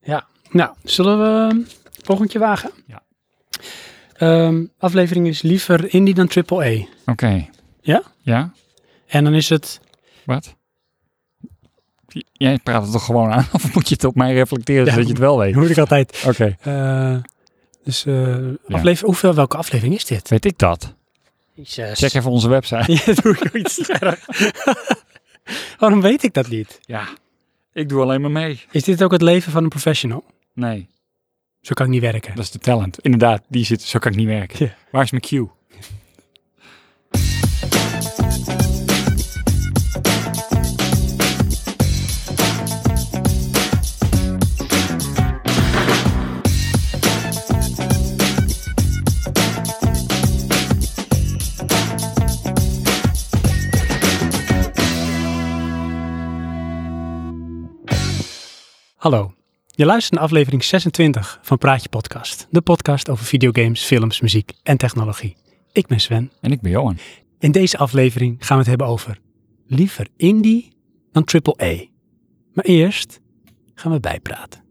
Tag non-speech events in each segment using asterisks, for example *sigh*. Ja, nou, zullen we een pogentje wagen? Ja. Ehm, aflevering is liever indie dan triple A. Oké. Ja? Ja? En dan is het... Wat? J- Jij praat het toch gewoon aan? *laughs* Of moet je het op mij reflecteren Ja. zodat je het *laughs* wel weet? Dat hoor ik altijd. Oké. Eh, dus eh, aflever- hoeveel, welke aflevering is dit? Weet ik dat? Jezus. Check even onze *laughs* website. Ja, doe ik ook iets erg. *laughs* Waarom weet ik dat niet? Ja. Ik doe alleen maar mee. Is dit ook het leven van een professional? Nee. Zo kan ik niet werken. Dat is de talent. Inderdaad, die zit. Zo kan ik niet werken. Ja. Waar is mijn cue? Hallo. Je luistert naar aflevering 26 van Praatje Podcast. De podcast over videogames, films, muziek en technologie. Ik ben Sven. En ik ben *laughs* Johan. In deze aflevering gaan we het hebben over liever indie dan triple A. Maar eerst gaan we *laughs* bijpraten.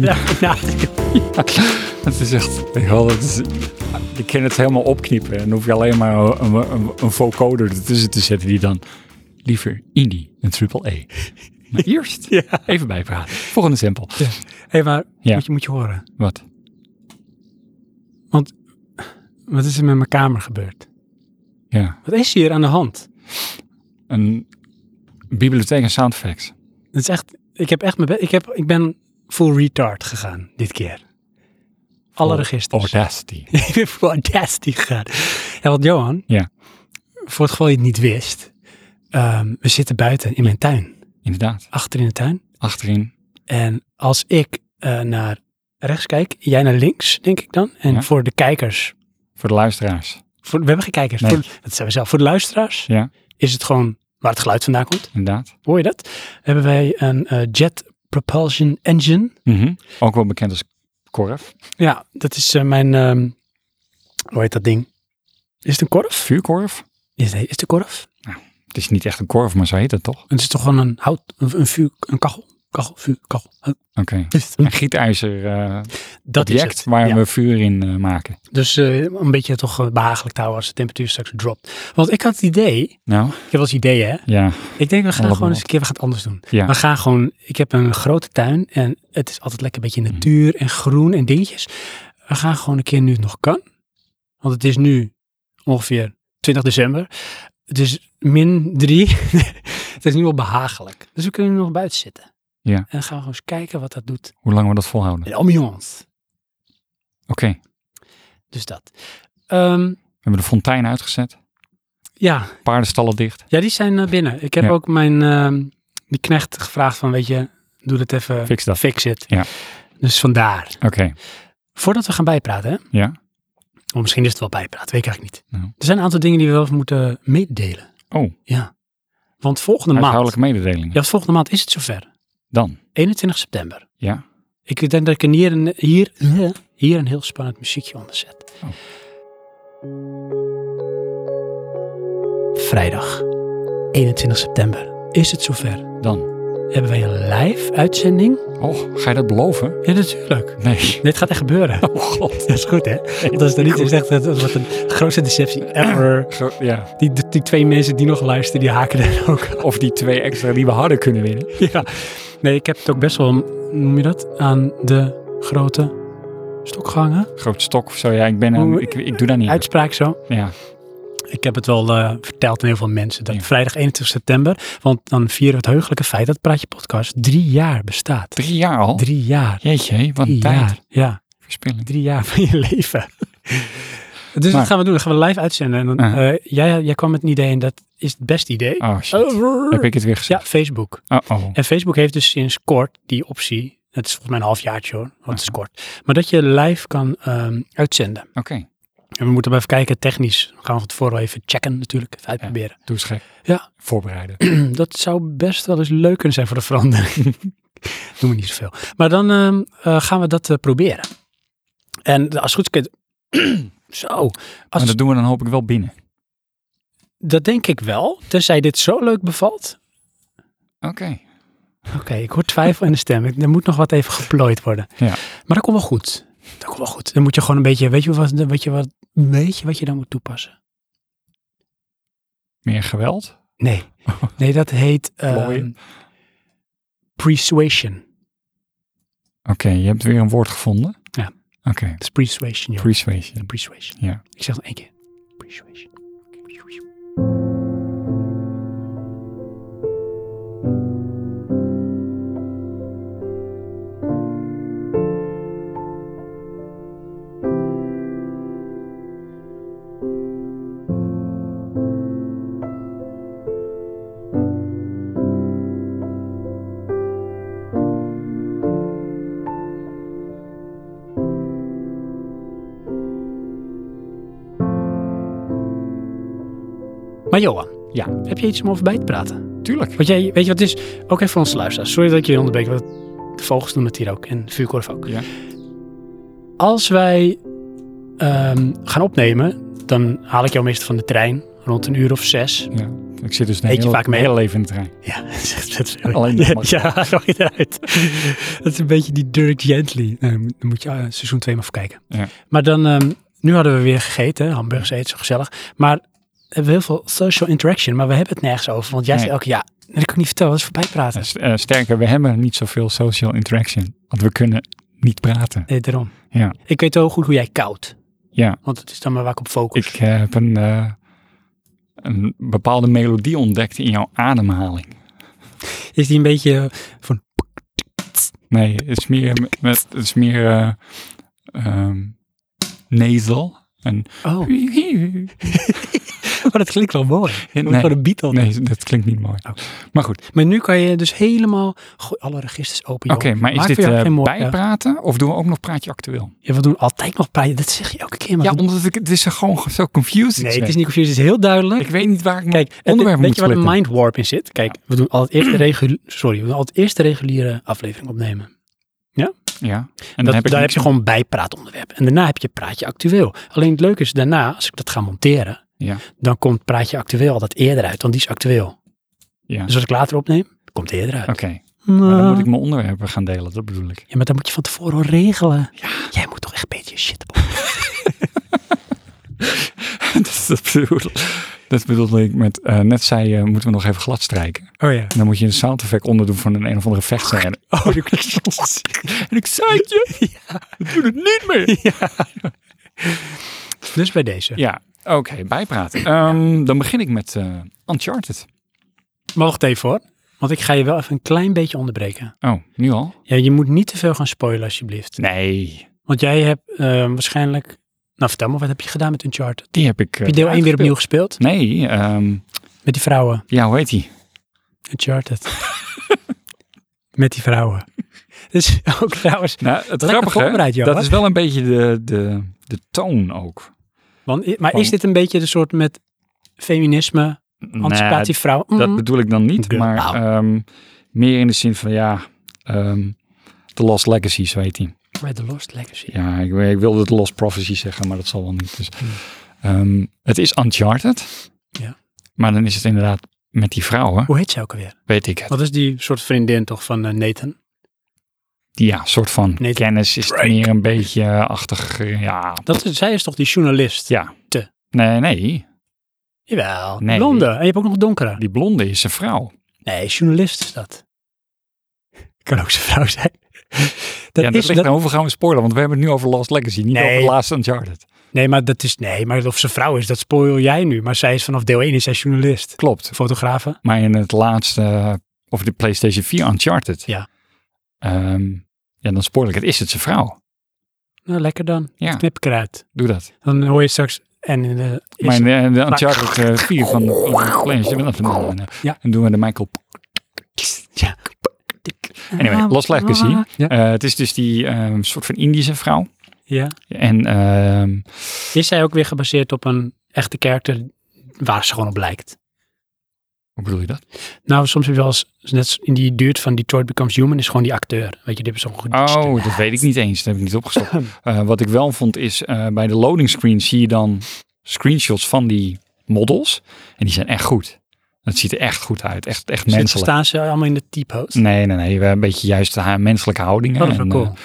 Ja, *laughs* Het is echt, joh, dat is, je kan het helemaal opknippen. En dan hoef je alleen maar een, een, een vocoder ertussen te zetten die dan liever indie en triple *laughs* E. Maar eerst Ja. even bijpraten. Volgende simpel. Hé, maar Ja. moet, je, moet je horen. Wat? Wat is er met mijn kamer gebeurd? Ja, Wat is hier aan de hand? een bibliotheek en sound effects. Het is echt, ik heb echt mijn be- ik, heb, ik ben full retard gegaan dit keer. Alle Full registers. Audacity. *laughs* ik ben full audacity gegaan. En wat Johan, Ja. voor het geval je het niet wist, ehm, we zitten buiten in mijn tuin, Inderdaad. achter in de tuin. Achterin. En als ik eh, naar rechts kijk, jij naar links, denk ik dan. En Ja. voor de kijkers, Voor de luisteraars. voor, we hebben geen kijkers, Nee. voor, dat zijn we zelf. Voor de luisteraars Ja. is het gewoon waar het geluid vandaan komt. Inderdaad. Hoor je dat? Hebben wij een eh, jet propulsion engine. Mhm. Ook wel bekend als korf. Ja, dat is eh, mijn. ehm, hoe heet dat ding? Is het een korf? Vuurkorf. Is het, is het een korf? Het is niet echt een korf, maar zo heet het toch? Het is toch gewoon een hout, een, een vuur, een kachel. Kachel, vuur, kachel. hout. Oké. *laughs* Een gietijzer eh, Dat is object het. waar ja. we vuur in eh, maken. Dus eh, een beetje toch eh, behagelijk te houden als de temperatuur straks dropt. Want ik had het idee, Nou, ik heb wel eens idee hè. ja. Ik denk we gaan Allemaal. gewoon eens een keer, we gaan het anders doen. Ja. We gaan gewoon, ik heb een grote tuin en het is altijd lekker een Mhm. beetje natuur en groen en dingetjes. We gaan gewoon een keer nu het nog kan. Want het is nu ongeveer 20 december. Het is min 3. *laughs* het is nu al behagelijk. Dus we kunnen nog buiten zitten. Ja. En dan gaan we gewoon eens kijken wat dat doet. Hoe lang we dat volhouden. De ambiance. Oké. Dus dat. Ehm, We hebben de fontein uitgezet. ja. Paardenstallen dicht. ja, die zijn eh, binnen. Ik heb Ja. ook mijn, ehm, die knecht gevraagd van, weet je, doe dat even, Fix dat. fix it. Ja. Dus vandaar. Oké. Voordat we gaan bijpraten, hè? Ja. Of misschien is het wel bijpraten, weet ik eigenlijk niet. Nou. Er zijn een aantal dingen die we wel even moeten meedelen. Oh, Ja. Want volgende maand, huishoudelijke mededelingen. ja, want volgende maand is het zover. Dan. 21 september. Ja. Ik denk dat ik er hier een, hier, *laughs* hier een heel spannend muziekje onder zet. Oh. Vrijdag, 21 september, is het zover. Dan. Hebben wij een live uitzending? Oh, ga je dat beloven? Ja, natuurlijk. Nee. Dit gaat echt gebeuren. Oh god. *laughs* Dat is goed, hè? Want als dat niet is, echt, dat wordt de grootste deceptie ever. Zo, ja. Die, die twee mensen die nog luisteren, die haken er ook af. Of die twee extra die we hadden kunnen winnen. Ja. Nee, ik heb het ook best wel, hoe noem je dat, aan de grote stok gehangen. Groot stok of zo. Ja, ik ben... aan- Hoe- ik, ik doe dat niet. Uitspraak zo. Ja. Ik heb het wel eh, verteld aan heel veel mensen. Dat Ja. vrijdag 21 september, want dan vieren we het heugelijke feit dat Praatje Podcast drie jaar bestaat. Drie jaar al? Drie jaar. Jeetje, hé, wat Drie een tijd. jaar. Ja, Verspilling. drie jaar van je leven. *laughs* Dus Maar- dat gaan we doen. Dat gaan we live uitzenden. En dan, Uh-huh. eh, jij, jij kwam met een idee en dat is het beste idee. Oh shit. Ever. Heb ik het weer gezegd? Ja, Facebook. Oh oh. En Facebook heeft dus sinds kort die optie. Het is volgens mij een halfjaartje hoor, want het is kort. Maar dat je live kan ehm, uitzenden. Oké. En we moeten maar even kijken technisch. Dan gaan we het vooral even checken natuurlijk, even uitproberen. *clears throat* Doe eens gek. Ja. *clears throat* Voorbereiden. dat zou best wel eens leuk kunnen zijn voor de *laughs* verandering. Doen we niet zoveel. Maar dan ehm, eh, gaan we dat eh, proberen. En als het goed is, kun je het- *clears throat* zo. Als, Maar dat doen we dan hoop ik wel binnen. Dat denk ik wel. Tenzij dit zo leuk bevalt. Oké. Oké, ik hoor twijfel in de stem. Ik- Er moet nog wat even geplooid worden. Ja. Maar dat komt wel goed. Dat komt wel goed. Dan moet je gewoon een beetje, weet je wat, weet je wat, weet je wat je dan moet toepassen? Meer geweld? Nee. *laughs* Nee, dat heet ehm Plooien. persuasion. Oké, je hebt weer een woord gevonden. Ja. Oké, Dat is persuasion, joh. persuasion. Persuasion. Ja. Ik zeg het één keer. Persuasion. Maar Johan, Ja. heb je iets om over bij te praten? Tuurlijk. Want jij, weet je wat het is? Ook even voor onze luisteraars. Sorry dat ik je onderbreek, want de vogels doen het hier ook. En vuurkorf ook. Ja. Als wij ehm, gaan opnemen, dan haal ik jou meestal van de trein. Rond een uur of zes. Ja. Ik zit dus Eet je heel, vaak mee? mijn hele leven in de trein. Ja, *laughs* dat is echt vet veel. *laughs* Alleen ja, dat mag. ja, nog niet uit. Dat is een beetje die Dirk Gently. Nou, daar moet je eh, seizoen 2 maar voor kijken. Ja. Maar dan, ehm, nu hadden we weer gegeten, hamburgers eten, zo gezellig. Maar hebben we heel veel social interaction, maar we hebben het nergens over. Want jij Nee. zei elke ja, dat kan ik niet vertellen, dat is voorbij praten. Eh, st- eh, sterker, we hebben niet zoveel social interaction. Want we kunnen niet praten. Nee, daarom. Ja. Ik weet wel goed hoe jij koud. Ja. Want het is dan maar waar ik op focus. Ik eh, heb een, eh, een bepaalde melodie ontdekt in jouw ademhaling. Is die een beetje van, Nee, het is meer, m- met, het is meer eh, ehm, nasal. En *laughs* oh, nee, maar *laughs* dat klinkt wel mooi. Moet Nee. gewoon een beat dan. dat klinkt niet mooi. Oké. Maar goed, Maar nu kan je dus helemaal, gooi alle registers open. oké, joh. maar is Maak dit voor jou eh, geen mooi- ja. bijpraten of doen we ook nog praatje actueel? Ja, we doen altijd nog praatje. Dat zeg je elke keer. Maar Ja, we- omdat ik, het is gewoon zo confused. nee, het is niet confused. Het is heel duidelijk. Ik weet niet waar ik Kijk, Kijk, het- onderwerp weet moet je waar de splitten. mind warp in zit? Kijk, we doen altijd *clears throat* eerst de reguliere, sorry, we doen altijd eerst de reguliere aflevering opnemen. Ja, en dan Dat, heb ik daar heb niks je gewoon bijpraatonderwerp. En daarna heb je praatje actueel. Alleen het leuke is, daarna, als ik dat ga monteren, Ja. dan komt praatje actueel altijd eerder uit, want die is actueel. Ja. Dus als ik later opneem, komt die eerder uit. Oké, maar dan Nou. moet ik mijn onderwerpen gaan delen, dat bedoel ik. Ja, maar dat moet je van tevoren regelen. Jij moet toch echt een beetje shit op. *laughs* dat, is dat, bedoel, dat bedoelde ik met, eh, net zei je, moeten we nog even glad strijken. Oh ja. En dan moet je een sound effect onderdoen van een een of andere vechtscène. Oh, die- en ik zei het je, we doen het niet meer. dus bij deze. Ja, oké, bijpraten. Ehm, Dan begin ik met eh, Uncharted. Maar wacht even hoor. Want ik ga je wel even een klein beetje onderbreken. Oh, nu al? Ja, je moet niet te veel gaan spoilen alsjeblieft. Nee, Want jij hebt eh, waarschijnlijk... Nou, vertel me, wat heb je gedaan met Uncharted? die heb ik... eh, Heb je deel 1 weer uitgespeeld. opnieuw gespeeld? Nee, ehm, Met die vrouwen. ja, hoe heet die? Uncharted. *laughs* met die vrouwen. *laughs* Dus ook trouwens... Nou, het Lekker voorbereid, grappige, Johan. dat is wel een beetje de, de, de toon ook. Want, i- maar Van- is dit een beetje de soort met feminisme, anticipatie vrouwen? Nee, dat Mm. bedoel ik dan niet, Oké. maar Wauw. ehm, meer in de zin van, ja, ehm The Lost Legacy, zo heet die. Bij The Lost Legacy. Ja, ik, ik wilde The Lost Prophecy zeggen, maar dat zal wel niet. Dus, ehm, het is Uncharted, Hmm. Ja. maar dan is het inderdaad met die vrouwen, Hoe heet ze ook alweer? weet ik het. Wat is die soort vriendin toch van eh, Nathan? Die, ja, soort van Nee, kennis is Drake. meer een beetje eh, achtig, eh, ja. Dat is, zij is toch die journalist? ja. Te. Nee, nee, Jawel, Nee. blonde. En je hebt ook nog donkere. die blonde is een vrouw. Nee, journalist is dat. Kan ook zijn vrouw zijn. *laughs* Dat ja, dat is, ligt dat, daarover gaan we spoilen, want we hebben het nu over Lost Legacy, niet Nee. over The Last Uncharted. nee, maar dat is, nee, maar of ze vrouw is, dat spoil jij nu. Maar zij is vanaf deel 1 is zij journalist. Klopt. Fotografe. Maar in het laatste, eh, of de PlayStation 4 Uncharted. Ja. Ehm, ja, dan spoor ik het. Is het zijn vrouw? Nou, lekker dan. Ja. Knip ik eruit. Doe dat. Dan hoor je straks, en eh, is- Maar in de, de Uncharted eh, 4 van de van de PlayStation. Ja. Ja. eh. En doen we de Michael. Ja. Ah. Anyway, Lost Legacy. Ja. Eh, het is dus die ehm, soort van Indische vrouw. ja. En ehm, Is zij ook weer gebaseerd op een echte karakter waar ze gewoon op lijkt? Hoe bedoel je dat? Nou, soms heb je wel eens, net in die duurt van Detroit Becomes Human, is gewoon die acteur. Weet je, dit is zo'n goed Oh, dat weet ik niet eens. Dat heb ik niet opgestopt. Eh, wat ik wel vond is, eh, bij de loading screen zie je dan screenshots van die models. En die zijn echt goed. Het ziet er echt goed uit. Echt, echt Zit- menselijk. Mm, Staan ze allemaal in de typhoofd? Nee, nee, nee. We hebben een beetje juist haar menselijke houdingen. Oh, dat is wel En, cool.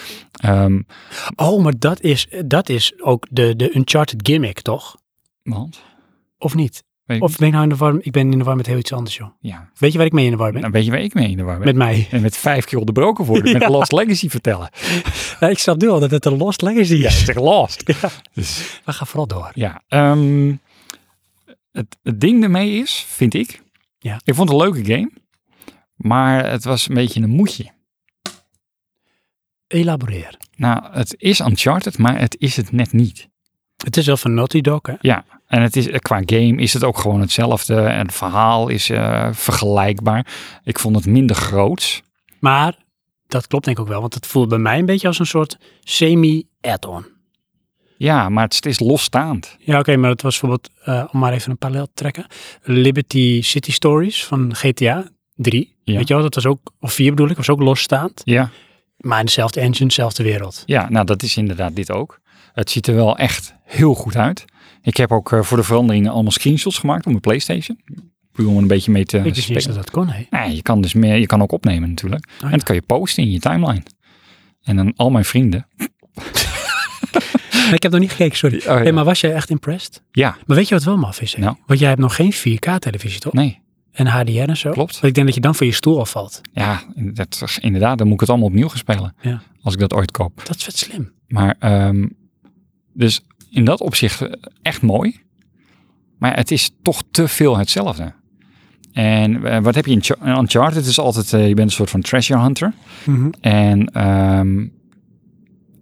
eh, ehm, Oh, maar dat is, dat is ook de, de Uncharted gimmick, toch? want, Of niet? weet ik, Of ben ik nou in de war? Ik ben in de war met heel iets anders, joh. ja. Weet je waar ik mee in de war ben? Nou, weet je waar ik mee in de war ben? Met mij. En met vijf keer *laughs* onderbroken worden. Met Ja. Lost Legacy vertellen. Ja, *laughs* ik snap nu al dat het een Lost Legacy Ja, is. zeg Lost. Dus We gaan vooral door. Ja, ehm, het, het ding ermee is, vind ik. Ja. Ik vond het een leuke game, maar het was een beetje een moedje. Elaboreer. Nou, het is Uncharted, maar het is het net niet. Het is wel van Naughty Dog, hè? Ja, en het is, qua game is het ook gewoon hetzelfde. En het verhaal is eh, vergelijkbaar. Ik vond het minder groots. Maar dat klopt denk ik ook wel, want het voelt bij mij een beetje als een soort semi-add-on. Ja, maar het is losstaand. Ja, oké, maar het was bijvoorbeeld, eh, om maar even een parallel te trekken, Liberty City Stories van GTA 3. Ja. Weet je wel, dat was ook, of 4 bedoel ik, was ook losstaand. Ja. Maar in dezelfde engine, dezelfde wereld. Ja, nou dat is inderdaad dit ook. Het ziet er wel echt heel goed uit. Ik heb ook eh, voor de veranderingen allemaal screenshots gemaakt op mijn PlayStation. Puur om er een beetje mee te ik wist niet eens spelen. dat dat kon, hè? Nee, je kan dus meer, je kan ook opnemen natuurlijk. Oh, ja. En dat kan je posten in je timeline. En dan al mijn vrienden. Ik heb nog niet gekeken, sorry. Oh, ja. Hey, maar was jij echt impressed? Ja, Maar weet je wat wel maf is? hè? Nou. Want jij hebt nog geen 4K-televisie, toch? nee, En HDR en zo. klopt. Want ik denk dat je dan van je stoel afvalt. Ja, dat is, inderdaad, dan moet ik het allemaal opnieuw gaan spelen. Ja. Als ik dat ooit koop. Dat is vet slim. Maar, ehm, dus in dat opzicht eh, echt mooi. Maar het is toch te veel hetzelfde. En eh, wat heb je in Char- in Uncharted? Het is altijd, eh, je bent een soort van treasure hunter. Mhm. En ehm,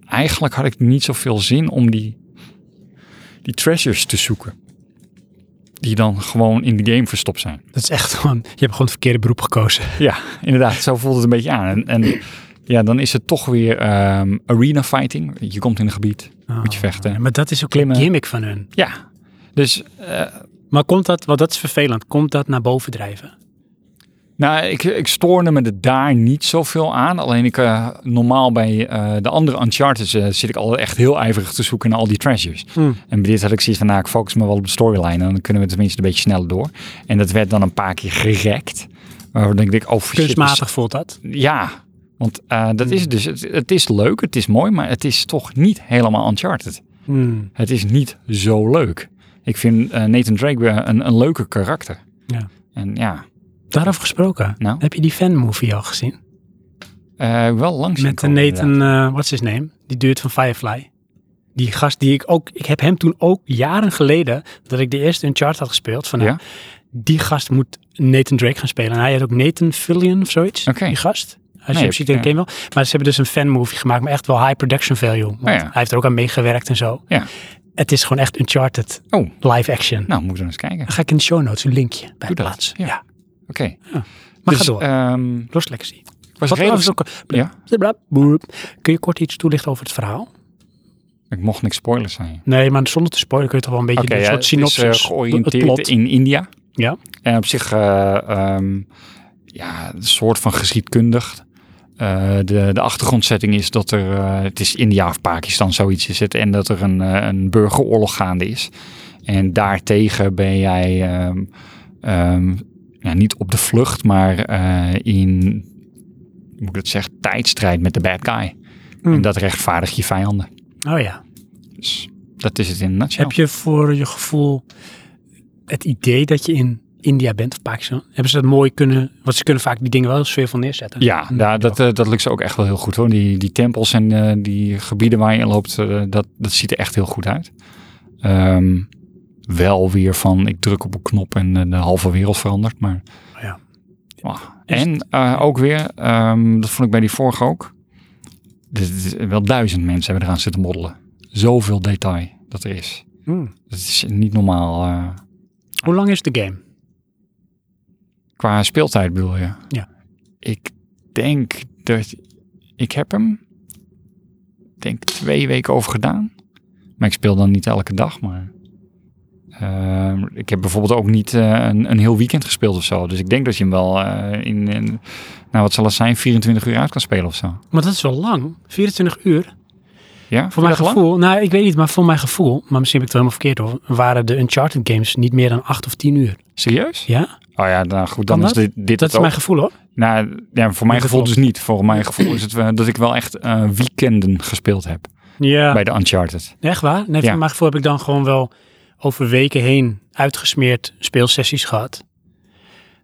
eigenlijk had ik niet zoveel zin om die, die treasures te zoeken. Die dan gewoon in de game verstopt zijn. Dat is echt gewoon, je hebt gewoon het verkeerde beroep gekozen. Ja, *laughs* inderdaad. Zo voelt het een beetje aan. En, en ja, dan is het toch weer ehm, arena fighting. Je komt in een gebied, moet je vechten. Maar dat is ook Klimmen. een gimmick van hun. Ja, dus Maar komt dat, want dat is vervelend, komt dat naar boven drijven? Nou, ik, ik stoorde me er daar niet zoveel aan. Alleen ik, eh, normaal bij eh, de andere Uncharted eh, zit ik al echt heel ijverig te zoeken naar al die treasures. Hmm. En bij dit had ik zoiets van, nou, ik focus me wel op de storyline. En dan kunnen we tenminste een beetje sneller door. En dat werd dan een paar keer gerekt. Waarvan ik denk, oh shit. we- Kunstmatig voelt dat. Ja, want eh, dat is het dus. Het, het is leuk, het is mooi, maar het is toch niet helemaal Uncharted. Hmm. Het is niet zo leuk. Ik vind eh, Nathan Drake weer een, een leuker karakter. Ja. En ja, Daarover gesproken, Nou? heb je die fanmovie al gezien? eh, wel langzaam. Met de komen, inderdaad. Nathan, eh what's his name? Die duurt van Firefly. Die gast die ik ook, ik heb hem toen ook jaren geleden, dat ik de eerste Uncharted had gespeeld, van nou, Ja? die gast moet Nathan Drake gaan spelen. En hij heet ook Nathan Fillion of zoiets, Oké. die gast. Als Nee, je hem ziet, heb denk ik- ik hem wel. Maar ze hebben dus een fanmovie gemaakt, maar echt wel high production value. Want Oh ja. Hij heeft er ook aan meegewerkt en zo. Ja. Het is gewoon echt Uncharted Oh, live action. nou, moeten we eens kijken. Oké. Dan ga ik in de show notes een linkje bij Doe dat, plaatsen. ja. Ja. Maar Dus, ga door. ehm, ik Los Legacy. was Wat redelijk... trouwens ook, Ja, Kun je kort iets toelichten over het verhaal? ik mocht niks spoilers zijn. Nee, maar zonder te spoilen kun je toch wel een beetje Oké, een ja, soort het is synopsis. eh, het georiënteerd plot. in India. Ja. En op zich, eh, ehm, ja, een soort van geschiedkundig. Eh, de, de achtergrondzetting is dat er, eh, het is India of Pakistan, zoiets is het. En dat er een, eh, een burgeroorlog gaande is. En daartegen ben jij ehm, ehm, ja, niet op de vlucht, maar eh, in, hoe moet ik dat zeggen, tijdstrijd met de bad guy. Mm. En dat rechtvaardigt je vijanden. Oh ja. Dus dat is het in een nutshell. Heb je voor je gevoel het idee dat je in India bent of Pakistan? Hebben ze dat mooi kunnen, want ze kunnen vaak die dingen wel sfeervol neerzetten. Ja, daar, dat, eh, dat lukt ze ook echt wel heel goed hoor. Die, die tempels en eh, die gebieden waar je in loopt, eh, dat, dat ziet er echt heel goed uit. Ehm, wel weer van ik druk op een knop en eh, de halve wereld verandert. Maar, Oh Ja. Wauw. Is En eh, ook weer, ehm, dat vond ik bij die vorige ook. Dit is wel duizend mensen hebben eraan zitten moddelen. Zoveel detail dat er is. Hmm. Dat is niet normaal. eh, Hoe lang is de game? Qua speeltijd bedoel je? Ja. Ik denk dat... Ik heb hem... denk twee weken over gedaan. Maar ik speel dan niet elke dag, maar... Ehm, ik heb bijvoorbeeld ook niet eh, een, een heel weekend gespeeld of zo. Dus ik denk dat je hem wel eh, in, in, nou wat zal het zijn, 24 uur uit kan spelen of zo. Maar dat is wel lang. 24 uur. Voor mijn Ja, Vind je dat lang? gevoel, nou ik weet niet, maar voor mijn gevoel, maar misschien heb ik het helemaal verkeerd hoor, waren de Uncharted games niet meer dan 8 of 10 uur. Serieus? Ja, Oh ja, nou goed, dan Kan is dit, dit dat het is ook. mijn gevoel hoor. Nou, ja, voor mijn Mijn gevoel dus gevoel. niet. Voor mijn gevoel is het eh, dat ik wel echt eh, weekenden gespeeld heb Ja. bij de Uncharted. Echt waar? Nee, Ja. voor mijn gevoel heb ik dan gewoon wel over weken heen uitgesmeerd speelsessies gehad. Maar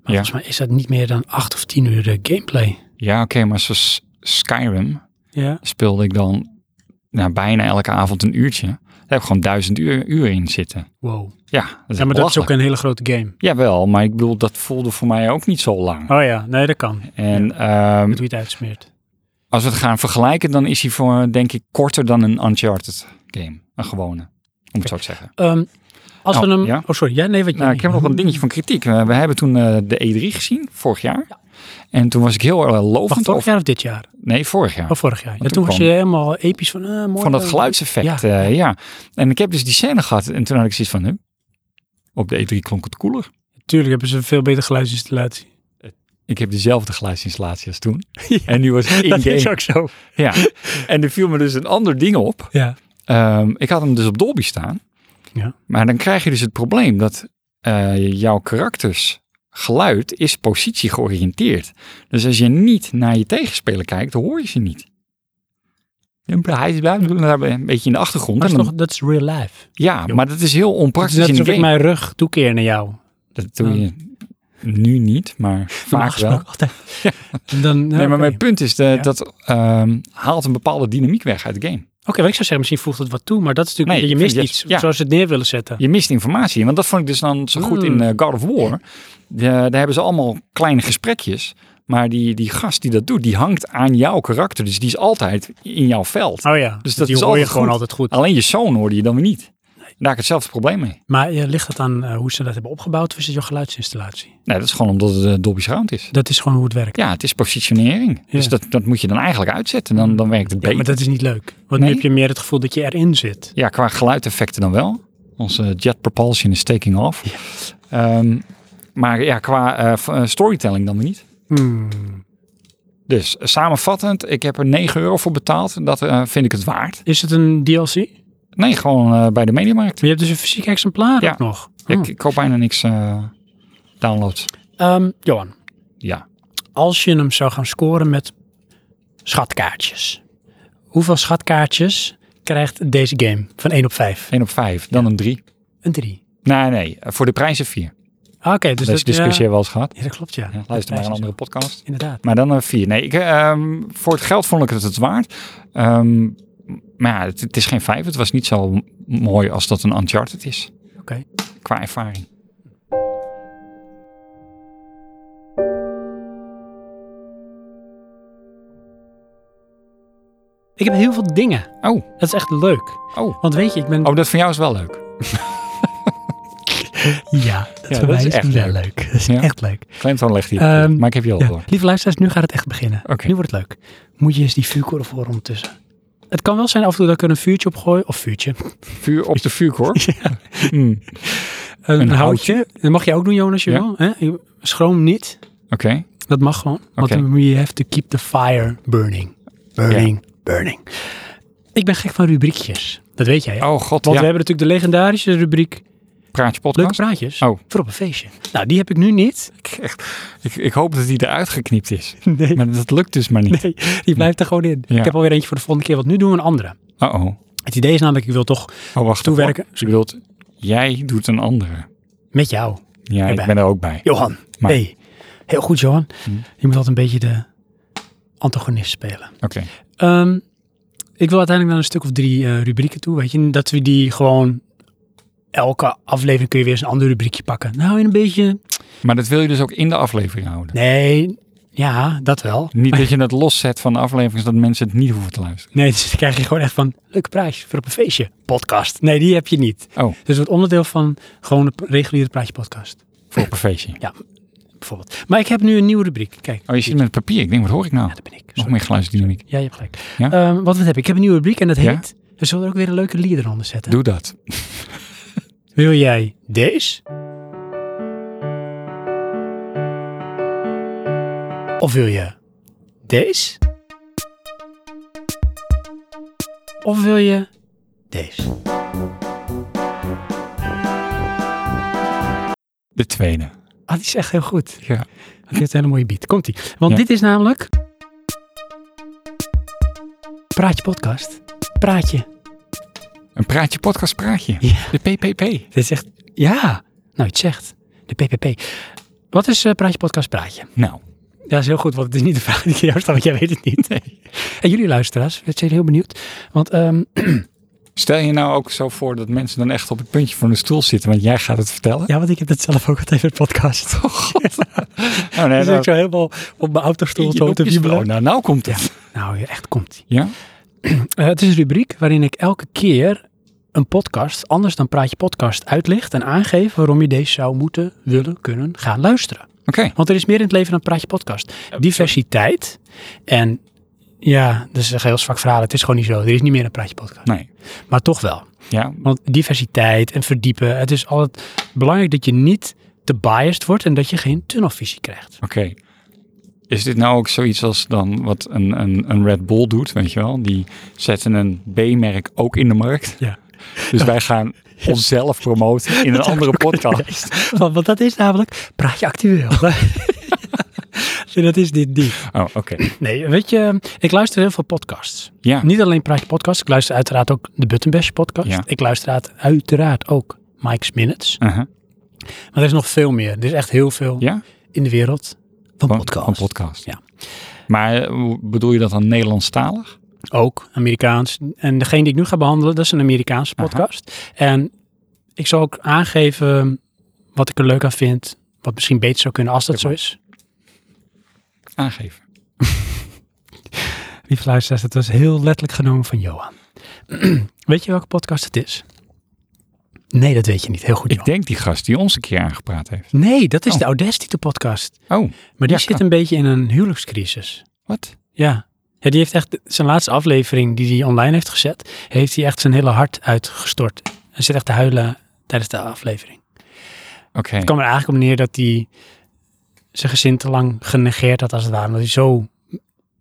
volgens mij is dat niet meer dan 8 of 10 uur eh, gameplay. Ja, oké, maar zoals Skyrim Ja. speelde ik dan nou, bijna elke avond een uurtje. Daar heb ik gewoon duizend uur, uur in zitten. Wow. Ja, dat is, Ja, maar dat is ook belachelijk. een hele grote game. Jawel, maar ik bedoel, dat voelde voor mij ook niet zo lang. Oh ja, nee, dat kan. En ehm, Met hoe je het uitsmeert. als we het gaan vergelijken, dan is hij voor, denk ik, korter dan een Uncharted game. Een gewone, om het zo te zeggen. Ehm, als Nou, we hem... ja. Oh, sorry. Ja, nee, wat je... Nou, ik heb nog een dingetje van kritiek. Eh, We hebben toen eh, de E3 gezien, vorig jaar. En toen was ik heel erg Wacht, lovend vorig over... jaar of dit jaar? Nee, vorig jaar. Of vorig jaar? Ja, toen toen was je kwam- helemaal episch van... eh, mooi, Van dat eh, geluidseffect, Ja. ja. ja. En ik heb dus die scène gehad. En toen had ik zoiets van, huh? op de E3 klonk het koeler. Tuurlijk hebben ze een veel betere geluidsinstallatie. Ik heb dezelfde geluidsinstallatie als *laughs* toen. En die was dat is in-game. ook zo. Ja. En er viel me dus een ander ding op. Ja. Ehm, ik had hem dus op Dolby staan. Ja. Maar dan krijg je dus het probleem dat eh, jouw karakters geluid is positie georiënteerd. Dus als je niet naar je tegenspeler kijkt, dan hoor je ze niet. Hij is een beetje in de achtergrond. Dat is, En dan- toch, dat is real life. ja, maar dat is heel Dat is onpraktisch net in de alsof ik game. mijn rug toekeer naar jou. Dat doe je nu niet, *laughs* maar vaak wel. Altijd. *laughs* En Dan, ja, Nee, maar oké. mijn punt is de- Ja. dat ehm, haalt een bepaalde dynamiek weg uit de game. Oké, wat ik zou zeggen, misschien voegt het wat toe, maar dat is natuurlijk, Nee, je ik mist vind- iets, ja. zoals ze het neer willen zetten. Je mist informatie. Want dat vond ik dus dan zo goed in Mm. eh, God of War. De- daar hebben ze allemaal kleine gesprekjes. Maar die, die gast die dat doet, die hangt aan jouw karakter. Dus die is altijd in jouw veld. Oh ja, Dus dat die is hoor je altijd gewoon goed. altijd goed. Alleen je zoon hoorde je dan weer niet. Daar heb ik hetzelfde probleem mee. Maar eh, ligt het aan eh, hoe ze dat hebben opgebouwd of is het je geluidsinstallatie? Nee, dat is gewoon omdat het eh, Dolby Surround is. Dat is gewoon hoe het werkt. Ja, het is positionering. Dus Ja. Mm. dat, dat moet je dan eigenlijk uitzetten. Dan, dan werkt het Ja, beter. maar dat is niet leuk. Want Nee? nu heb je meer het gevoel dat je erin zit. Ja, qua geluideffecten dan wel. Onze jet propulsion is taking off. Ehm, maar ja, qua eh, v- eh, storytelling dan weer niet. Hmm. Dus eh, samenvattend, ik heb er 9 euro voor betaald. Dat eh, vind ik het waard. Is het een DLC? Maar Nee, gewoon eh, bij de Mediamarkt. je hebt dus een fysiek exemplaar Ja. ook nog. Hmm. Ik, ik koop bijna niks eh, downloads. Ehm, Johan, Ja. als je hem zou gaan scoren met schatkaartjes. Hoeveel schatkaartjes krijgt deze game van 1 op 5? 1 op 5, dan een 3. Een 3. Nee, nee, eh, voor de prijzen 4. Ah, Oké, dus Deze dat, discussie ja, hebben we al eens gehad. ja, dat klopt ja. Ja, luister maar Prijs een is andere hoog. podcast. Inderdaad. Maar dan een vier. Nee, ik, eh, ehm, voor het geld vond ik het het waard. Ehm, maar ja, het, het is geen vijf. Het was niet zo m- mooi als dat een Uncharted is. Oké. Qua ervaring. Ik heb heel veel dingen. Oh, Dat is echt leuk. oh. Want weet je, ik ben... Oh, dat van jou is wel leuk. ja, dat, dat is echt leuk. Dat is Ja. echt leuk. Clemtoon legt hier. Ehm, maar ik heb je al Ja. door. Lieve luisteraars, nu gaat het echt beginnen. Oké. Nu wordt het leuk. Moet je eens die vuurkorf voor ondertussen. Het kan wel zijn af en toe dat ik er een vuurtje op gooi. Of vuurtje. Vuur op de vuurkorf. *laughs* Hmm, Een, houtje. Dat mag je ook doen, Jonas, als je Ja. wil. Hè? Je- Schroom niet. Oké. Dat mag gewoon. Want Oké. dan- you have to keep the fire burning. Burning, burning. Ik ben gek van rubriekjes. Dat weet jij, hè? Oh god, Want ja. we hebben natuurlijk de legendarische rubriek Praatje Leuke podcast. praatjes Oh. voor op een feestje. Nou, die heb ik nu niet. Ik, ik hoop dat die eruit geknipt *laughs* is. Nee. Maar dat lukt dus maar niet. Nee, die blijft er gewoon in. Ja. Ik heb alweer eentje voor de volgende keer, want nu doen we een andere. Uh-oh. Het idee is namelijk, ik wil toch Oh, wacht. Toewerken. Je bedoelt, jij doet een andere. met jou, Ja, ik Erbij. ben er ook bij. Johan. Maar- Nee, heel goed Johan. Je moet altijd een beetje de antagonist spelen. Oké. Ehm, ik wil uiteindelijk naar een stuk of drie eh, rubrieken toe, weet je. Dat we die gewoon, elke aflevering kun je weer eens een ander rubriekje pakken. Nou, in een beetje, Maar dat wil je dus ook in de aflevering houden. nee, ja, dat wel. Niet dat je het loszet van de aflevering, zodat mensen het niet hoeven te luisteren. Nee, dus dan krijg je gewoon echt van, leuke prijs voor op een feestje. Podcast. Nee, die heb je niet. Oh, Dus het wordt onderdeel van gewoon een reguliere praatje podcast, voor op een feestje. bijvoorbeeld. Maar ik heb nu een nieuwe rubriek. Kijk, Oh, je zit met papier. Ik denk, wat hoor ik nou? dat ben ik. Nog Sorry. meer geluidsdynamiek. Ja, je hebt gelijk. Ja? Ehm, wat, wat heb ik? Ik heb een nieuwe rubriek en dat Ja? heet... We zullen er ook weer een leuke lied eronder zetten. Doe dat. Wil jij deze? Of wil je deze? Of wil je deze? De tweede. Ah, die is echt heel goed. Ja. Die heeft een hele mooie beat. Komt-ie. Want Ja. dit is namelijk... Praatje podcast. Praatje. Een praatje, podcast, praatje. Ja. De PPP. Dit is echt... Ja. Nou, je het zegt. De PPP. Wat is eh, Praatje podcast Praatje? Nou, Ja, is heel goed, want het is niet de vraag die ik jou stel, want jij weet het *laughs* niet. En jullie luisteraars, we zijn heel benieuwd. Want ehm, stel je nou ook zo voor dat mensen dan echt op het puntje van de stoel zitten, want jij gaat het vertellen. ja, want ik heb dat zelf ook altijd in de podcast. *laughs* Oh, nee, Dus nou, ik zo helemaal op mijn autostoel je zo te doekjes- wiebelen. oh, nou, nou komt het. Nou, ja, echt komt Ja? Eh, het is een rubriek waarin ik elke keer een podcast, anders dan Praatje Podcast, uitlicht en aangeef waarom je deze zou moeten, willen, kunnen gaan luisteren. Oké. Want er is meer in het leven dan Praatje Podcast. Diversiteit en ja, dat is een heel zwak verhaal. Het is gewoon niet zo. Er is niet meer een Praatje Podcast. Nee. Maar toch wel. Ja, Want diversiteit en verdiepen, het is altijd belangrijk dat je niet te biased wordt en dat je geen tunnelvisie krijgt. Oké. Is dit nou ook zoiets als dan wat een, een, een Red Bull doet, weet je wel? Die zetten een B-merk ook in de markt. Ja. Dus wij gaan onszelf promoten in een andere podcast. *laughs* Want, want dat is namelijk Praatje Actueel. *laughs* Dus dat is dit ding. Oh, oké. Nee, weet je, ik luister heel veel podcasts. Ja. Niet alleen Praatje Podcast, ik luister uiteraard ook de Button Bash podcast. Ja. Ik luister uit- uiteraard ook Mike's Minutes. Aha. Maar er is nog veel meer. Er is echt heel veel Uh-huh. Ja? in de wereld van Van- podcasts. Van podcast. Ja. Maar eh, hoe- bedoel je dat dan Nederlandstalig? ook Amerikaans. En degene die ik nu ga behandelen, dat is een Amerikaanse Aha. podcast. En ik zal ook aangeven wat ik er leuk aan vind. Wat misschien beter zou kunnen als dat zo is. Aangeven. Lieve luisteraars, dat was heel letterlijk genomen van Johan. *clears throat* weet je welke podcast het is? Nee, dat weet je niet. Heel goed, Ik Johan. denk die gast die ons een keer aangepraat heeft. Nee, dat is Oh. de Audacity podcast. Oh, Maar die Ja, zit kan. een beetje in een huwelijkscrisis. wat? Ja. ja, die heeft echt zijn laatste aflevering die hij online heeft gezet, heeft hij echt zijn hele hart uitgestort. Hij zit echt te huilen tijdens de aflevering. Oké. Het kwam er eigenlijk op neer dat hij zijn gezin te lang genegeerd had als het ware. Omdat hij zo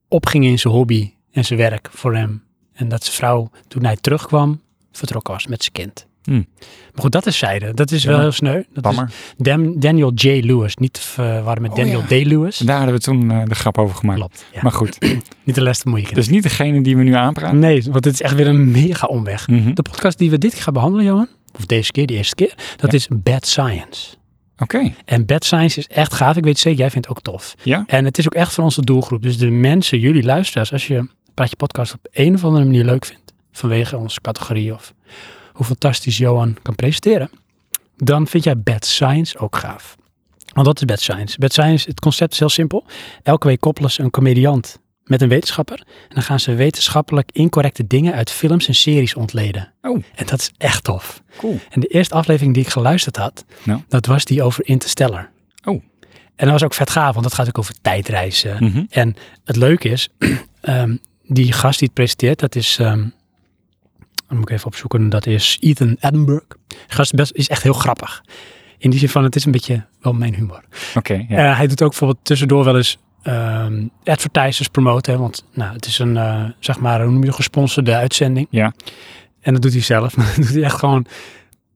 opging in zijn hobby en zijn werk voor hem. En dat zijn vrouw, toen hij terugkwam, vertrokken was met zijn kind. Hmm. Maar goed, dat is zijde. Dat is Ja. wel heel sneu. Dat is Bammer. Dan- Daniel J. Lewis, niet te verwarren met Oh, Daniel ja. D. Lewis. Daar hadden we toen eh, de grap over gemaakt. Klopt. Ja. Maar Dus- goed, Niet de les te moeilijk. dat is niet degene die we nu aanpraten. Nee, want het is echt weer een mega omweg. Mhm. De podcast die we dit keer gaan behandelen, Johan, of deze keer, de eerste keer, dat is Bad Science. Oké, En Bad Science is echt gaaf. Ik weet zeker, jij vindt het ook tof. ja? En het is ook echt voor onze doelgroep. Dus de mensen, jullie luisteraars, als je Praatje Podcast op een of andere manier leuk vindt, vanwege onze categorie of hoe fantastisch Johan kan presenteren, dan vind jij Bad Science ook gaaf. Want dat is Bad Science. Bad Science, het concept is heel simpel. Elke week koppelen ze een comediant met een wetenschapper. En dan gaan ze wetenschappelijk incorrecte dingen uit films en series ontleden. Oh, En dat is echt tof. cool. En de eerste aflevering die ik geluisterd had, Nou. dat was die over Interstellar. Oh. En dat was ook vet gaaf, want dat gaat ook over tijdreizen. Mhm. En het leuke is, *clears throat* ehm, die gast die het presenteert, dat is, ehm dan moet ik even opzoeken, dat is Ethan Edinburgh. De gast is, best, is echt heel grappig. In die zin van, het is een beetje wel mijn humor. Oké, ja. Eh, hij doet ook bijvoorbeeld tussendoor wel eens ehm, advertisers promoten. hè, Want nou, het is een, eh, zeg maar, hoe noem je dat, gesponsorde uitzending. Ja. En dat doet hij zelf. *laughs* Maar dat doet hij echt gewoon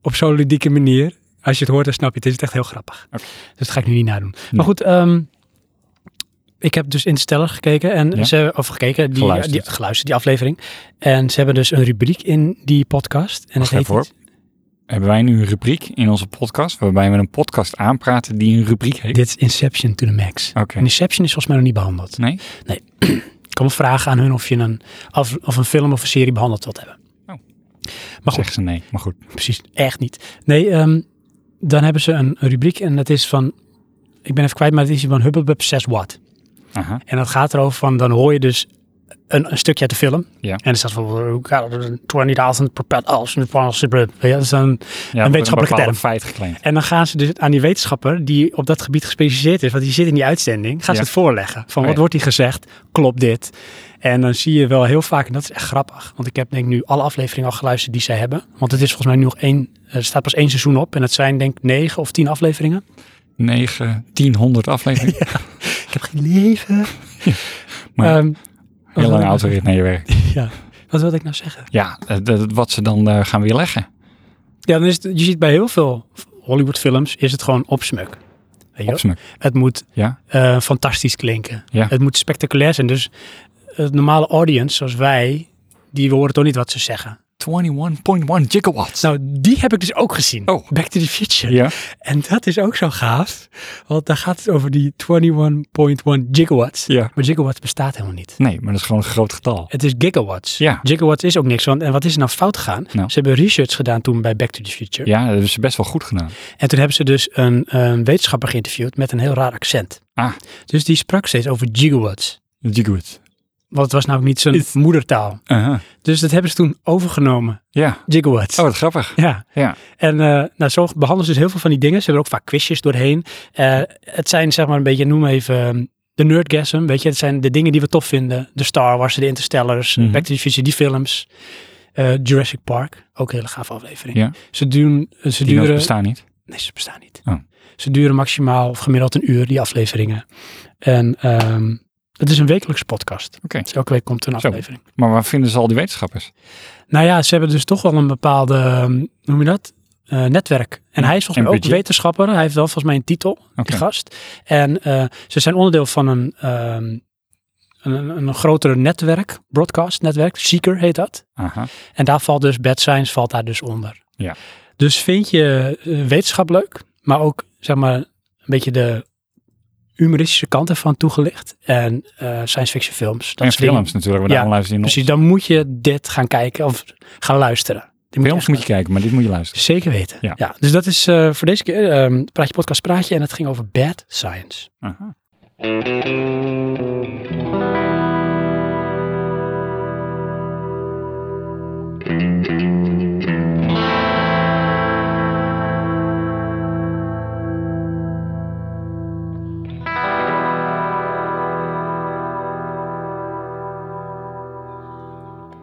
op zo'n ludieke manier. Als je het hoort, dan snap je het. Het is echt heel grappig. Oké. Dus dat ga ik nu niet nadoen. Nee. Maar goed, ehm, ik heb dus Interstellar gekeken. En Ja. ze, of gekeken, die, Geluisterd. Die, geluisterd, die aflevering. En ze hebben dus een rubriek in die podcast. En dat Wacht heet even hoor. iets- Hebben wij nu een rubriek in onze podcast waarbij we een podcast aanpraten die een rubriek heeft? Dit is Inception to the Max. Oké. En Inception is volgens mij nog niet behandeld. Nee? Ik kan me vragen aan hun of je een, af- of een film of een serie behandeld wilt hebben. Oh. Maar goed, Zeggen ze nee. Maar goed. precies. Echt niet. Nee, ehm, dan hebben ze een, een rubriek en dat is van... Ik ben even kwijt, maar het is van Hubble 6 Watt. Aha. En dat gaat erover van, dan hoor je dus een, een stukje uit de film. Ja. En er oh, staat bijvoorbeeld 20.000 propellers. Ja, dat is dan Ja, een wetenschappelijke bepaalde term. feit gekleind. En dan gaan ze dus aan die wetenschapper die op dat gebied gespecialiseerd is, want die zit in die uitzending, gaan Ja. ze het voorleggen. Van Oh wat ja. wordt hier gezegd? Klopt dit? En dan zie je wel heel vaak, en dat is echt grappig, want ik heb denk ik nu alle afleveringen al geluisterd die zij hebben. Want het is volgens mij nu nog één, er staat pas één seizoen op en het zijn denk ik negen of tien afleveringen. 9, *laughs* 1000 afleveringen. Ik heb geen leven. *laughs* Maar Ehm, wat Heel wil lange ik- autorit naar je werk. *laughs* Ja. Wat wilde ik nou zeggen? Ja, eh, dat- wat ze dan eh, gaan weerleggen. Ja, dan is het- je ziet bij heel veel Hollywoodfilms is het gewoon opsmuk. Weet je wel? Opsmuk. Het moet Ja, eh, fantastisch klinken. Ja. Het moet spectaculair zijn. Dus het normale audience, zoals wij, die horen toch niet wat ze zeggen. 21.1 gigawatts. Nou, die heb ik dus ook gezien. Oh. Back to the Future. ja, En dat is ook zo gaaf, want daar gaat het over die 21.1 gigawatts. ja. Maar gigawatts bestaat helemaal niet. Nee, maar dat is gewoon een groot getal. Het is gigawatts. Ja. Gigawatts is ook niks. Want, en wat is er nou fout gegaan? Nou. Ze hebben research gedaan toen bij Back to the Future. Ja, dat is best wel goed gedaan. En toen hebben ze dus een, een wetenschapper geïnterviewd met een heel raar accent. Ah. Dus die sprak steeds over gigawatts. Gigawatts. Want het was namelijk niet zijn Is- moedertaal. Aha. Dus dat hebben ze toen overgenomen. Ja. Gigawatts. Oh, wat grappig. Ja. Ja. En eh, nou, zo behandelen ze dus heel veel van die dingen. Ze hebben er ook vaak quizjes doorheen. Eh, het zijn zeg maar een beetje, noem even ehm, de nerdgasm. Weet je, het zijn de dingen die we tof vinden. De Star Wars, de Interstellars, Mhm. Back to the Future, die films. Eh, Jurassic Park, ook een hele gave aflevering. Ja. Ze, doen, ze Die duren... bestaan niet. Nee, ze bestaan niet. Oh. Ze duren maximaal of gemiddeld een uur, die afleveringen. En ehm, het is een wekelijkse podcast. Oké. Dus elke week komt er een Zo. aflevering. Maar waar vinden ze al die wetenschappers? Nou ja, ze hebben dus toch wel een bepaalde, ehm, hoe noem je dat? Eh, netwerk. En hij is volgens En mij ook budget. wetenschapper. Hij heeft wel volgens mij een titel, Oké. die gast. En eh, ze zijn onderdeel van een, ehm een, een, een grotere netwerk, broadcast netwerk. Seeker heet dat. Aha. En daar valt dus bad science valt daar dus onder. Ja. Dus vind je eh, wetenschap leuk, maar ook zeg maar een beetje de humoristische kant ervan toegelicht en eh, science fiction films. Dat en soort dingen. films natuurlijk. We Ja, daarom luisteren die nog. Precies, Dus dan moet je dit gaan kijken of gaan luisteren. Dit Films echt moet je kijken, maar dit moet je luisteren. Zeker weten. Ja. Ja. dus dat is eh, voor deze keer ehm, Praatje Podcast Praatje en het ging over bad science. Aha.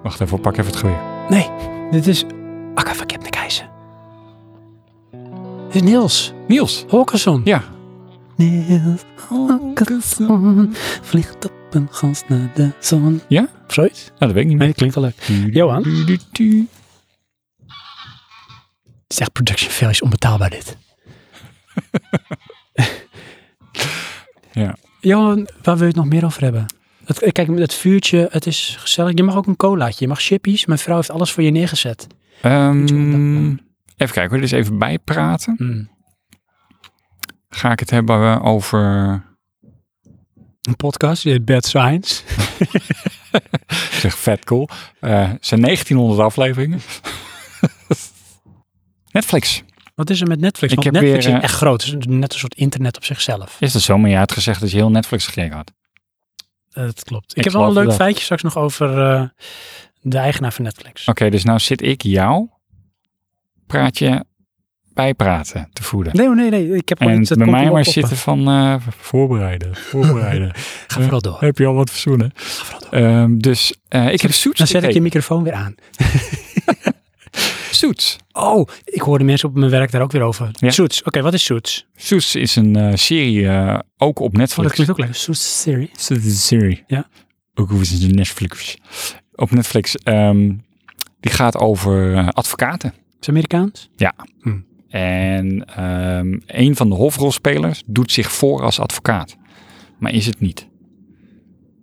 Wacht even, pak even het geweer. Nee, dit is Akka van Kipnikijzen. Dit is Niels Niels! Holkersson. Ja. Niels Holgersson vliegt op een gans naar de zon. Ja? Of zoiets? Nou, dat weet ik niet meer. Nee, klinkt wel leuk. Johan? Het is echt production fail is onbetaalbaar dit. *laughs* Ja. Johan, waar wil je het nog meer over hebben? Het, kijk, met het vuurtje, het is gezellig. Je mag ook een colaatje, je mag chippies. Mijn vrouw heeft alles voor je neergezet. Ehm, even kijken hoor, dus even bijpraten. Mm. Ga ik het hebben eh, over, Een podcast, die heet Bad Science. ik zeg vet cool, Eh, het zijn 1900 afleveringen. *laughs* Netflix. Wat is er met Netflix? Ik Want heb Netflix weer, is eh, echt groot. Het is net een soort internet op zichzelf. Is dat zo? Maar je had gezegd dat je heel Netflix gekeken had. Eh, dat klopt. Ik, Ik heb wel een geloof leuk dat. feitje straks nog over eh, de eigenaar van Netflix. Oké, dus nou zit ik jou praatje bijpraten te voeden. Nee, oh, nee, nee. Ik heb gewoon En iets. dat bij komt mij wel maar op. zitten van eh, voorbereiden, voorbereiden. Ga vooral door. *laughs* heb je al wat verzoenen? Ga vooral door. Ehm, dus eh, ik Dan heb Suits zet ik je gekeken. microfoon weer aan. Suits. Oh, ik hoorde mensen op mijn werk daar ook weer over. Ja? Suits. Oké, wat is Suits? Suits is een eh, serie, eh, ook op Oh, dat Netflix. klinkt ook leuk. Suits serie. Suits is een serie. Ja. Ook hoe is het in Netflix? Op Netflix. ehm, die gaat over eh, advocaten. Is Amerikaans? En ehm, een van de hoofdrolspelers doet zich voor als advocaat. Maar is het niet.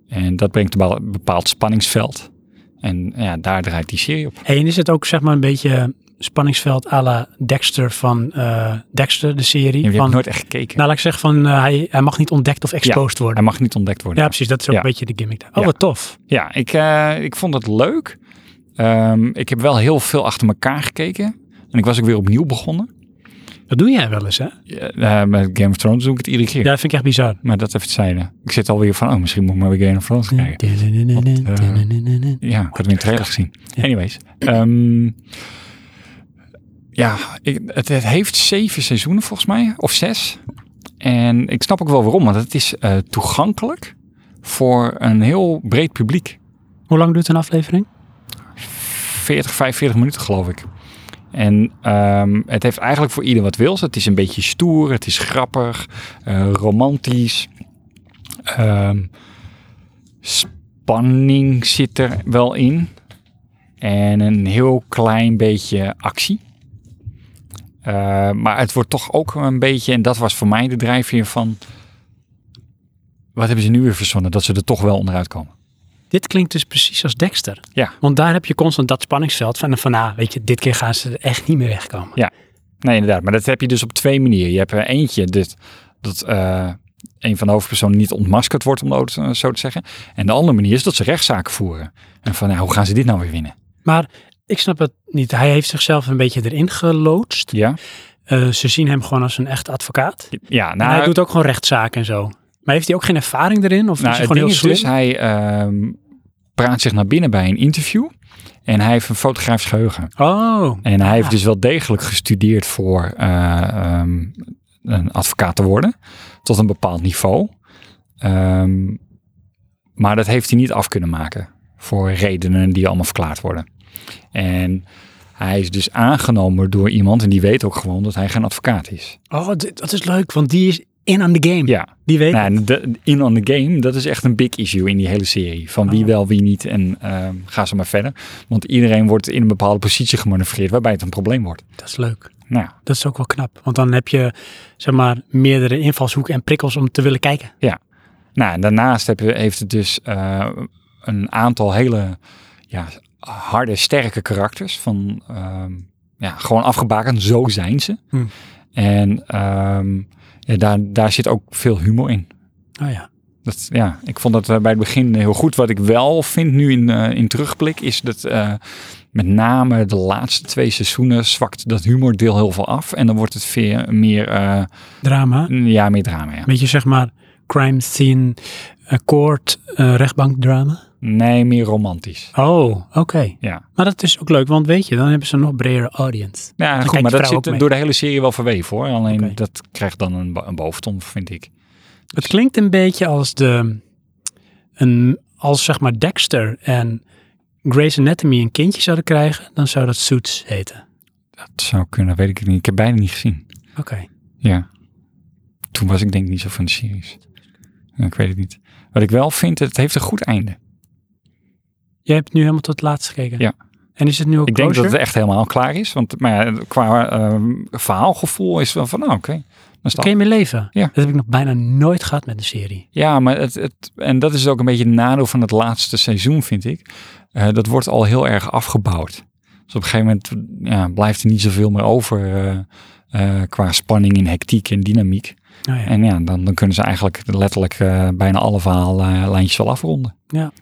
En dat brengt een bepaal- bepaald spanningsveld. En ja, daar draait die serie op. Hey, en is het ook zeg maar een beetje spanningsveld à la Dexter van eh, Dexter, de serie? En je van, hebt nooit echt gekeken. Nou, laat ik zeggen van eh, hij, hij mag niet ontdekt of exposed Hij worden. mag niet ontdekt worden. Ja, precies. Dat is ook Ja. een beetje de gimmick daar. Oh, Ja. wat tof. Ja, ik, eh, ik vond het leuk. Ehm, ik heb wel heel veel achter elkaar gekeken. En ik was ook weer opnieuw begonnen. Dat doe jij wel eens, hè? Ja, eh, met Game of Thrones doe ik het iedere keer. Ja, dat vind ik echt bizar. Maar dat even terzijde. Ik zit alweer van, oh, misschien moet ik maar weer Game of Thrones kijken. eh, Ja, ik had hem in de trailer gezien. Ja. Anyways. ehm, ja, ik, het, het heeft zeven seizoenen volgens mij. Of zes. En ik snap ook wel waarom. Want het is eh, toegankelijk voor een heel breed publiek. Hoe lang duurt een aflevering? 40, 45 minuten geloof ik. En ehm, het heeft eigenlijk voor ieder wat wils. Het is een beetje stoer, het is grappig, eh, romantisch. Ehm, spanning zit er wel in. En een heel klein beetje actie. Eh, maar het wordt toch ook een beetje, en dat was voor mij de drijfveer van... Wat hebben ze nu weer verzonnen? Dat ze er toch wel onderuit komen. Dit klinkt dus precies als Dexter. Ja. Want daar heb je constant dat spanningsveld van, van ah, weet je, dit keer gaan ze er echt niet meer wegkomen. Nee, inderdaad. Maar dat heb je dus op twee manieren. Je hebt er eentje dit, dat eh, een van de hoofdpersonen niet ontmaskerd wordt, om het eh, zo te zeggen. En de andere manier is dat ze rechtszaken voeren. En van, nou, hoe gaan ze dit nou weer winnen? Maar ik snap het niet. Hij heeft zichzelf een beetje erin geloodst. Ja, Eh, ze zien hem gewoon als een echt advocaat. ja en nou, hij doet ook gewoon rechtszaken en zo. Maar heeft hij ook geen ervaring erin? Of nou, is hij het gewoon ding heel is slim? dus, hij ehm, praat zich naar binnen bij een interview. En hij heeft een fotografisch geheugen. Oh, En hij heeft Ah. dus wel degelijk gestudeerd voor eh, ehm, een advocaat te worden. Tot een bepaald niveau. Ehm, maar dat heeft hij niet af kunnen maken. Voor redenen die allemaal verklaard worden. En hij is dus aangenomen door iemand. En die weet ook gewoon dat hij geen advocaat is. oh dit- dat is leuk, want die is in aan de game. Ja. Die weet Nou, en de- in on the game, dat is echt een big issue in die hele serie. Van wie Ah. wel, wie niet. En ehm, ga zo maar verder. Want iedereen wordt in een bepaalde positie gemanoeuvreerd. Waarbij het een probleem wordt. dat is leuk. Nou, Dat is ook wel knap, want dan heb je zeg maar meerdere invalshoeken en prikkels om te willen kijken. Nou, en daarnaast heb, je- heeft het dus eh, een aantal hele ja, harde, sterke karakters. Van, ehm, ja, gewoon afgebakend, zo zijn ze. Hmm. En ehm, ja, daar, daar zit ook veel humor in. Oh ja. Dat, ja, ik vond dat eh, bij het begin heel goed. Wat ik wel vind nu in, eh, in terugblik is dat eh, met name de laatste twee seizoenen zwakt dat humordeel heel veel af. En dan wordt het veel meer, eh, Drama. ja, meer drama. Ja. Beetje zeg maar crime scene, eh, court, eh, rechtbankdrama. Nee, meer romantisch. Oh, oké. Ja. Maar dat is ook leuk, want weet je, dan hebben ze een nog bredere audience. Ja, Dan goed, kijkt maar de dat vrouw ook zit mee. door de hele serie wel verweven hoor. Alleen Oké. dat krijgt dan een, bo- een boventon, vind ik. Het klinkt een beetje als de, een, als zeg maar Dexter en Grey's Anatomy een kindje zouden krijgen, dan zou dat Suits heten. Dat zou kunnen, weet ik het niet. Ik heb bijna niet gezien. Oké. Ja. Toen was ik denk ik niet zo van de series. Ja, ik weet het niet. Wat ik wel vind, het heeft een goed einde. Jij hebt nu helemaal tot het laatst gekeken. Ja. En is het nu ook Ik denk dat kosher? het echt helemaal klaar is. Want maar ja, qua ehm, verhaalgevoel is het wel van, nou oké. dan staat Kun je mee leven? Ja. Dat heb ik nog bijna nooit gehad met een serie. Ja, maar het, het, en dat is ook een beetje het nadeel van het laatste seizoen, vind ik. Eh, dat wordt al heel erg afgebouwd. Dus op een gegeven moment ja, blijft er niet zoveel meer over eh, eh, qua spanning en hectiek en dynamiek. Oh ja. En ja, dan, dan kunnen ze eigenlijk letterlijk eh, bijna alle verhaallijntjes wel afronden. Ja.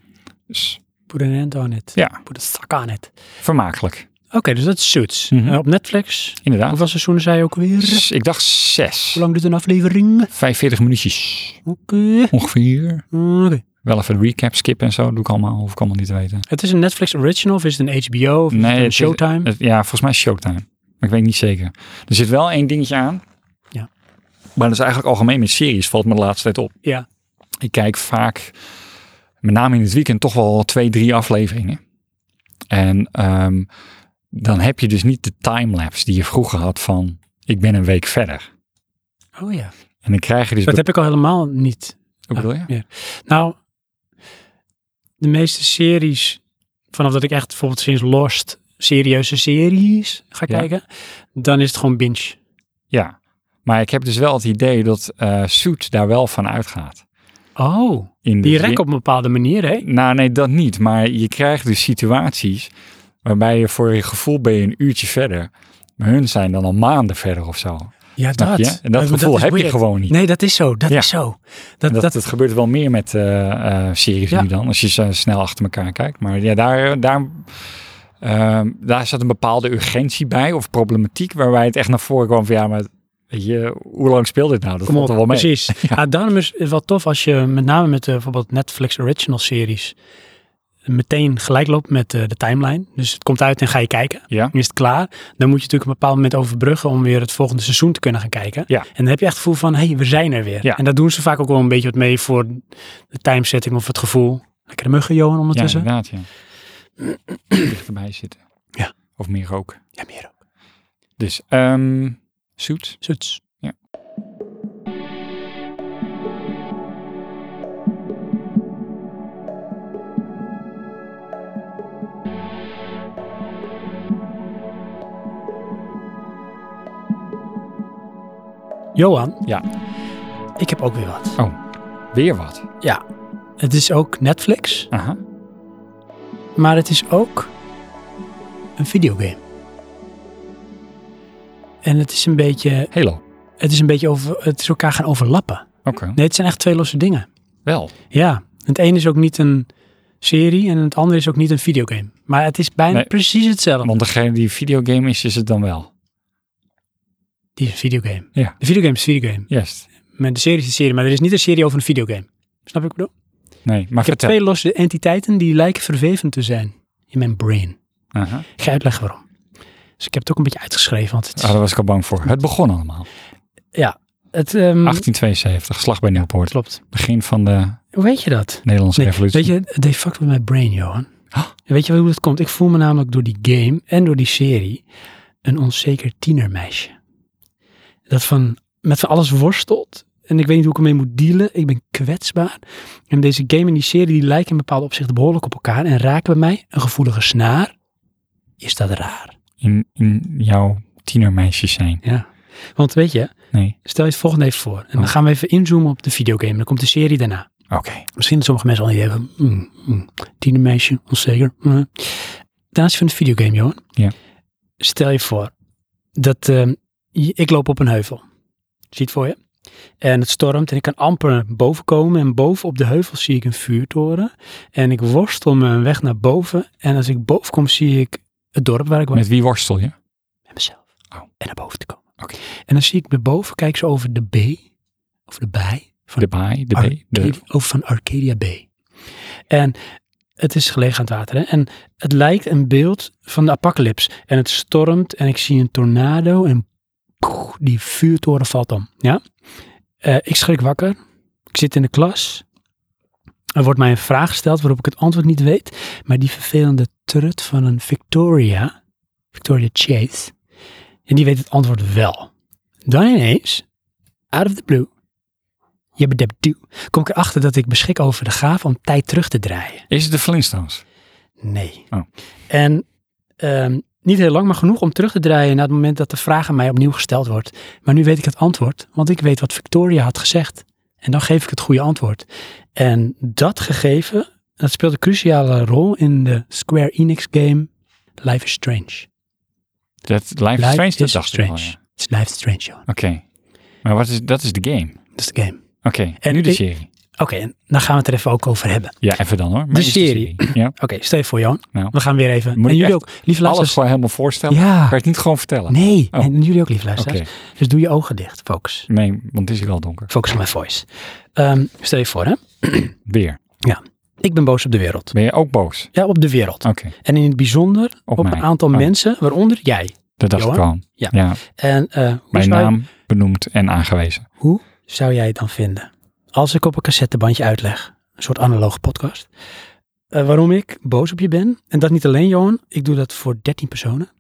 Dus Put an end on it. ja, Put a suck on it. vermakelijk. Oké, dus dat is Suits. Mhm. Ah. Eh, op Netflix. Inderdaad. Hoeveel seizoenen zei je ook weer? S- Ik dacht Hoe zes. lang duurt een aflevering? 45 minuutjes Oké. ongeveer. Oké. Wel even recap skip en zo doe ik allemaal, hoef ik allemaal niet te weten. Het is een Netflix original of is het een HBO of is Nee, het een het is- Showtime? Het- ja, volgens mij is Showtime. Maar ik weet niet zeker. Er zit wel één dingetje aan. Ja. Maar dat is eigenlijk algemeen met series, valt me de laatste tijd op. Ja. Ik kijk vaak, met name in het weekend, toch wel twee, drie afleveringen. En ehm, dan heb je dus niet de timelapse die je vroeger had van, ik ben een week verder. Oh ja. En dan krijg je dus... Dat heb ik al helemaal niet. Hoe bedoel je? Nou, de meeste series, vanaf dat ik echt bijvoorbeeld sinds Lost serieuze series ga Ja. kijken, dan is het gewoon binge. Ja. Maar ik heb dus wel het idee dat eh Suits daar wel van uitgaat. Oh, In de die zin- rek op een bepaalde manier, hè? Nou, nee, dat niet. Maar je krijgt dus situaties waarbij je voor je gevoel ben je een uurtje verder. Maar hun zijn dan al maanden verder of zo. Ja, Snap je? En dat is gevoel heb je weird. gewoon niet. Nee, dat is zo. Dat Ja. is zo. En Dat, dat, dat, dat, gebeurt wel meer met eh, eh, series Ja. nu dan, als je ze snel achter elkaar kijkt. Maar ja, daar, daar, ehm, daar zat een bepaalde urgentie bij of problematiek waarbij het echt naar voren kwam van ja, maar Weet je, hoe lang speelt dit nou? Dat Kom valt op, er wel mee. precies. *laughs* ja. daarom is het wel tof als je met name met eh, bijvoorbeeld Netflix original series meteen gelijk loopt met eh, de timeline. Dus het komt uit en ga je kijken. Ja. Dan is het klaar. Dan moet je natuurlijk een bepaald moment overbruggen om weer het volgende seizoen te kunnen gaan kijken. Ja. En dan heb je echt het gevoel van, hé, hey, we zijn er weer. Ja. En daar doen ze vaak ook wel een beetje wat mee voor de timesetting of het gevoel. Lekkere muggen, Johan, Ja, ondertussen. Ja, inderdaad, ja. Dichterbij zitten. Ja. Of meer rook. meer ook. Dus, ehm Suits. Zoets. Johan. Ja. Ik heb ook weer wat. Weer wat. Ja. Het is ook Netflix, Aha. maar het is ook een videogame. En het is een beetje, Halo. Oké. het is een beetje over, het is elkaar gaan overlappen. Nee, het zijn echt twee losse dingen. Wel. Ja. Het een is ook niet een serie en het andere is ook niet een videogame. Maar het is bijna Nee. precies hetzelfde. Want degene die videogame is, is het dan wel. Die is een videogame. Ja. De videogame is een videogame. Yes. Maar de serie is een serie, maar er is niet een serie over een videogame. Snap je wat ik bedoel? Nee, maar Ik heb vertel. twee losse entiteiten die lijken verweven te zijn in mijn brain. Aha. Ik ga uitleggen waarom. Dus ik heb het ook een beetje uitgeschreven. Want het, is- Ah, daar was ik al bang voor. Het begon allemaal. Mm. het ehm, 1872, slag bij Nieuwpoort. klopt. Begin van de Hoe weet je dat? Nederlandse Nee, revolutie. weet je, they fucked with my brain, Johan. Dus Huh? En Weet je hoe dat komt? Ik voel me namelijk door die game en door die serie een onzeker tienermeisje. Dat van, met van alles worstelt. En ik weet niet hoe ik ermee moet dealen. Ik ben kwetsbaar. En deze game en die serie die lijken in bepaalde opzichten behoorlijk op elkaar. En raken bij mij een gevoelige snaar. Is dat raar? In, in jouw tienermeisjes zijn. Ja. Want weet je, Nee. stel je het volgende even voor. En dan Oh. gaan we even inzoomen op de videogame. Dan komt de serie daarna. Oké. Misschien dat sommige mensen al niet hebben. Mm, mm, tienermeisje, onzeker. Mm. Ten aanzien van de videogame, Johan. Ja. Stel je voor dat ehm, je- ik loop op een heuvel. Zie je het voor je? En het stormt en ik kan amper naar boven komen. En boven op de heuvel zie ik een vuurtoren. En ik worstel mijn weg naar boven. En als ik boven kom, zie ik het dorp waar ik woon. Met wie worstel je? Met mezelf. Oh. En naar boven te komen. Oké. En dan zie ik naar boven, kijk ze over de B. Of de bij. Van De baai, de Arcadia- B, de... of van Arcadia Bay. En het is gelegen aan het water. Hè? En het lijkt een beeld van de apocalyps. En het stormt en ik zie een tornado en poeh, die vuurtoren valt om. Ja? Eh, ik schrik wakker. Ik zit in de klas. Er wordt mij een vraag gesteld waarop ik het antwoord niet weet. Maar die vervelende trut van een Victoria, Victoria Chase, en die weet het antwoord wel. Dan ineens, out of the blue, Jibbedebdoe. Kom ik erachter dat ik beschik over de gave om tijd terug te draaien? Is het de Flintstones? Nee. Oh. En ehm, niet heel lang, maar genoeg om terug te draaien naar het moment dat de vraag aan mij opnieuw gesteld wordt. Maar nu weet ik het antwoord, want ik weet wat Victoria had gezegd. En dan geef ik het goede antwoord. En dat gegeven, dat speelt een cruciale rol in de Square Enix game Life is Strange. Dat Life is Life Strange? is Dat dacht ik Strange. al, ja. Het is Life is Strange, Johan. Oké. Maar wat is, dat is de game. Dat is de game. Oké, En nu de ik- serie. Oké, en dan gaan we het er even ook over hebben. Ja, even dan hoor. Maar De is serie. Ja, Oké, stel je voor, Johan. Nou. We gaan weer even. Moet en je jullie echt ook. Lieve alles luisteraars. gewoon helemaal voorstellen. Ja. Kan je het niet gewoon vertellen? Nee, Oh. en jullie ook lief Oké. luisteraars. Dus doe je ogen dicht, focus. Nee, want het is hier wel donker. Focus op mijn voice. Ehm, stel je voor, hè? Weer. ik ben boos op de wereld. Ben je ook boos? Ja, op de wereld. Oké, En in het bijzonder Op op, mij. een aantal Oh. mensen, waaronder jij. dat dacht Johan? ik al. Ja. ja. En eh, hoe, Mijn zou, naam benoemd en aangewezen. hoe zou jij het dan vinden? Als ik op een cassettebandje uitleg, een soort analoge podcast, eh, waarom ik boos op je ben. En dat niet alleen, Johan. Ik doe dat voor 13 personen.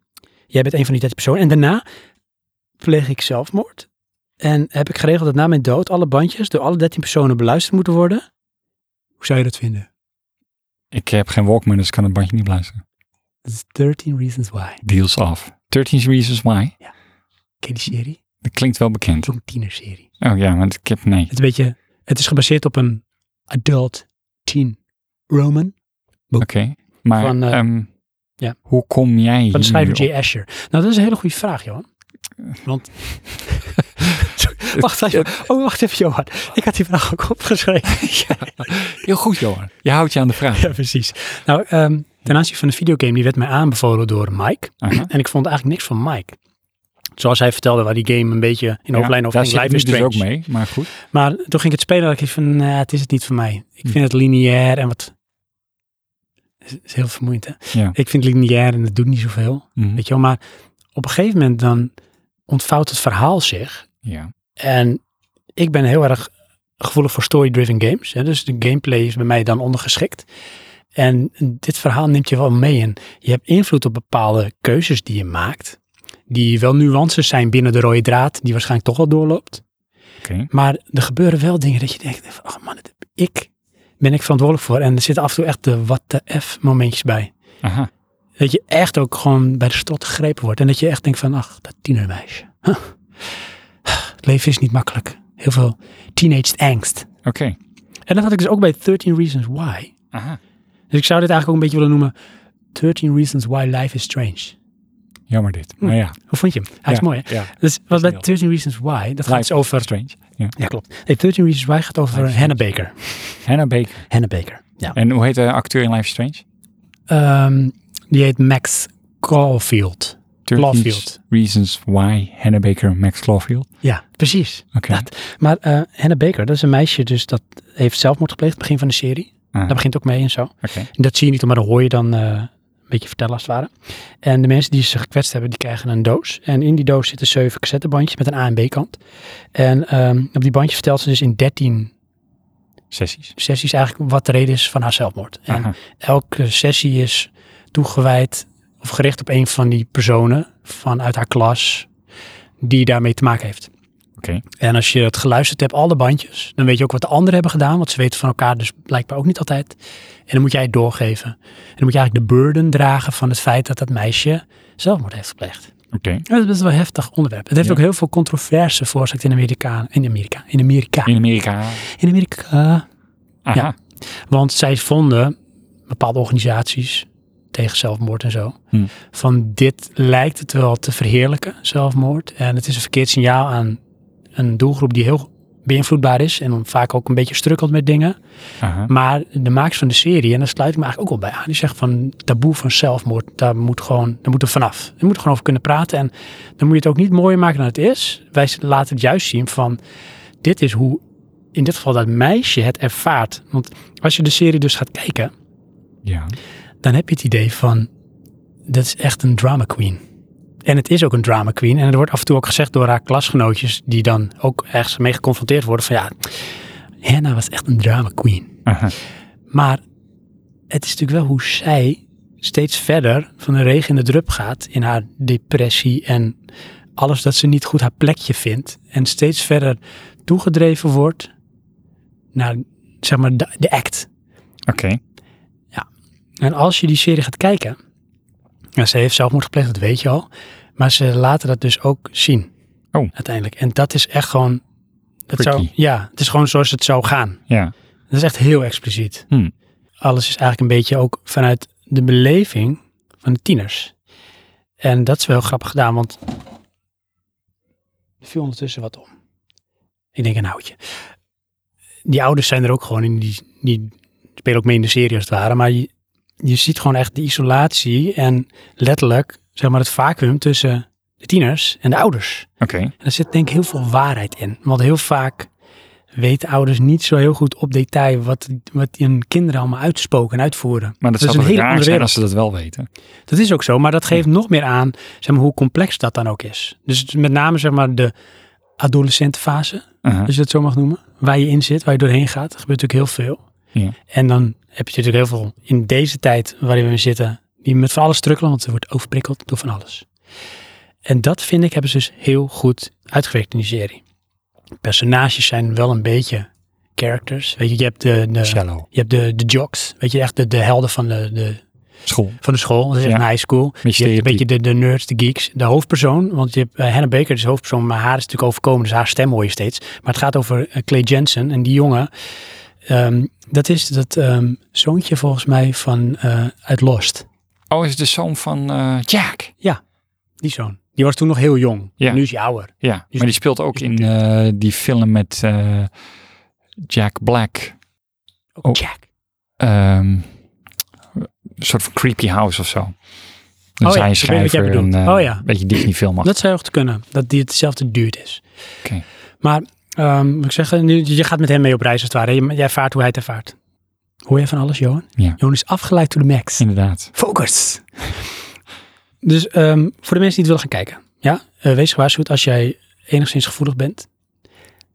Jij bent een van die 13 personen. En daarna pleeg ik zelfmoord. En heb ik geregeld dat na mijn dood alle bandjes door alle 13 personen beluisterd moeten worden. Hoe zou je dat vinden? Ik heb geen Walkman, dus ik kan het bandje niet luisteren. Dat is 13 Reasons Why. Deals af. 13 Reasons Why. Ken je die serie? Dat klinkt wel Het bekend. is ook een tienerserie. Oh ja, want ik heb... Nee. Het is, een beetje, het is gebaseerd op een adult teen roman Oké. Maar Van, eh, ehm, ja. hoe kom jij van de hier schrijver J. Asher. Nou, dat is een hele goede vraag, Johan. Eh. Want... *laughs* wacht even. Oh, wacht even, Johan. Ik had die vraag ook opgeschreven. *laughs* Heel goed, Johan. Je houdt je aan de *clears throat* vraag. ja, precies. Nou, ehm, ten aanzien van de videogame, die werd mij aanbevolen door Mike. Aha. En ik vond eigenlijk niks van Mike. zoals hij vertelde, waar die game een beetje in hoofdlijn over daar ging. zit ik Life nu is dus ook Strange. mee, maar goed. Maar toen ging ik het spelen en ik dacht van, nou, het is het niet voor mij. Ik Hm. vind het lineair en wat... Het is- is heel vermoeiend, hè? Ja. Ik vind het lineair en het doet niet zoveel, Mhm. weet je wel. Maar op een gegeven moment dan ontvouwt het verhaal zich. Ja. En ik ben heel erg gevoelig voor story-driven games. Hè? Dus de gameplay is bij mij dan ondergeschikt. En dit verhaal neemt je wel mee. En je hebt invloed op bepaalde keuzes die je maakt. Die wel nuances zijn binnen de rode draad, die waarschijnlijk toch wel doorloopt. Oké. Maar er gebeuren wel dingen dat je denkt, van, oh man, dit heb ik ben ik verantwoordelijk voor. En er zitten af en toe echt de what the F momentjes bij. Aha. Dat je echt ook gewoon bij de strot gegrepen wordt. En dat je echt denkt van, ach, dat tienermeisje. Huh. Het leven is niet makkelijk. Heel veel teenage angst. Oké. En dat had ik dus ook bij 13 Reasons Why. Aha. Dus ik zou dit eigenlijk ook een beetje willen noemen 13 Reasons Why Life is Strange. Jammer dit. Maar ja. Hoe vond je hem? Hm. Hij is Ja, mooi, hè? Ja. Dus wat bij Snel. 13 Reasons Why, dat gaat Life dus over... Strange. Ja. Ja, klopt. Nee, 13 Reasons Why gaat over Life is Hannah Baker. Hannah Baker. Hannah Baker, ja. En hoe heet de acteur in Life is Strange? Ehm, die heet Max Caulfield. 13 Clawfield. Reasons Why Hannah Baker Max Clawfield. Ja, precies. Oké. Maar eh Hannah Baker, dat is een meisje dus dat heeft zelfmoord gepleegd, het begin van de serie. Ah, Daar begint ook mee en zo. Oké. En dat zie je niet, maar dat hoor je dan eh, een beetje vertellen als het ware. En de mensen die ze gekwetst hebben, die krijgen een doos. En in die doos zitten zeven cassettebandjes met een A en B kant. En ehm, op die bandjes vertelt ze dus in 13 Sessies. sessies eigenlijk wat de reden is van haar zelfmoord. En Aha. elke sessie is toegewijd of gericht op een van die personen vanuit haar klas die daarmee te maken heeft. Oké. En als je het geluisterd hebt, alle bandjes, dan weet je ook wat de anderen hebben gedaan, want ze weten van elkaar dus blijkbaar ook niet altijd. En dan moet jij het doorgeven. En dan moet je eigenlijk de burden dragen van het feit dat dat meisje zelfmoord heeft gepleegd. Oké. Ja, Dat is best wel een heftig onderwerp. Het heeft Ja. ook heel veel controverse veroorzaakt in Amerika. In Amerika. In Amerika. In Amerika. In Amerika. Aha. Ja. Want zij vonden bepaalde organisaties tegen zelfmoord en zo. Hmm. Van dit lijkt het wel te verheerlijken, zelfmoord. En het is een verkeerd signaal aan een doelgroep die heel beïnvloedbaar is en vaak ook een beetje strukkelt met dingen. Aha. Maar de makers van de serie, en daar sluit ik me eigenlijk ook wel bij aan, die zegt van taboe van zelfmoord, daar moet gewoon, daar moet er vanaf. Daar moet er gewoon over kunnen praten en dan moet je het ook niet mooier maken dan het is. Wij laten het juist zien van dit is hoe in dit geval dat meisje het ervaart. Want als je de serie dus gaat kijken, Ja. dan heb je het idee van dat is echt een drama queen. En het is ook een drama queen. En het wordt af en toe ook gezegd door haar klasgenootjes, die dan ook ergens mee geconfronteerd worden van ja, Hannah was echt een drama queen. Aha. Maar het is natuurlijk wel hoe zij steeds verder van de regen in de drup gaat in haar depressie en alles dat ze niet goed haar plekje vindt. En steeds verder toegedreven wordt naar, zeg maar, de, de act. Oké. En als je die serie gaat kijken, ja, ze heeft zelfmoord gepleegd, dat weet je al. Maar ze laten dat dus ook zien. Oh. Uiteindelijk. En dat is echt gewoon. Dat zou, Freaky. ja, het is gewoon zoals het zou gaan. Ja. Dat is echt heel expliciet. Hmm. Alles is eigenlijk een beetje ook vanuit de beleving van de tieners. En dat is wel grappig gedaan, want er viel ondertussen wat om. Ik denk een houtje. Die ouders zijn er ook gewoon in, die, die spelen ook mee in de serie als het ware. Maar je, je ziet gewoon echt de isolatie en letterlijk zeg maar het vacuüm tussen de tieners en de ouders. Oké. En er zit denk ik heel veel waarheid in. Want heel vaak weten ouders niet zo heel goed op detail wat, wat hun kinderen allemaal uitspoken en uitvoeren. Maar dat, is zou een toch hele raar andere zijn wereld. als ze dat wel weten. Dat is ook zo, maar dat geeft nog meer aan zeg maar, hoe complex dat dan ook is. Dus het is met name zeg maar, de adolescentenfase, Aha. als je dat zo mag noemen, waar je in zit, waar je doorheen gaat, er gebeurt natuurlijk heel veel. Ja. En dan heb je natuurlijk heel veel in deze tijd waarin we zitten, die met van alles strukkelen, want er wordt overprikkeld door van alles. En dat vind ik hebben ze dus heel goed uitgewerkt in die serie. Personages zijn wel een beetje characters. Weet je, je hebt de, de, Shallow. je hebt de, de jocks, weet je, echt de, de helden van de, de, School. van de school. Dat is echt Ja. een high school. Je hebt Mysterie. een beetje de, de nerds, de geeks, de hoofdpersoon. Want je hebt eh, Hannah Baker, is hoofdpersoon, maar haar is natuurlijk overkomen. Dus haar stem hoor je steeds. Maar het gaat over eh, Clay Jensen en die jongen. ehm, dat is dat ehm, zoontje volgens mij van eh, uit Lost. Oh, is het de zoon van eh, Jack? Die zoon. Die was toen nog heel jong. Ja. Nu is hij ouder. Ja, is- maar die speelt ook is in eh, die film met eh, Jack Black. Oh. Oh. Jack. Ehm, een soort van creepy house of zo. Dan Oh ja, zijn ik weet wat jij schrijver een bedoelt. eh, Oh ja. beetje Disney-filmachtig. Dat zou heel goed kunnen, dat die hetzelfde duurt is. Oké. Maar, ehm, moet ik zeggen, nu, je gaat met hem mee op reis als het ware. Je- Jij vaart hoe hij het ervaart. Hoor je van alles, Johan? Ja. Johan is afgeleid to the max. Inderdaad. Focus! dus ehm, voor de mensen die het willen gaan kijken. Ja, eh, wees gewaarschuwd als jij enigszins gevoelig bent.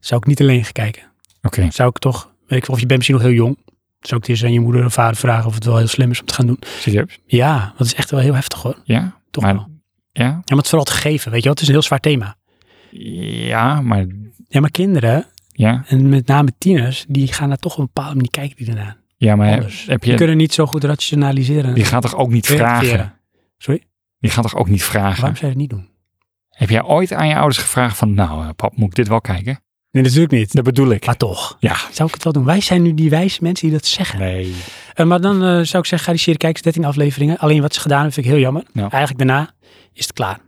Zou ik niet alleen gaan kijken. Oké. Zou ik toch, weet ik, veel, of je bent misschien nog heel jong. Zou ik het eens aan je moeder of vader vragen of het wel heel slim is om te gaan doen. Serieus? Ja, dat is echt wel heel heftig hoor. Ja. Toch maar, wel. Ja. Ja, maar het is vooral te geven, weet je wel. Het is een heel zwaar thema. Ja, maar Ja, maar kinderen, ja. en met name tieners, die gaan daar toch op een bepaalde manier kijken die ernaar. Ja, maar Anders. heb Die je, kunnen niet zo goed rationaliseren. die gaat toch ook niet Reflecteren. vragen? Sorry? Die gaat toch ook niet vragen? Waarom zou je dat niet doen? Heb jij ooit aan je ouders gevraagd van, nou eh, pap, moet ik dit wel kijken? Nee, natuurlijk niet. Dat bedoel ik. Maar toch, Ja. zou ik het wel doen? Wij zijn nu die wijze mensen die dat zeggen. Nee. Eh, maar dan eh, zou ik zeggen, ga die serie kijken, Het is 13 afleveringen. Alleen wat ze gedaan hebben, vind ik heel jammer. Ja. Eigenlijk daarna is het klaar.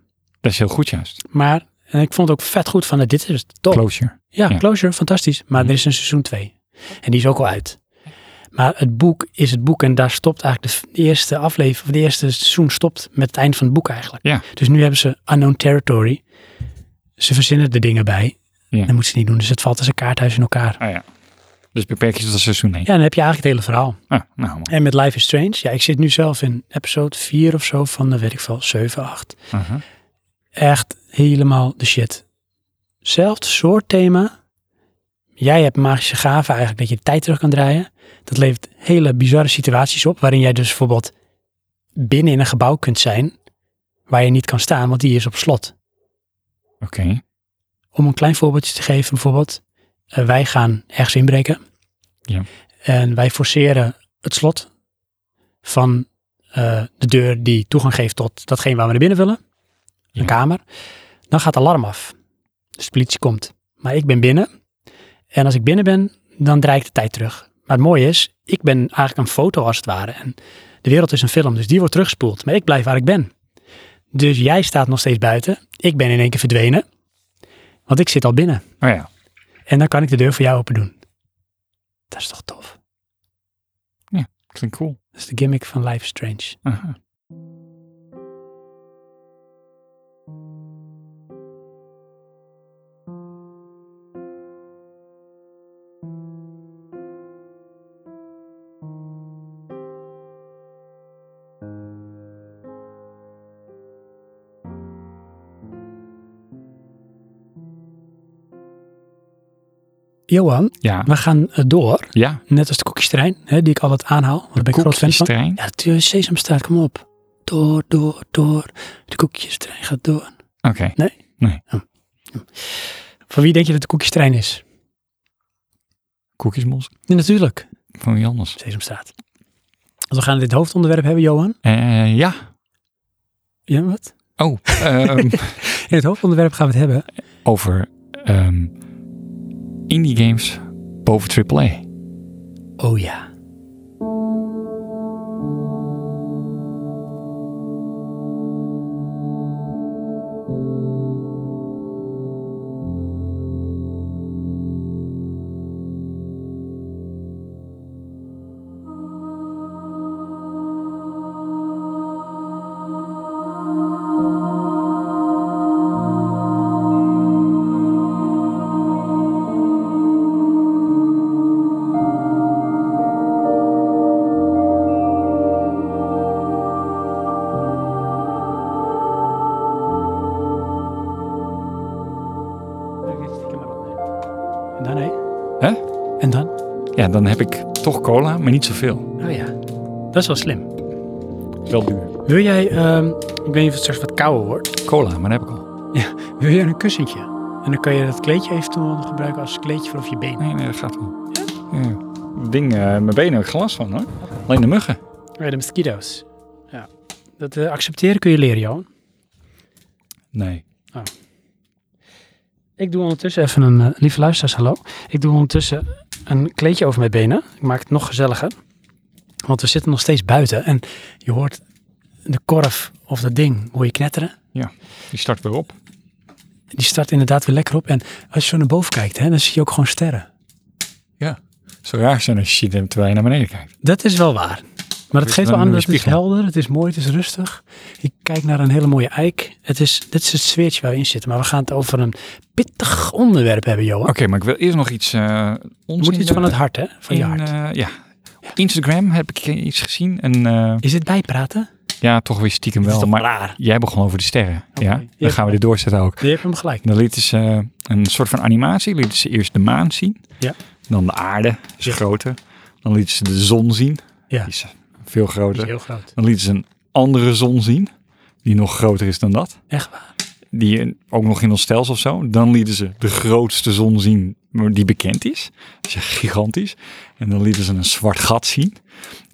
Dat is heel goed juist. Maar eh, ik vond het ook vet goed van, eh, dit is het top. Closure. ja, ja. Mhm. Closure, fantastisch. Maar er is een seizoen 2. En die is ook al uit. Maar het boek is het boek en daar stopt eigenlijk de, f- de eerste aflevering, of de eerste seizoen stopt met het eind van het boek eigenlijk. Ja. Dus nu hebben ze Unknown Territory. Ze verzinnen er dingen bij. Ja. Dat moeten ze niet doen, dus het valt als een kaarthuis in elkaar. Ah ja. Dus beperk je tot het seizoen 1. Ja, dan heb je eigenlijk het hele verhaal. Ah, nou, man. En met Life is Strange, ja, ik zit nu zelf in episode 4 of zo van, eh, weet ik veel, 7, 8. Aha. Echt helemaal de shit. Zelfde soort thema. Jij hebt magische gaven eigenlijk, dat je de tijd terug kan draaien. Dat levert hele bizarre situaties op, waarin jij dus bijvoorbeeld binnen in een gebouw kunt zijn, waar je niet kan staan, want die is op slot. Oké. Om een klein voorbeeldje te geven, bijvoorbeeld, eh, wij gaan ergens inbreken. Ja. En wij forceren het slot van eh, de deur die toegang geeft tot datgene waar we naar binnen willen. Ja. Een kamer. Dan gaat het alarm af. Dus de politie komt. Maar ik ben binnen. En als ik binnen ben, dan draai ik de tijd terug. Maar het mooie is, ik ben eigenlijk een foto als het ware. En de wereld is een film, dus die wordt teruggespoeld. Maar ik blijf waar ik ben. Dus jij staat nog steeds buiten. Ik ben in één keer verdwenen. Want ik zit al binnen. Oh ja. En dan kan ik de deur voor jou open doen. Dat is toch tof? Klinkt cool. Dat is de gimmick van Life is Strange. Aha. Johan, Ja. we gaan eh, door. Ja. Net als de koekjestrein, hè, die ik altijd aanhaal. Want daar ben ik groot fan van. Koekjestrein. Ja, natuurlijk, Sesamstraat, kom op. Door, door, door. De koekjestrein gaat door. Oké. Van wie denk je dat de koekjestrein is? Koekjesmos. Ja, natuurlijk, Van wie anders? Sesamstraat. Want we gaan dit hoofdonderwerp hebben, Johan. Eh, ja. Ja, wat? Oh. *laughs* ehm, In het hoofdonderwerp gaan we het hebben. over ehm, indie games boven AAA. Oh ja. En dan, hè? Hè? En dan? Ja, dan heb ik toch cola, maar niet zoveel. Oh ja. Dat is wel slim. Wel duur. Wil jij, ehm, ik weet niet of het straks wat kouder wordt. Cola, maar dat heb ik al. Wil je een kussentje? En dan kan je dat kleedje eventueel nog gebruiken als kleedje voor op je benen. Nee, nee, dat gaat wel. Ja. Ding, eh, mijn benen heb ik geen last van hoor. Alleen de muggen. Ja, de mosquito's. Ja. Dat eh, accepteren kun je leren, Johan. Nee. Ik doe ondertussen even een, eh, lieve luisteraars, hallo. Ik doe ondertussen een kleedje over mijn benen. Ik maak het nog gezelliger. Want we zitten nog steeds buiten en je hoort de korf of dat ding, hoor je knetteren. Die start weer op. Die start inderdaad weer lekker op. En als je zo naar boven kijkt, hè, dan zie je ook gewoon sterren. Ja. Zo raar zijn als je shit hebt terwijl je naar beneden kijkt. Dat is wel waar. Maar Maar het Weer geeft een wel aan dat het is spiegel. helder, het is mooi, het is rustig. Ik kijk naar een hele mooie eik. Het is, dit is het sfeertje waar we in zitten. Maar we gaan het over een pittig onderwerp hebben, Johan. Oké, maar ik wil eerst nog iets eh Het ons moet iets van het hart, hè? Van je hart. eh, ja. Op Instagram heb ik iets gezien en eh, Is dit bijpraten? ja, toch weer stiekem Dit is wel. toch Maar raar? jij begon over de sterren. Ja, Ja. dan gaan we dit doorzetten ook. Je hebt hem gelijk. Dan lieten ze eh, een soort van animatie. Lieten ze eerst de maan zien. Ja. Dan de aarde, is Ja. groter. Dan lieten ze de zon zien. Ja. Die is eh, veel Dat is groter. heel groot. Dan lieten ze een andere zon zien. Die nog groter is dan dat. Echt waar? Die eh, ook nog in ons stelsel of zo. Dan lieten ze de grootste zon zien maar die bekend is. Dat is echt gigantisch. En dan lieten ze een zwart gat zien.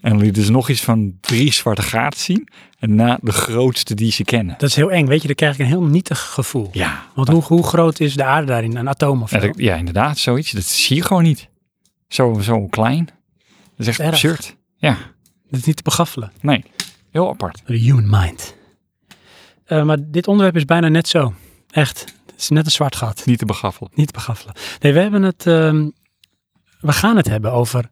En dan lieten ze nog iets van drie zwarte gaten zien. En na de grootste die ze kennen. Dat is heel eng, weet je. Dan krijg ik een heel nietig gevoel. Ja, Want hoe, hoe groot is de aarde daarin? Een atoom of zo? Ja, dat- ja, inderdaad, zoiets. Dat zie je gewoon niet. Zo, zo klein. Dat is echt Erg. absurd. Ja, Dat is niet te begaffelen. nee. Heel apart. The human mind. Eh, maar dit onderwerp is bijna net zo. Echt. Het is net een zwart gat. Niet te begaffelen. Niet te begaffelen. Nee, we hebben het... ehm, we gaan het hebben over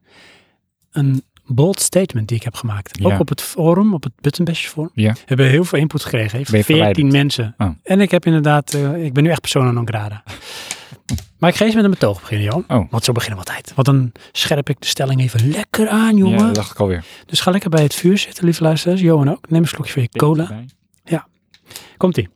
een bold statement die ik heb gemaakt. Ja. Ook op het forum, op het Buttonbash forum. Ja. We hebben heel veel input gekregen. hè, van Ben je 14 verwijderd? mensen. Oh. En ik heb inderdaad... eh, ik ben nu echt persona non *laughs* grata. Maar ik ga eens met een betoog beginnen, Johan. Oh. Want zo beginnen we altijd. Want dan scherp ik de stelling even lekker aan, jongen. Ja, dat dacht ik alweer. Dus ga lekker bij het vuur zitten, lieve luisteraars. Johan ook. Neem een slokje van je cola. Komt ie.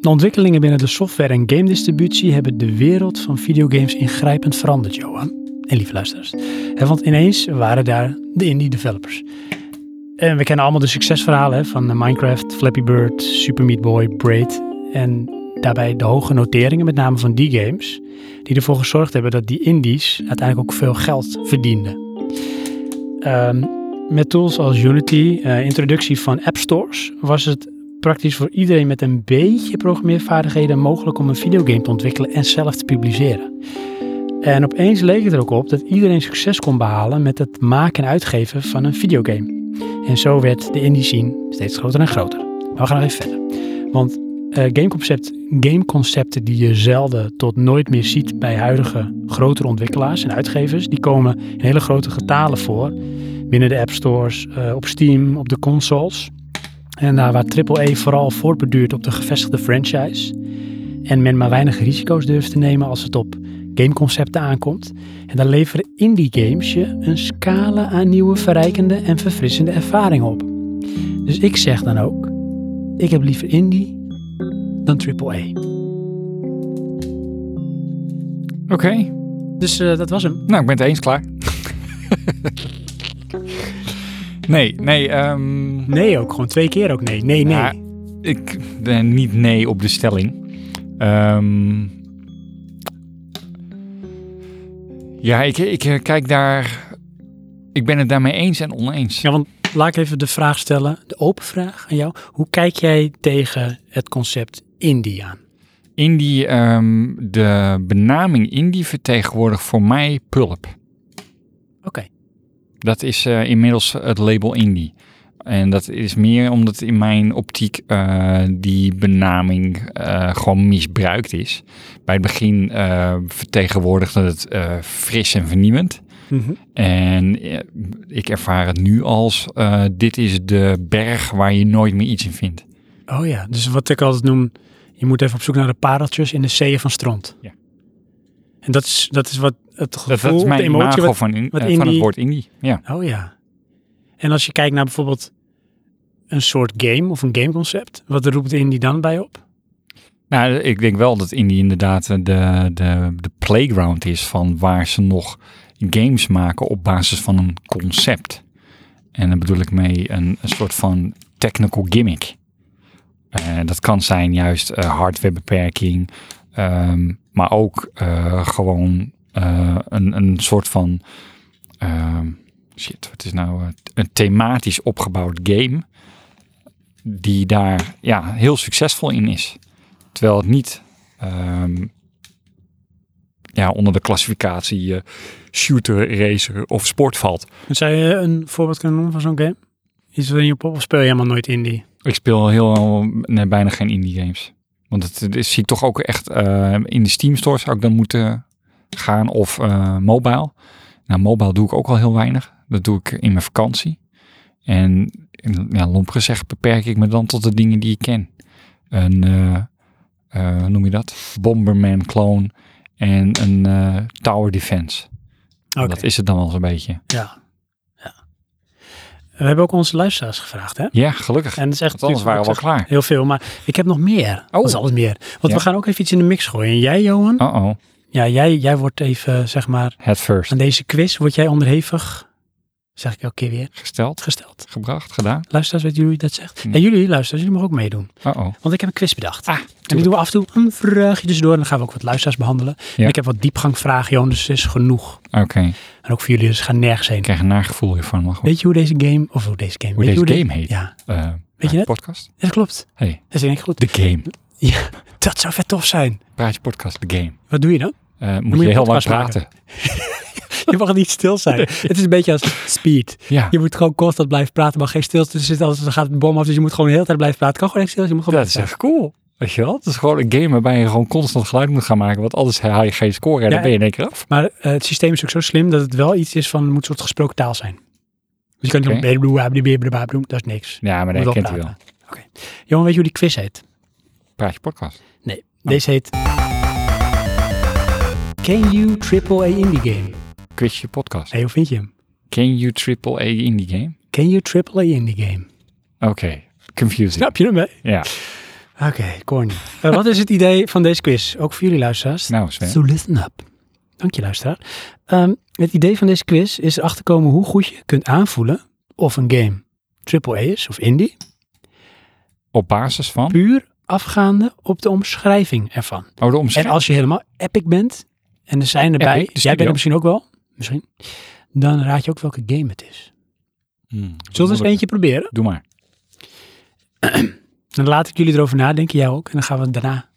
De ontwikkelingen binnen de software- en game-distributie hebben de wereld van videogames ingrijpend veranderd, Johan. En lieve luisteraars. Hè, want ineens waren daar de indie developers. En we kennen allemaal de succesverhalen hè, van eh, Minecraft, Flappy Bird, Super Meat Boy, Braid. En daarbij de hoge noteringen, met name van die games die ervoor gezorgd hebben dat die indies uiteindelijk ook veel geld verdienden. Ehm, met tools als Unity, eh, introductie van app stores, was het praktisch voor iedereen met een beetje programmeervaardigheden mogelijk om een videogame te ontwikkelen en zelf te publiceren. En opeens leek het er ook op dat iedereen succes kon behalen met het maken en uitgeven van een videogame. En zo werd de indie scene steeds groter en groter. Maar we gaan nog even verder. Want eh, gameconcept, gameconcepten die je zelden tot nooit meer ziet bij huidige grotere ontwikkelaars en uitgevers, die komen in hele grote getalen voor binnen de app stores, eh, op Steam, op de consoles. En daar waar AAA vooral voortbeduurt op de gevestigde franchise en men maar weinig risico's durft te nemen als het op gameconcepten aankomt. En dan leveren indie games je een scala aan nieuwe verrijkende en verfrissende ervaringen op. Dus ik zeg dan ook, ik heb liever indie dan AAA. Oké, Dus eh, dat was hem. nou ik ben het eens *laughs* klaar. nee, nee. ehm, Nee ook, gewoon twee keer ook nee. Nee, nee. Ja, ik ben niet nee op de stelling. Ehm, ja, ik, ik eh, kijk daar... Ik ben het daarmee eens en oneens. Ja, want laat ik even de vraag stellen, de open vraag aan jou. Hoe kijk jij tegen het concept indie aan? Indie, ehm, de benaming indie vertegenwoordigt voor mij pulp. Oké. Dat is eh, inmiddels het label indie. En dat is meer omdat in mijn optiek eh, die benaming eh, gewoon misbruikt is. Bij het begin eh vertegenwoordigde het eh, fris en vernieuwend. Mhm. En eh, ik ervaar het nu als eh, dit is de berg waar je nooit meer iets in vindt. Oh ja, dus wat ik altijd noem, je moet even op zoek naar de pareltjes in de zeeën van stront. Ja. En dat is, dat is wat het gevoel, Dat, dat is mijn de emotie. imago Wat, van, in- wat eh, van indie- het woord indie. Ja. oh ja. En als je kijkt naar bijvoorbeeld een soort game of een gameconcept, wat roept indie dan bij op? Nou, ik denk wel dat Indie inderdaad de, de, de playground is van waar ze nog games maken op basis van een concept. En daar bedoel ik mee een, een soort van technical gimmick. Eh, dat kan zijn juist eh, hardwarebeperking, ehm, maar ook eh, gewoon eh, een, een soort van, ehm, shit, wat is nou, eh, een thematisch opgebouwd game die daar ja, heel succesvol in is. Terwijl het niet ehm, ja, onder de klassificatie eh, shooter, racer of sport valt. Zou je een voorbeeld kunnen noemen van zo'n game? Iets waarin je op of speel je helemaal nooit indie? Ik speel heel, nee, bijna geen indie games. Want het, het is- zie ik toch ook echt eh, in de Steam Store zou ik dan moeten gaan of eh, mobile. Nou, mobile doe ik ook al heel weinig. Dat doe ik in mijn vakantie. En en, ja, lomp gezegd beperk ik me dan tot de dingen die ik ken. Een, eh, eh, hoe noem je dat? Bomberman clone en een eh, tower defense. Oké, Dat is het dan wel zo'n beetje. ja. ja. We hebben ook onze luisteraars gevraagd, hè? Ja, gelukkig. En het is echt Want anders waren we wel natuurlijk klaar. heel veel, maar ik heb nog meer. Oh. Dat is alles meer. Want Ja. we gaan ook even iets in de mix gooien. En jij, Johan? Oh oh, Ja, jij, jij wordt even, zeg maar, het first. aan deze quiz word jij onderhevig, zeg ik elke keer weer, Gesteld, gesteld. gebracht, gedaan. Luisteraars, weten jullie dat zegt? Hm. En jullie, luisteraars, jullie mogen ook meedoen. Oh oh. Want ik heb een quiz bedacht. Ah, en die doen we af en toe een vraagje tussendoor. En dan gaan we ook wat luisteraars behandelen. En ik heb wat diepgangvragen, Johan, dus het is genoeg. Oké, ik En ook voor jullie, dus ga nergens heen. krijg een nagevoel hiervan. Maar goed. Weet je hoe deze game, of hoe deze game, Hoe weet je deze hoe game heet? Ja, Eh, Weet je Praatje het? Podcast? dat klopt. Hey, Dat is denk ik goed. de game. Ja, dat zou vet tof zijn. Praatje Podcast, de game. Wat doe je dan? Eh, moet, je je een heel lang podcast praten? Je mag niet stil zijn. Het is een beetje als speed. Ja, Je moet gewoon constant blijven praten, maar geen stilte. Dus zit altijd, dan gaat de bom af, dus je moet gewoon de hele tijd blijven praten. Kan gewoon echt stil. zijn, Je moet gewoon dat is echt cool. Weet je wel? Het is gewoon een game waarbij je gewoon constant geluid moet gaan maken. Want anders haal je geen score en Ja, dan ben je in één keer af. Maar eh, het systeem is ook zo slim dat het wel iets is van, het moet een soort gesproken taal zijn. Dus je kan Oké. niet zo dat is niks. Ja, maar Moet dat wel kent hij wel. praten. Johan, weet je hoe die quiz heet? Praatje Podcast. Nee, Oh. deze heet... Can you triple A indie game? Quizje Podcast. Hey, hoe vind je hem? Can you triple A indie game? Can you triple A indie game? Oké, confusing. Snap je hem, hè? Ja, Oké, Corny. Eh, wat is het idee van deze quiz? Ook voor jullie luisteraars. nou Sven. So listen up. Dank je, luisteraar. Ehm, het idee van deze quiz is erachter komen hoe goed je kunt aanvoelen of een game AAA is of indie, Op basis van? puur afgaande op de omschrijving ervan. Oh, de En omschrijving. als je helemaal epic bent, en er zijn erbij, Epic, de jij bent studio. er misschien ook wel, misschien, dan raad je ook welke game het is. Hmm, Zullen we eens moeilijk. eentje proberen? Doe maar. Dan laat ik jullie erover nadenken, jij ook, en dan gaan we daarna,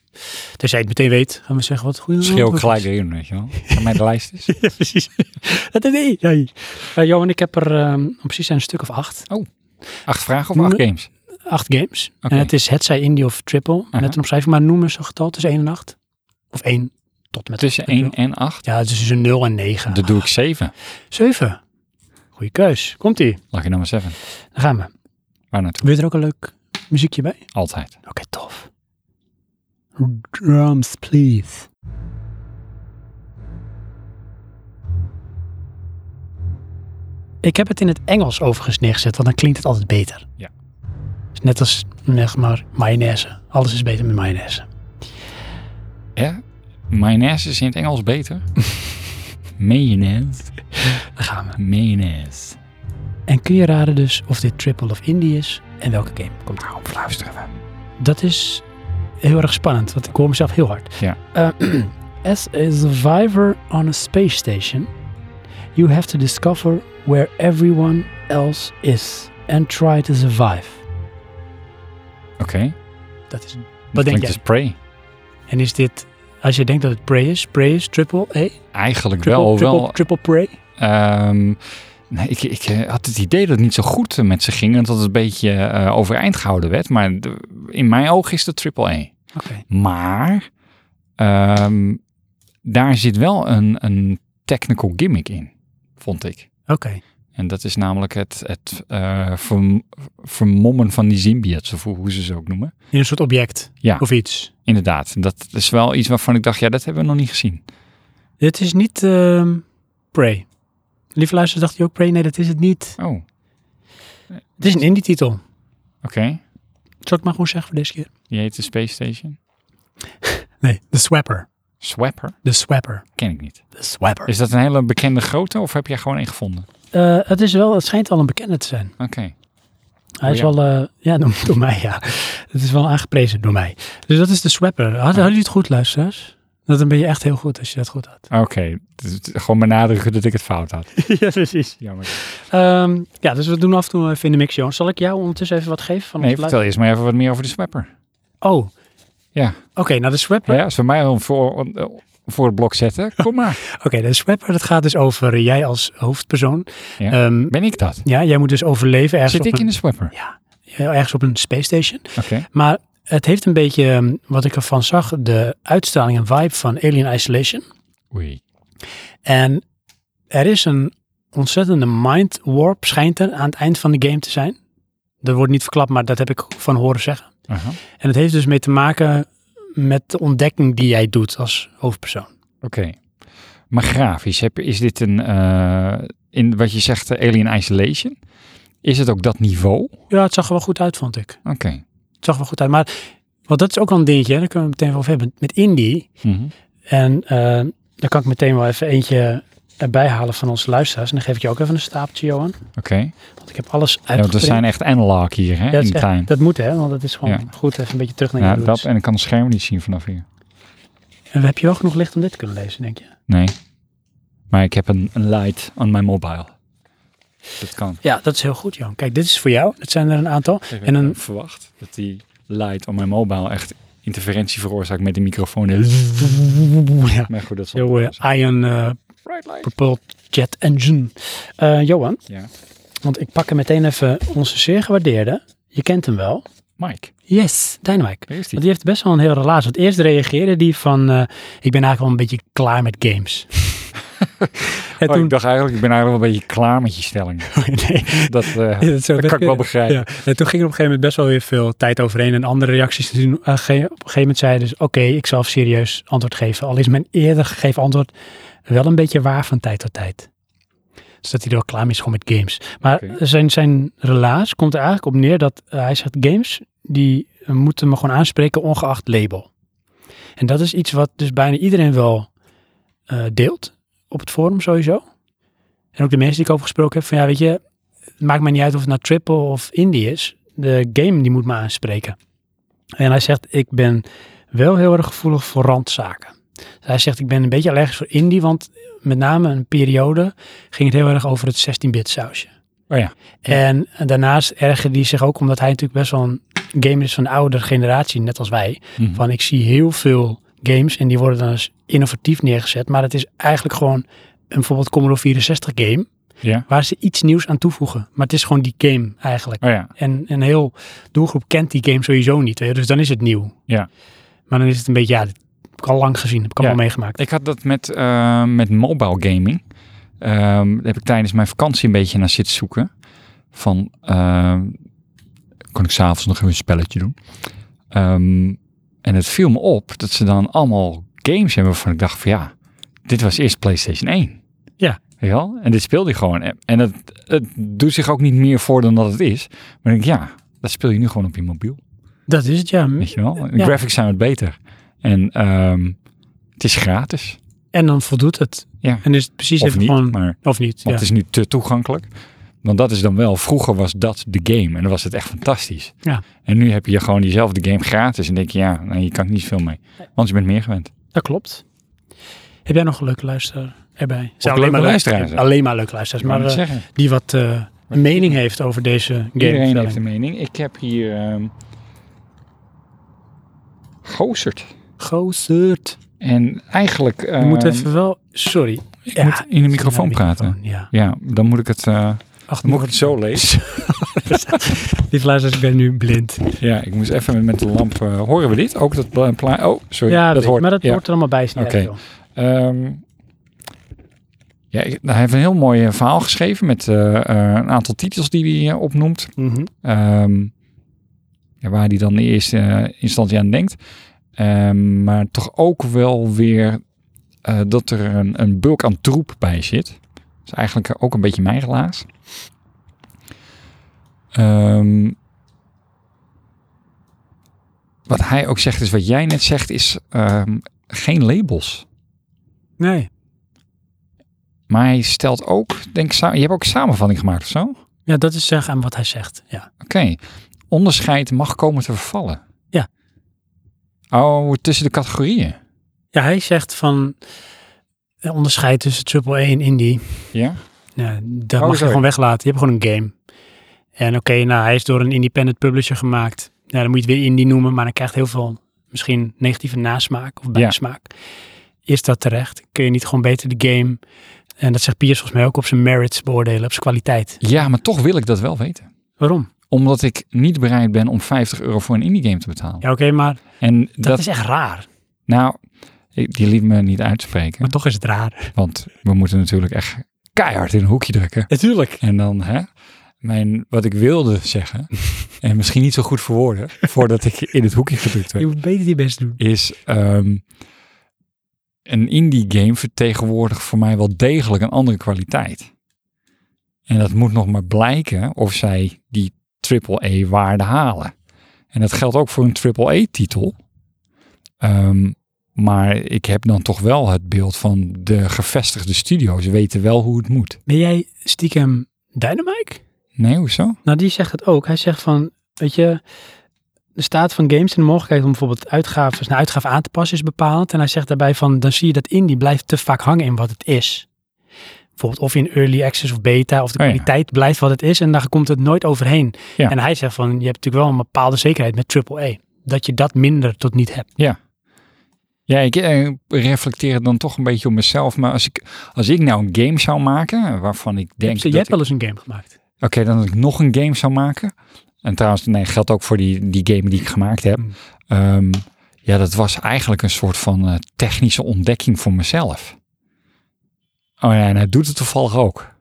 tenzij je het meteen weet, gaan we zeggen wat het goede Schreeuw ik antwoord gelijk is. erin, weet je wel. Aan mij de *laughs* lijst is. Ja, *laughs* precies. Dat is niet. Nee. Eh, Johan, ik heb er ehm, om precies zijn een stuk of acht. Acht vragen of acht Nee. games? Acht games. Oké. Uh-huh. En het is hetzij indie of triple. Net een omschrijving, maar noem eens een getal tussen 1 en 8. Of 1 tot en met Tussen acht, weet 1 je en 8. wel. Ja, dus tussen 0 en 9. Dan doe ik 7. 7. Goeie keus. Komt-ie. Lucky nummer 7. Dan gaan we. Waar naartoe? Wil je er ook een leuk muziekje bij? Altijd. Oké, tof. Drums, please. Ik heb het in het Engels overigens neergezet, want dan klinkt het altijd beter. Ja. Is Net als, zeg maar, mayonaise. Alles is beter met mayonaise. Ja? Mayonaise is in het *laughs* Engels beter. Mayonaise. Daar gaan we. Mayonaise. En kun je raden dus of dit triple of indie is en welke game komt Nou, fluisteren we. Dat is heel erg spannend, want ik hoor mezelf heel hard. Ja. Eh, *clears throat* as a survivor on a space station, you have to discover where everyone else is and try to survive. Oké. Dat is. Dat Wat denk klinkt jij? dus Prey. En is dit, als je denkt dat het Prey is, Prey is triple A? Eigenlijk Triple, wel, triple, wel. triple Prey? Ehm, nee, ik, ik eh, had het idee dat het niet zo goed eh, met ze ging. En dat het een beetje eh, overeind gehouden werd. Maar de- in mijn oog is het AAA. Oké. Maar ehm, daar zit wel een, een technical gimmick in, vond ik. Oké. En dat is namelijk het, het eh, verm- vermommen van die symbiotes, of hoe- hoe ze ze ook noemen. In een soort object Ja. of iets. Inderdaad, dat is wel iets waarvan ik dacht, ja, dat hebben we nog niet gezien. Dit is niet ehm, Prey. Lieve luisteraars, dacht je ook Prey? Nee, dat is het niet. Oh, oké. Het is een indie titel. Zal ik het maar gewoon zeggen voor deze keer? Die heet de Space Station. Nee, The Swapper. Swapper? The Swapper. Ken ik niet. The Swapper. Is dat een hele bekende grote of heb jij gewoon één gevonden? Eh, het is wel, het schijnt al een bekende te zijn. Oké. Hij Oh, is ja. wel, eh, ja, *laughs* door, door mij, ja. Het is wel aangeprezen door mij. Dus dat is de swapper. Had- Hadden jullie het goed, luisteraars? Dat dan ben je echt heel goed als je dat goed had. *laughs* Oké, Dus het- gewoon benadrukken dat ik het fout had. ja, precies. Jammer. ja, dus we doen af en toe even in de mix, Johan. Zal ik jou ondertussen even wat geven? Van *laughs* Nee, ons vertel eerst maar even wat meer over de Swapper. Oh, oké. Ja. nou, de swapper. Ja, als we mij al voor, voor het blok zetten, kom maar. Oké, de swapper, dat gaat dus over eh, jij als hoofdpersoon. Ehm, Ja. Ja, Ben ik dat? ja jij moet dus overleven ergens, Zit op, ik in een, de swapper? ja, ergens op een space station. Oké. Maar Het heeft een beetje, ehm, wat ik ervan zag, de uitstraling en vibe van Alien Isolation. Oei. En er is een ontzettende mind warp, schijnt er, aan het eind van de game te zijn. Dat wordt niet verklapt, maar dat heb ik van horen zeggen. Aha. Oké. En het heeft dus mee te maken met de ontdekking die jij doet als hoofdpersoon. Maar grafisch, heb, is dit een, eh, in wat je zegt, eh, Alien Isolation? Is het ook dat niveau? Oké. Ja, het zag er wel goed uit, vond ik. Het zag er wel goed uit. Maar want dat is ook wel een dingetje, hè, daar kunnen we het meteen wel over hebben. Met indie, Mhm. en eh, daar kan ik meteen wel even eentje erbij halen van onze luisteraars. En dan geef ik je ook even een stapeltje, Johan. Oké. Want ik heb alles Ja, want we uitgeprint. zijn echt analog hier, hè, Ja, dat, in is de echt- tuin. dat moet, hè? Want dat is gewoon Ja. goed even een beetje terug naar Ja, je dat, roots. en ik kan het scherm niet zien vanaf hier. En heb je wel genoeg licht om dit te kunnen lezen, denk je? Nee. Maar ik heb een, een light on mijn mobile. Dat kan. Ja, dat is heel goed, Johan. Kijk, dit is voor jou. Het zijn er een aantal. En een, eh, verwacht dat die light on mijn mobile echt interferentie veroorzaakt met de microfoon. ja, Maar goed, dat is heel eh, ion eh, propelled jet engine. Eh, Johan, Ja. want ik pak er meteen even onze zeer gewaardeerde. Je kent hem wel. Mike, Yes, Dynamite. waar is die? Want die heeft best wel een heel relaas. Want eerst reageerde die van, eh, ik ben eigenlijk wel een beetje klaar met *laughs* games. en Oh, toen, ik dacht eigenlijk, ik ben eigenlijk wel een beetje klaar met je stelling. *laughs* nee, Dat, eh, Ja, dat zou dat best kan *laughs* ik wel kunnen. begrijpen. Ja. En toen ging er op een gegeven moment best wel weer veel tijd overheen. En andere reacties te doen. Eh, ge- op een gegeven moment zei hij dus, oké, ik zal serieus antwoord geven. Al is mijn eerder gegeven antwoord wel een beetje waar van tijd tot tijd. Dus dat hij er wel klaar mee is gewoon met games. Maar Oké. zijn, zijn relaas komt er eigenlijk op neer dat eh, hij zegt, games die moeten me gewoon aanspreken ongeacht label. En dat is iets wat dus bijna iedereen wel eh, deelt op het forum sowieso. En ook de mensen die ik over gesproken heb, van ja, weet je, het maakt mij niet uit of het nou triple of indie is. De game die moet me aanspreken. En hij zegt, ik ben wel heel erg gevoelig voor randzaken. Dus hij zegt, ik ben een beetje allergisch voor indie, want met name een periode ging het heel erg over het 16-bit sausje. Oh ja. En daarnaast ergerde hij zich ook, omdat hij natuurlijk best wel een gamer is van de oudere generatie, net als wij. Mhm. Van ik zie heel veel games en die worden dan als innovatief neergezet. Maar het is eigenlijk gewoon een bijvoorbeeld Commodore 64 game. Ja. Waar ze iets nieuws aan toevoegen. Maar het is gewoon die game eigenlijk. Oh ja, En een heel doelgroep kent die game sowieso niet. Weet je? Dus dan is het nieuw. Ja. Maar dan is het een beetje, ja, dat heb ik al lang gezien. Heb ik al Ja. wel meegemaakt. Ik had dat met, eh, met mobile gaming. Ehm, daar heb ik tijdens mijn vakantie een beetje naar zitten zoeken. Van, ehm, kon ik s'avonds nog even een spelletje doen. Ehm, en het viel me op dat ze dan allemaal games hebben waarvan ik dacht van ja, dit was eerst PlayStation 1. Ja. Weet je wel? En dit speelde je gewoon. En- En het, het doet zich ook niet meer voor dan dat het is. Maar ik denk, ja, dat speel je nu gewoon op je mobiel. Dat is het, ja. Weet je wel? De Ja. graphics zijn wat beter. En ehm, het is gratis. En dan voldoet het. Ja. En is het precies Of even niet, gewoon... maar Of niet, want ja. het is nu te toegankelijk. Want dat is dan wel, vroeger was dat de game en dan was het echt fantastisch. Ja. En nu heb je gewoon diezelfde game gratis en denk je, ja, nou, je kan er niet veel mee. Want je bent meer gewend. Dat klopt. Heb jij nog een leuke luisteraar erbij? Zijn leuke maar luisteraars, hè? Alleen maar leuke luisteraars. Ik wou Maar net eh, zeggen, die wat eh, mening heeft over deze game. iedereen heeft een mening. Ik heb hier ehm Gozerd. Gozerd. En eigenlijk... Je moet ehm, even wel... Sorry. ik moet in de microfoon nou praten. Ja. Ja, dan moet ik het, eh, Ach, dan moet ik het zo lezen. Lieve luisteraars, ik ben nu blind. ja, ik moest even met de lamp... eh, horen we dit? Ook dat pla- pla- Oh, sorry. ja, dat hoort. maar dat ja. hoort er allemaal bij. Oké. Oké. Ehm, ja, ik- hij heeft een heel mooi eh, verhaal geschreven met eh, eh, een aantal titels die hij eh, opnoemt. Mhm. Ehm, ja, waar hij dan in eerste eh, instantie aan denkt. Ehm, maar toch ook wel weer eh, dat er een, een bulk aan troep bij zit. Dat is eigenlijk ook een beetje mijn relaas. Ehm, wat hij ook zegt is, wat jij net zegt, is ehm, geen labels. Nee. Maar hij stelt ook, denk ik, sa- je hebt ook een samenvatting gemaakt of zo? Oké. Ja, dat is zeggen aan wat hij zegt. Ja. Onderscheid mag komen te vervallen. Ja. Oh, tussen de categorieën. ja, hij zegt van... eh, Onderscheid tussen triple A en indie. Ja. Ja, dat Oh, mag je sorry. gewoon weglaten. Je hebt gewoon een game. En oké, nou, hij is door een independent publisher gemaakt. Nou, dan moet je het weer indie noemen, maar dan krijgt heel veel misschien negatieve nasmaak of bijsmaak. Is dat terecht? Kun je niet gewoon beter de game, en dat zegt Piers volgens mij ook, op zijn merits beoordelen, op zijn kwaliteit? Ja, maar toch wil ik dat wel weten. Waarom? Omdat ik niet bereid ben om 50 euro voor een indie game te betalen. Ja, oké, maar En dat, dat, is echt raar. nou, ik- die liet me niet uitspreken. Maar toch is het raar. Want we moeten natuurlijk echt keihard in een hoekje drukken. Natuurlijk. En dan, hè, mijn, wat ik wilde *laughs* zeggen, en misschien niet zo goed verwoorden, voordat ik in het hoekje gedrukt Je werd, moet beter je best doen. is ehm, een indie game vertegenwoordigt voor mij wel degelijk een andere kwaliteit. En dat moet nog maar blijken of zij die triple waarde halen. En dat geldt ook voor een triple titel. Ehm, maar ik heb dan toch wel het beeld van de gevestigde studio's weten wel hoe het moet. Ben jij stiekem Dynamite? Nee, hoezo? Nou, die zegt het ook. Hij zegt van, weet je, de staat van games en de mogelijkheid om bijvoorbeeld uitgaven, naar uitgaven aan te passen is bepaald. En hij zegt daarbij van, dan zie je dat indie blijft te vaak hangen in wat het is. Bijvoorbeeld of in early access of beta, of de Oh ja. kwaliteit blijft wat het is en daar komt het nooit overheen. Ja. En hij zegt van, je hebt natuurlijk wel een bepaalde zekerheid met AAA. Dat je dat minder tot niet hebt. Ja, ik eh, reflecteer het dan toch een beetje op mezelf. Maar als ik, als ik nou een game zou maken, waarvan ik Je denk... hebt, je dat hebt ik- wel eens een game gemaakt. Oké, dan dat ik nog een game zou maken. En trouwens, nee, geldt ook voor die, die game die ik gemaakt heb. Mm. Ehm, ja, dat was eigenlijk een soort van eh, technische ontdekking voor mezelf. Oh ja, en hij doet het toevallig ook.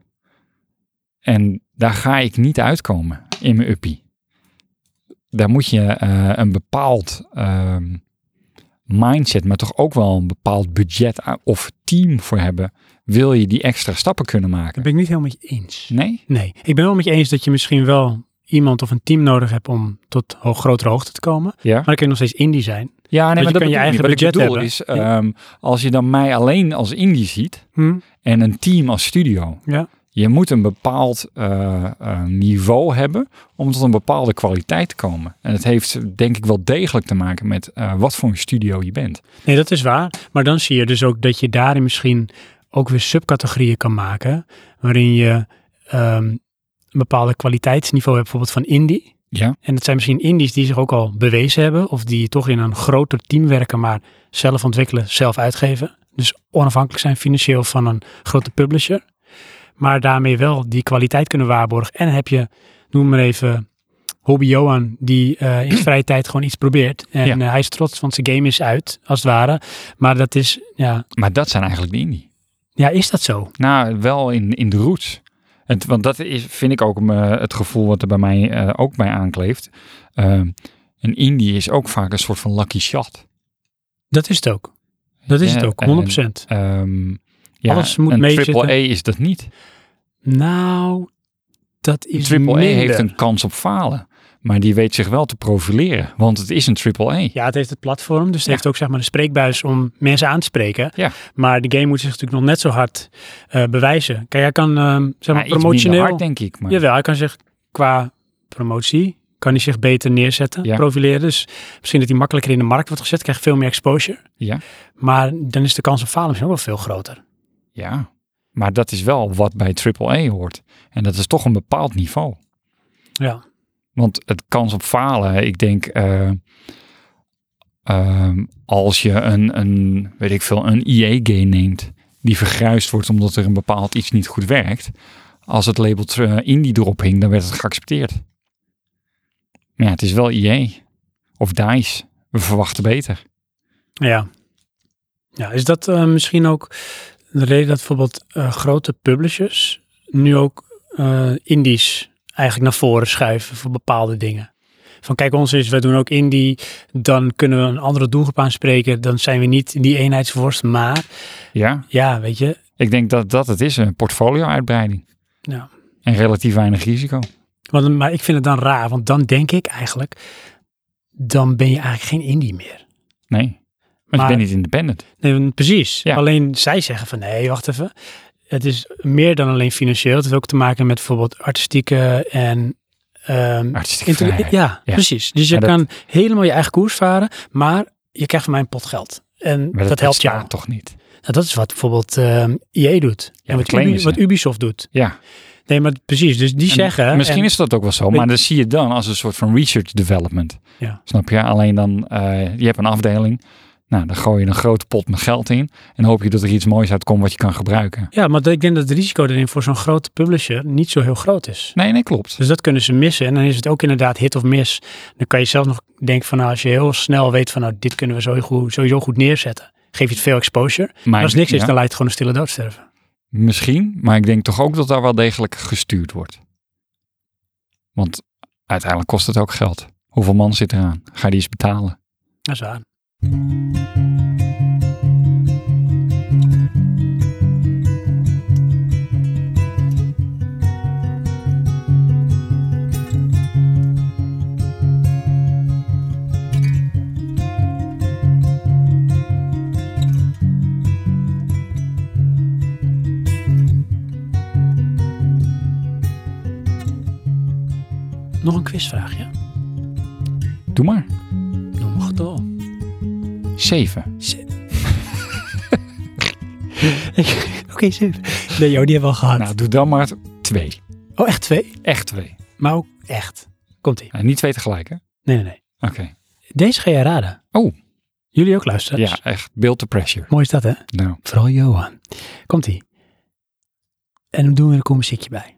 En daar ga ik niet uitkomen in mijn uppie. Daar moet je eh, een bepaald ehm, mindset, maar toch ook wel een bepaald budget a- of team voor hebben. Wil je die extra stappen kunnen maken? Daar ben ik niet helemaal met je eens. Nee? Nee, ik ben wel met je eens dat je misschien wel iemand of een team nodig hebt om tot ho grotere hoogte te komen. Ja. Maar dan kun je nog steeds indie zijn. Ja, nee, Want je maar dat kan je bedoel ik niet. eigen Wat ik budget bedoel hebben. is, ehm, als je dan mij alleen als indie ziet en een team als studio. Ja. Je moet een bepaald eh, eh, niveau hebben om tot een bepaalde kwaliteit te komen. En het heeft denk ik wel degelijk te maken met eh, wat voor een studio je bent. Nee, dat is waar. Maar dan zie je dus ook dat je daarin misschien ook weer subcategorieën kan maken. Waarin je ehm, een bepaalde kwaliteitsniveau hebt, bijvoorbeeld van indie. Ja. En dat zijn misschien indies die zich ook al bewezen hebben. Of die toch in een groter team werken, maar zelf ontwikkelen, zelf uitgeven. Dus onafhankelijk zijn financieel van een grote publisher. Maar daarmee wel die kwaliteit kunnen waarborgen. En heb je, noem maar even, Hobby Johan, die eh, *clears throat* in zijn vrije tijd gewoon iets probeert. En Ja. eh, hij is trots, want zijn game is uit, als het ware. Maar dat is, ja, Maar dat zijn eigenlijk de indie. ja is dat zo? Nou, wel in, in de roots. Het, want dat is, vind ik ook eh, het gevoel wat er bij mij eh, ook bij aankleeft. Ehm, een indie is ook vaak een soort van lucky shot. Dat is het ook. Dat is Ja, het ook, en- 100%. Ehm, ja, Alles moet een meezitten. triple E is dat niet. nou, dat Een is triple E minder. heeft een kans op falen. Maar die weet zich wel te profileren. Want het is een triple E. Ja, het heeft het platform, dus het Ja. heeft ook zeg maar de spreekbuis om mensen aan te spreken. Ja. Maar de game moet zich natuurlijk nog net zo hard eh, bewijzen. Kijk, hij kan ehm, zeg maar promotioneel... minder hard, denk ik. Maar Jawel, hij kan zich qua promotie, kan hij zich beter neerzetten, Ja. profileren. Dus misschien dat hij makkelijker in de markt wordt gezet, krijgt veel meer exposure. Ja. Maar dan is de kans op falen misschien ook wel veel groter. ja. Maar dat is wel wat bij triple E hoort. En dat is toch een bepaald niveau. Ja. Want het kans op falen, ik denk... eh, ehm, als je een, een, weet ik veel, een EA-game neemt... die vergruisd wordt omdat er een bepaald iets niet goed werkt... als het label eh, indie erop hing, dan werd het geaccepteerd. Maar ja, het is wel EA. Of DICE. We verwachten beter. Ja. Ja, is dat eh, misschien ook de reden dat bijvoorbeeld eh, grote publishers nu ook eh, indies eigenlijk naar voren schuiven voor bepaalde dingen? Van kijk, ons is, wij doen ook indie, dan kunnen we een andere doelgroep aanspreken, dan zijn we niet die eenheidsworst, maar Ja, ja, weet je, ik denk dat dat het is. Een portfolio-uitbreiding. Ja. En relatief weinig risico. want, maar ik vind het dan raar, want dan denk ik eigenlijk, dan ben je eigenlijk geen indie meer. Nee. Want Maar- je bent niet independent. Nee, want precies. Ja. Alleen zij zeggen van nee, wacht even. Het is meer dan alleen financieel. Het heeft ook te maken met bijvoorbeeld artistieke en... ehm, Artistieke intelli- vrijheid. ja, Ja. precies. Dus je Maar dat- kan helemaal je eigen koers varen, maar je krijgt van mij een pot geld. En Maar dat, helpt jou. bestaat toch niet? Nou, dat is wat bijvoorbeeld ehm EA doet. en dat wat, claimen Ubi- ze. wat Ubisoft doet. Ja. Nee, maar precies. Dus die En zeggen... Misschien en- is dat ook wel zo, maar dat zie je dan als een soort van research development. Ja. Snap je? Alleen dan, eh, je hebt een afdeling. Nou, dan gooi je een grote pot met geld in en hoop je dat er iets moois uitkomt wat je kan gebruiken. Ja, maar ik denk dat het risico erin voor zo'n grote publisher niet zo heel groot is. Nee, nee, klopt. Dus dat kunnen ze missen. En dan is het ook inderdaad hit of miss. Dan kan je zelfs nog denken van nou, als je heel snel weet van nou, dit kunnen we sowieso goed, sowieso goed neerzetten. Geef je het veel exposure. Maar Maar als niks is, ja, dan lijkt het gewoon een stille dood sterven. Misschien, maar ik denk toch ook dat daar wel degelijk gestuurd wordt. Want uiteindelijk kost het ook geld. Hoeveel man zit eraan? Ga je die eens betalen? Dat is waar. Nog een quizvraagje. Doe maar. Noem een getal. Zeven. Oké, zeven. Nee joh, die hebben we al gehad. Nou, doe dan maar twee. oh, echt twee? Echt twee. Maar ook echt. Komt ie. Nou, niet twee tegelijk, hè? Nee, nee, nee. Oké. Deze ga jij raden. Oh. Jullie ook luisteren. Ja, echt. Build the pressure. Mooi is dat, hè? Nou, oké. Vooral Johan. Komt ie. En dan doen we er een muziekje bij.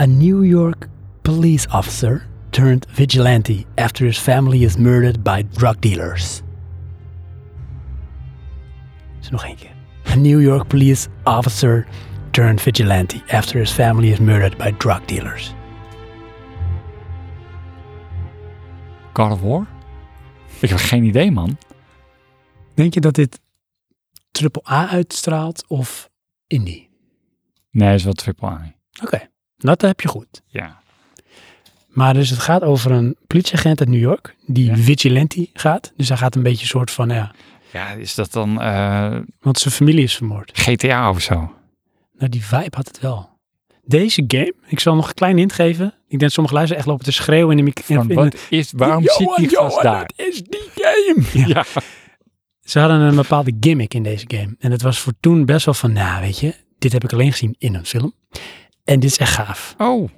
A New York police officer turned vigilante after his family is murdered by drug dealers. Dus nog één keer. A New York police officer turned vigilante after his family is murdered by drug dealers. God of War? Ik heb geen idee, man. Denk je dat dit AAA uitstraalt of indie? Nee, is wel triple A. Oké, dat heb je goed. Ja. Maar dus het gaat over een politieagent uit New York die Ja. vigilante gaat. Dus hij gaat een beetje soort van, ja, Ja, is dat dan eh, want zijn familie is vermoord. GTA of zo? Nou, die vibe had het wel. Deze game, ik zal nog een klein hint geven. Ik denk dat sommige luisteren echt lopen te schreeuwen in de microfoon. Van, wat is, waarom zit die gast daar? is die game. *laughs* Ja. Ze hadden een bepaalde gimmick in deze game. En het was voor toen best wel van, nou weet je, dit heb ik alleen gezien in een film. En dit is echt gaaf. Oh.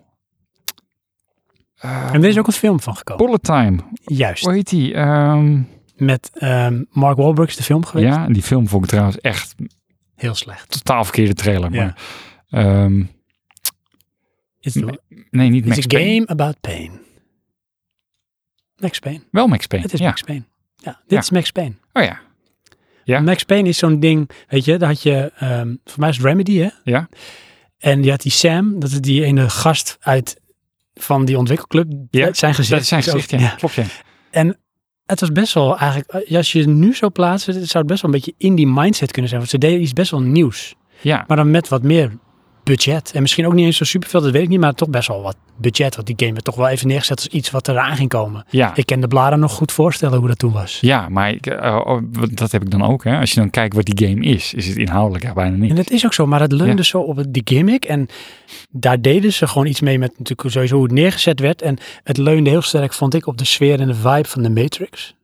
Eh, En er is ook een film van gekomen. Bullet Time. Juist. Hoe heet die? Ehm, Met ehm, Mark Wahlberg is de film geweest. ja, die film vond ik trouwens echt een Heel slecht. totaal verkeerde trailer. Ja. Maar, ehm, It's, Nee, nee, niet it's Max a Payne. game about pain. Max Payne. Wel Max Payne. Het is ja. Max Payne. Ja, dit Ja. is Max Payne. Oh ja. Ja. Max Payne is zo'n ding, weet je, daar had je, ehm, voor mij is het Remedy, hè? Ja. En die had die Sam, dat is die ene gast uit, van die ontwikkelclub, Ja, dat zijn gezicht. Dus Dat is zijn gezicht, ja. Ja. Klopt, ja. Het was best wel eigenlijk, eh, als je het nu zou plaatsen, zou het best wel een beetje in die mindset kunnen zijn. Want ze deden iets best wel nieuws. Ja, Maar dan met wat meer budget. En misschien ook niet eens zo superveel, dat weet ik niet. Maar toch best wel wat budget. Want die game werd toch wel even neergezet als iets wat eraan ging komen. ja. Ik kan de bladen nog goed voorstellen hoe dat toen was. Ja, maar ik, eh, oh, wat- dat heb ik dan ook. Hè? Als je dan kijkt wat die game is, is het inhoudelijk ja, bijna niet. En dat is ook zo, maar het leunde zo op het- die gimmick. En daar deden ze gewoon iets mee met natuurlijk sowieso hoe het neergezet werd. En het leunde heel sterk, vond ik, op de sfeer en de vibe van de Matrix.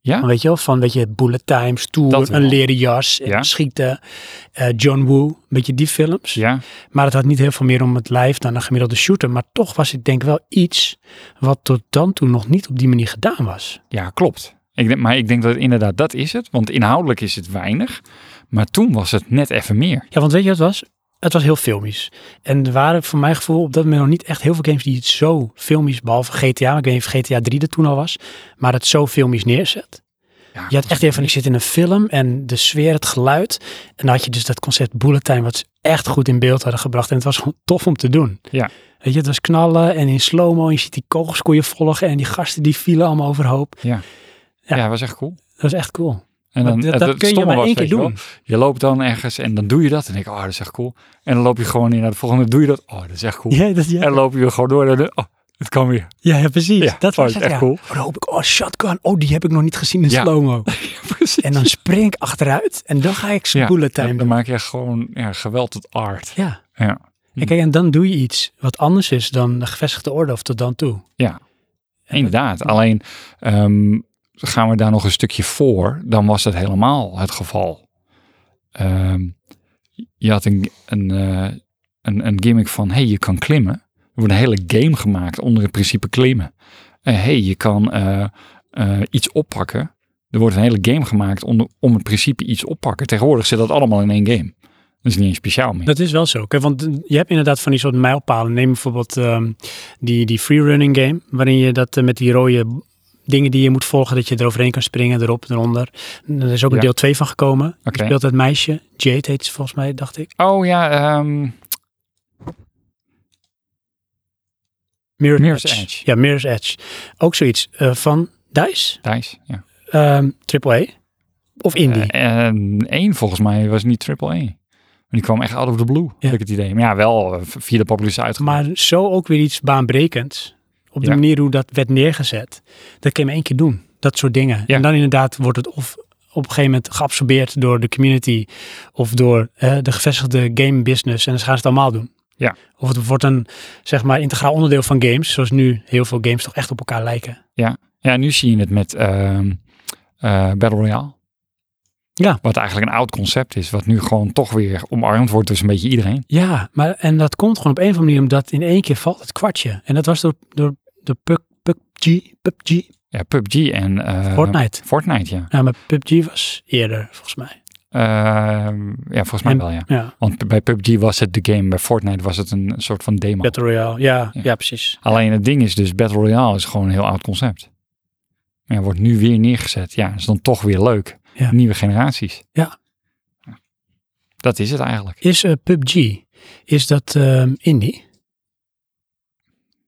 Ja? Van, weet je wel, van weet je, bullet time, Dat stoer, wel. een leren jas, eh, Ja. schieten, eh, John Woo, een beetje die films. Ja, Maar het had niet heel veel meer om het lijf dan een gemiddelde shooter. Maar toch was het denk ik wel iets wat tot dan toe nog niet op die manier gedaan was. ja klopt. Ik denk, maar ik denk dat het inderdaad dat is het. Want inhoudelijk is het weinig. Maar toen was het net even meer. Ja, want weet je wat het was? Het was heel filmisch. En er waren voor mijn gevoel op dat moment nog niet echt heel veel games die het zo filmisch, behalve GTA, maar ik weet niet of GTA 3 er toen al was, maar het zo filmisch neerzet. Ja, Je had echt even van, ik zit in een film en de sfeer, het geluid. En dan had je dus dat concept bullet time, wat ze echt goed in beeld hadden gebracht. En het was gewoon *laughs* tof om te doen. Ja. Weet je, het was knallen en in slow-mo, en je ziet die kogels kon je volgen en die gasten die vielen allemaal overhoop. ja. ja. was echt cool. Dat was echt cool. En Maar dan, dat het- dat het kun je stomme maar was, één weet keer je wel, doen. Je loopt dan ergens en dan doe je dat. En denk ik, oh, dat is echt cool. En dan loop je gewoon in naar de volgende. doe je dat. Oh, dat is echt *laughs* cool. Ja, dat, En dan ja. loop je weer gewoon door. En dan, oh, het *laughs* kan weer. ja, ja, precies. Ja, dat was het, echt ja. cool. Oh, dan hoop ik, oh, shotgun. Oh, die heb ik nog niet gezien in Ja. slow-mo. Precies. En dan spring ik achteruit en dan ga ik Ja, spoelen dan- time Dan doen. maak je echt gewoon ja, geweld tot art. Ja. Ja. En kijk, en dan doe je iets wat anders is dan de gevestigde orde of tot dan toe. Inderdaad. Alleen ehm, gaan we daar nog een stukje voor, dan was dat helemaal het geval. Ehm, je had een, een, eh, een, een gimmick van, hey, je kan klimmen. Er wordt een hele game gemaakt onder het principe klimmen. En hey, je kan eh, eh, iets oppakken. Er wordt een hele game gemaakt onder, om het principe iets oppakken. Tegenwoordig zit dat allemaal in één game. Dat is niet eens speciaal meer. Dat is wel zo. Kijk, want je hebt inderdaad van die soort mijlpalen. Neem bijvoorbeeld ehm, die, die freerunning game, waarin je dat eh, met die rode dingen die je moet volgen, dat je eroverheen kan springen, erop, eronder. En Er is ook een Ja. deel 2 van gekomen. Je Oké. speelt dat meisje, Jade heet ze volgens mij, dacht ik. Oh ja, ehm, Mirror's, Mirror's Edge. Edge. Ja, Mirror's Edge. Ook zoiets eh, van DICE, Thijs. Ja. ehm AAA of Indie. Eh, en één volgens mij was niet triple A. Die kwam echt out of the blue, heb ik het idee. Maar ja, wel eh, via de populariteit uitgebracht. maar zo ook weer iets baanbrekends. Op de Ja. manier hoe dat werd neergezet. Dat kan je maar één keer doen. Dat soort dingen. Ja. En dan inderdaad wordt het of op een gegeven moment geabsorbeerd door de community. Of door eh, de gevestigde game business. En dan gaan ze het allemaal doen. Ja. Of het wordt een zeg maar integraal onderdeel van games. Zoals nu heel veel games toch echt op elkaar lijken. Ja, nu zie je het met ehm, eh, Battle Royale. Ja. Wat eigenlijk een oud concept is, wat nu gewoon toch weer omarmd wordt dus een beetje iedereen. Ja, maar en dat komt gewoon op een of andere manier omdat in één keer valt het kwartje. En dat was door, door, door Pug- PUBG, PUBG, Ja, PUBG en eh, Fortnite. Fortnite, ja. Ja, maar PUBG was eerder volgens mij. Ehm, ja, volgens mij En- wel, ja. Ja. Want bij PUBG was het de game, bij Fortnite was het een soort van demo. Battle Royale, ja, Ja. ja. precies. Alleen het ding is dus, Battle Royale is gewoon een heel oud concept. Maar ja, wordt nu weer neergezet. Ja, is dan toch weer leuk. Ja. Nieuwe generaties. Ja. Dat is het eigenlijk. Is eh, PUBG, is dat ehm, indie?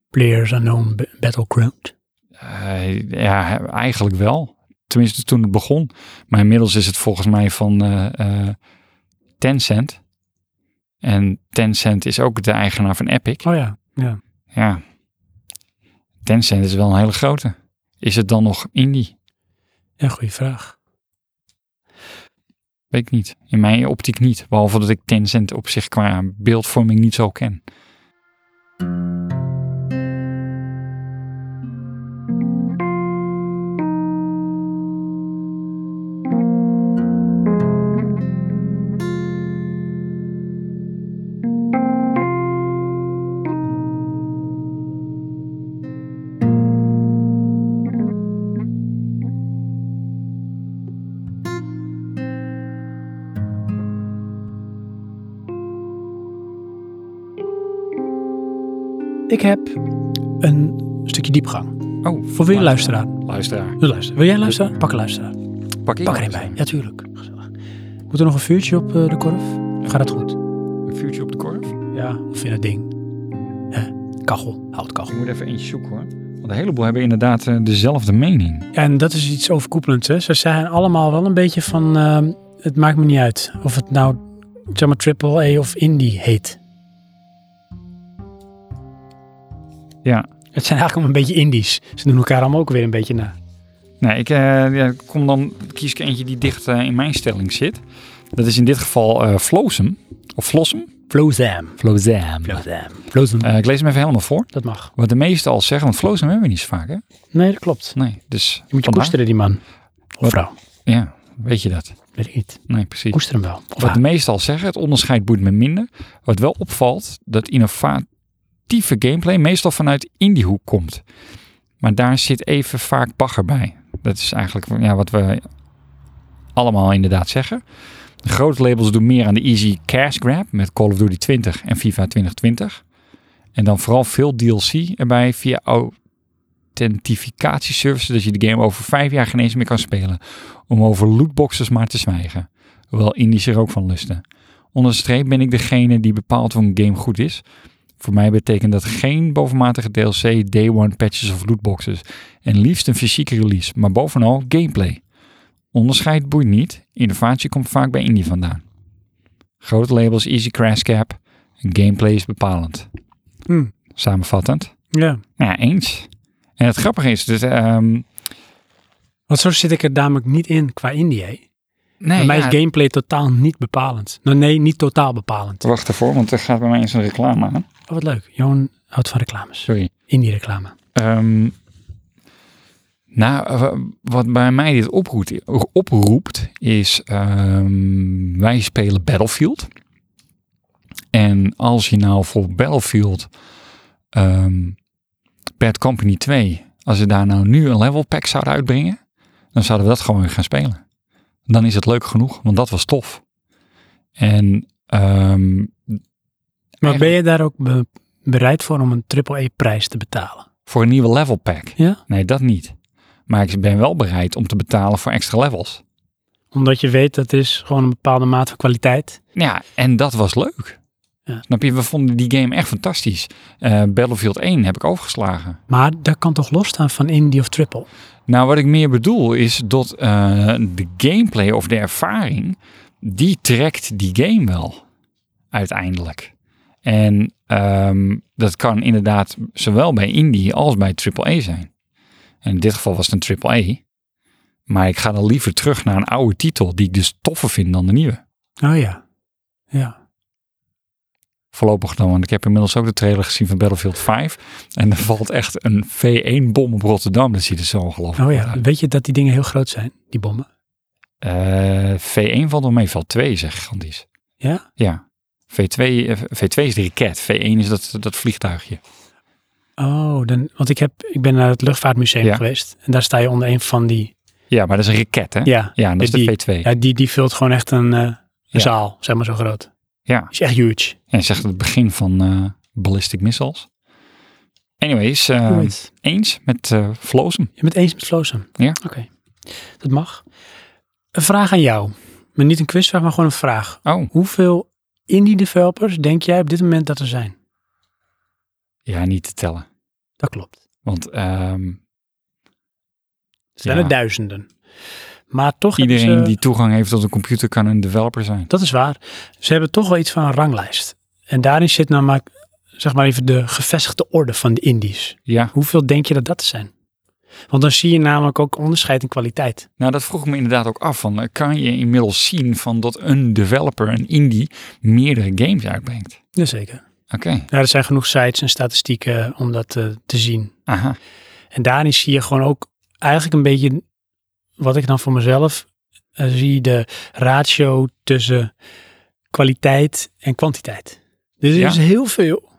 Players Unknown B- Battleground. Eh, ja, eigenlijk wel. Tenminste toen het begon. Maar inmiddels is het volgens mij van eh, eh, Tencent. En Tencent is ook de eigenaar van Epic. Oh ja, Ja. Tencent is wel een hele grote. Is het dan nog indie? ja, goede vraag. Weet ik niet. In mijn optiek niet. Behalve dat ik Tencent op zich qua beeldvorming niet zo ken. Ik heb een stukje diepgang. Oh, Voor wil je luisteraar? Luisteraar. Wil, luisteren. wil jij luisteren? Pak een luisteraar. Pak ik Pak er een bij. Ja, tuurlijk. Gezellig. Moet er nog een vuurtje op eh, de korf? Of gaat dat goed? Een vuurtje op de korf? Ja. Of in het ding? Hè? Kachel, houtkachel. Ik moet even eentje zoeken hoor. Want een heleboel hebben inderdaad eh, dezelfde mening. Ja, en dat is iets overkoepelends. Hè? Ze zijn allemaal wel een beetje van, ehm, het maakt me niet uit of het nou, zeg maar, triple A of indie heet. Ja. Het zijn eigenlijk allemaal een beetje indies. Ze doen elkaar allemaal ook weer een beetje na. Nee, ik eh, ja, kom dan, kies ik eentje die dicht eh, in mijn stelling zit. Dat is in dit geval eh Flosum. Of Flossum. Flozam. Flosum. Flozam. Flozam. ik lees hem even helemaal voor. Eh, dat mag. Wat de meesten al zeggen, want Flosum hebben we niet zo vaak hè? Nee, dat klopt. Nee, dus Je moet je vandaar- koesteren, die man. Of Wat? vrouw. Ja, weet je dat. Weet ik niet. Nee, precies. Koester hem wel. Of Wat haar. de meesten al zeggen, het onderscheid boeit me minder. Wat wel opvalt, dat innovatieve gameplay meestal vanuit indiehoek komt. Maar daar zit even vaak bagger bij. Dat is eigenlijk ja, wat we allemaal inderdaad zeggen. De grote labels doen meer aan de easy cash grab met Call of Duty 20 en FIFA 2020. En dan vooral veel DLC erbij via authentificatieservices, dat je de game over vijf jaar geen eens meer kan spelen. Om over lootboxes maar te zwijgen hoewel Indisch er ook van lusten. Onder de streep ben ik degene die bepaalt of een game goed is. Voor mij betekent dat geen bovenmatige DLC, day one patches of lootboxes. En liefst een fysieke release, maar bovenal gameplay. Onderscheid boeit niet, innovatie komt vaak bij indie vandaan. Grote labels Easy Crash Cap en gameplay is bepalend. Hmm. Samenvattend. Ja. Nou Ja, eens. En het grappige is, dus, ehm, Want zo zit ik er namelijk niet in qua indie. hè. nee, Bij mij ja, is gameplay totaal niet bepalend. Nou, nee, niet totaal bepalend. wacht ervoor, want er gaat bij mij eens een reclame aan. Oh, wat leuk. Johan houdt van reclames. Sorry. Indie reclame. Ehm, Nou, eh, wat bij mij dit oproept, oproept is, ehm, wij spelen Battlefield. En als je nou voor Battlefield ehm Bad Company 2, als ze daar nou nu een level pack zouden uitbrengen, dan zouden we dat gewoon weer gaan spelen. Dan is het leuk genoeg, want dat was tof. En ehm, Maar ben je daar ook be- bereid voor om een triple-E-prijs te betalen? voor een nieuwe level pack, Ja? nee, dat niet. Maar ik ben wel bereid om te betalen voor extra levels. Omdat je weet dat is gewoon een bepaalde maat van kwaliteit. Nou Ja, en dat was leuk. Ja. Snap je? We vonden die game echt fantastisch. Eh, Battlefield 1 heb ik overgeslagen. Maar dat kan toch losstaan van indie of triple? Nou, wat ik meer bedoel is dat eh, de gameplay of de ervaring, die trekt die game wel. Uiteindelijk. En ehm, dat kan inderdaad zowel bij indie als bij AAA zijn. En in dit geval was het een AAA. Maar ik ga dan liever terug naar een oude titel die ik dus toffer vind dan de nieuwe. Oh ja. Ja. Voorlopig dan, want ik heb inmiddels ook de trailer gezien van Battlefield 5. En er valt echt een V1-bom op Rotterdam. Dat ziet er zo ongelooflijk Oh uit. ja. Weet je dat die dingen heel groot zijn, die bommen? Eh, V1 valt wel mee, V2 is echt gigantisch. Ja? Ja. V2, eh, V2 is de raket, V1 is dat, dat vliegtuigje. Oh, dan, want ik, heb, ik ben naar het luchtvaartmuseum Ja. geweest. En daar sta je onder een van die. Ja, maar dat is een raket, hè? Ja. en dat is Die- de V2. Ja. ja die, die vult gewoon echt een, eh, een Ja. zaal, zeg maar zo groot. Die is echt huge. En zegt het begin van eh, ballistic missiles. Anyways, eh, Ooit. eens met eh Flozen. Je bent eens met Flozen? Ja. Oké. Dat mag. Een vraag aan jou. Maar niet een quizvraag, maar gewoon een vraag. Oh, Hoeveel indie developers denk jij op dit moment dat er zijn? ja, niet te tellen. Dat klopt. Want ehm, Er zijn Ja. er duizenden. Maar toch hebben iedereen ze- die toegang heeft tot een computer kan een developer zijn. Dat is waar. Ze hebben toch wel iets van een ranglijst. En daarin zit nou maar, zeg maar even de gevestigde orde van de indies. Ja, Hoeveel denk je dat dat zijn? Want dan zie je namelijk ook onderscheid in kwaliteit. nou dat vroeg ik me inderdaad ook af. Van, eh, kan je inmiddels zien van dat een developer, een indie, meerdere games uitbrengt? Jazeker. Oké, Ja, er zijn genoeg sites en statistieken om dat eh, te zien. aha. En daarin zie je gewoon ook eigenlijk een beetje wat ik dan voor mezelf eh, zie, de ratio tussen kwaliteit en kwantiteit. Dus er Ja. is heel veel.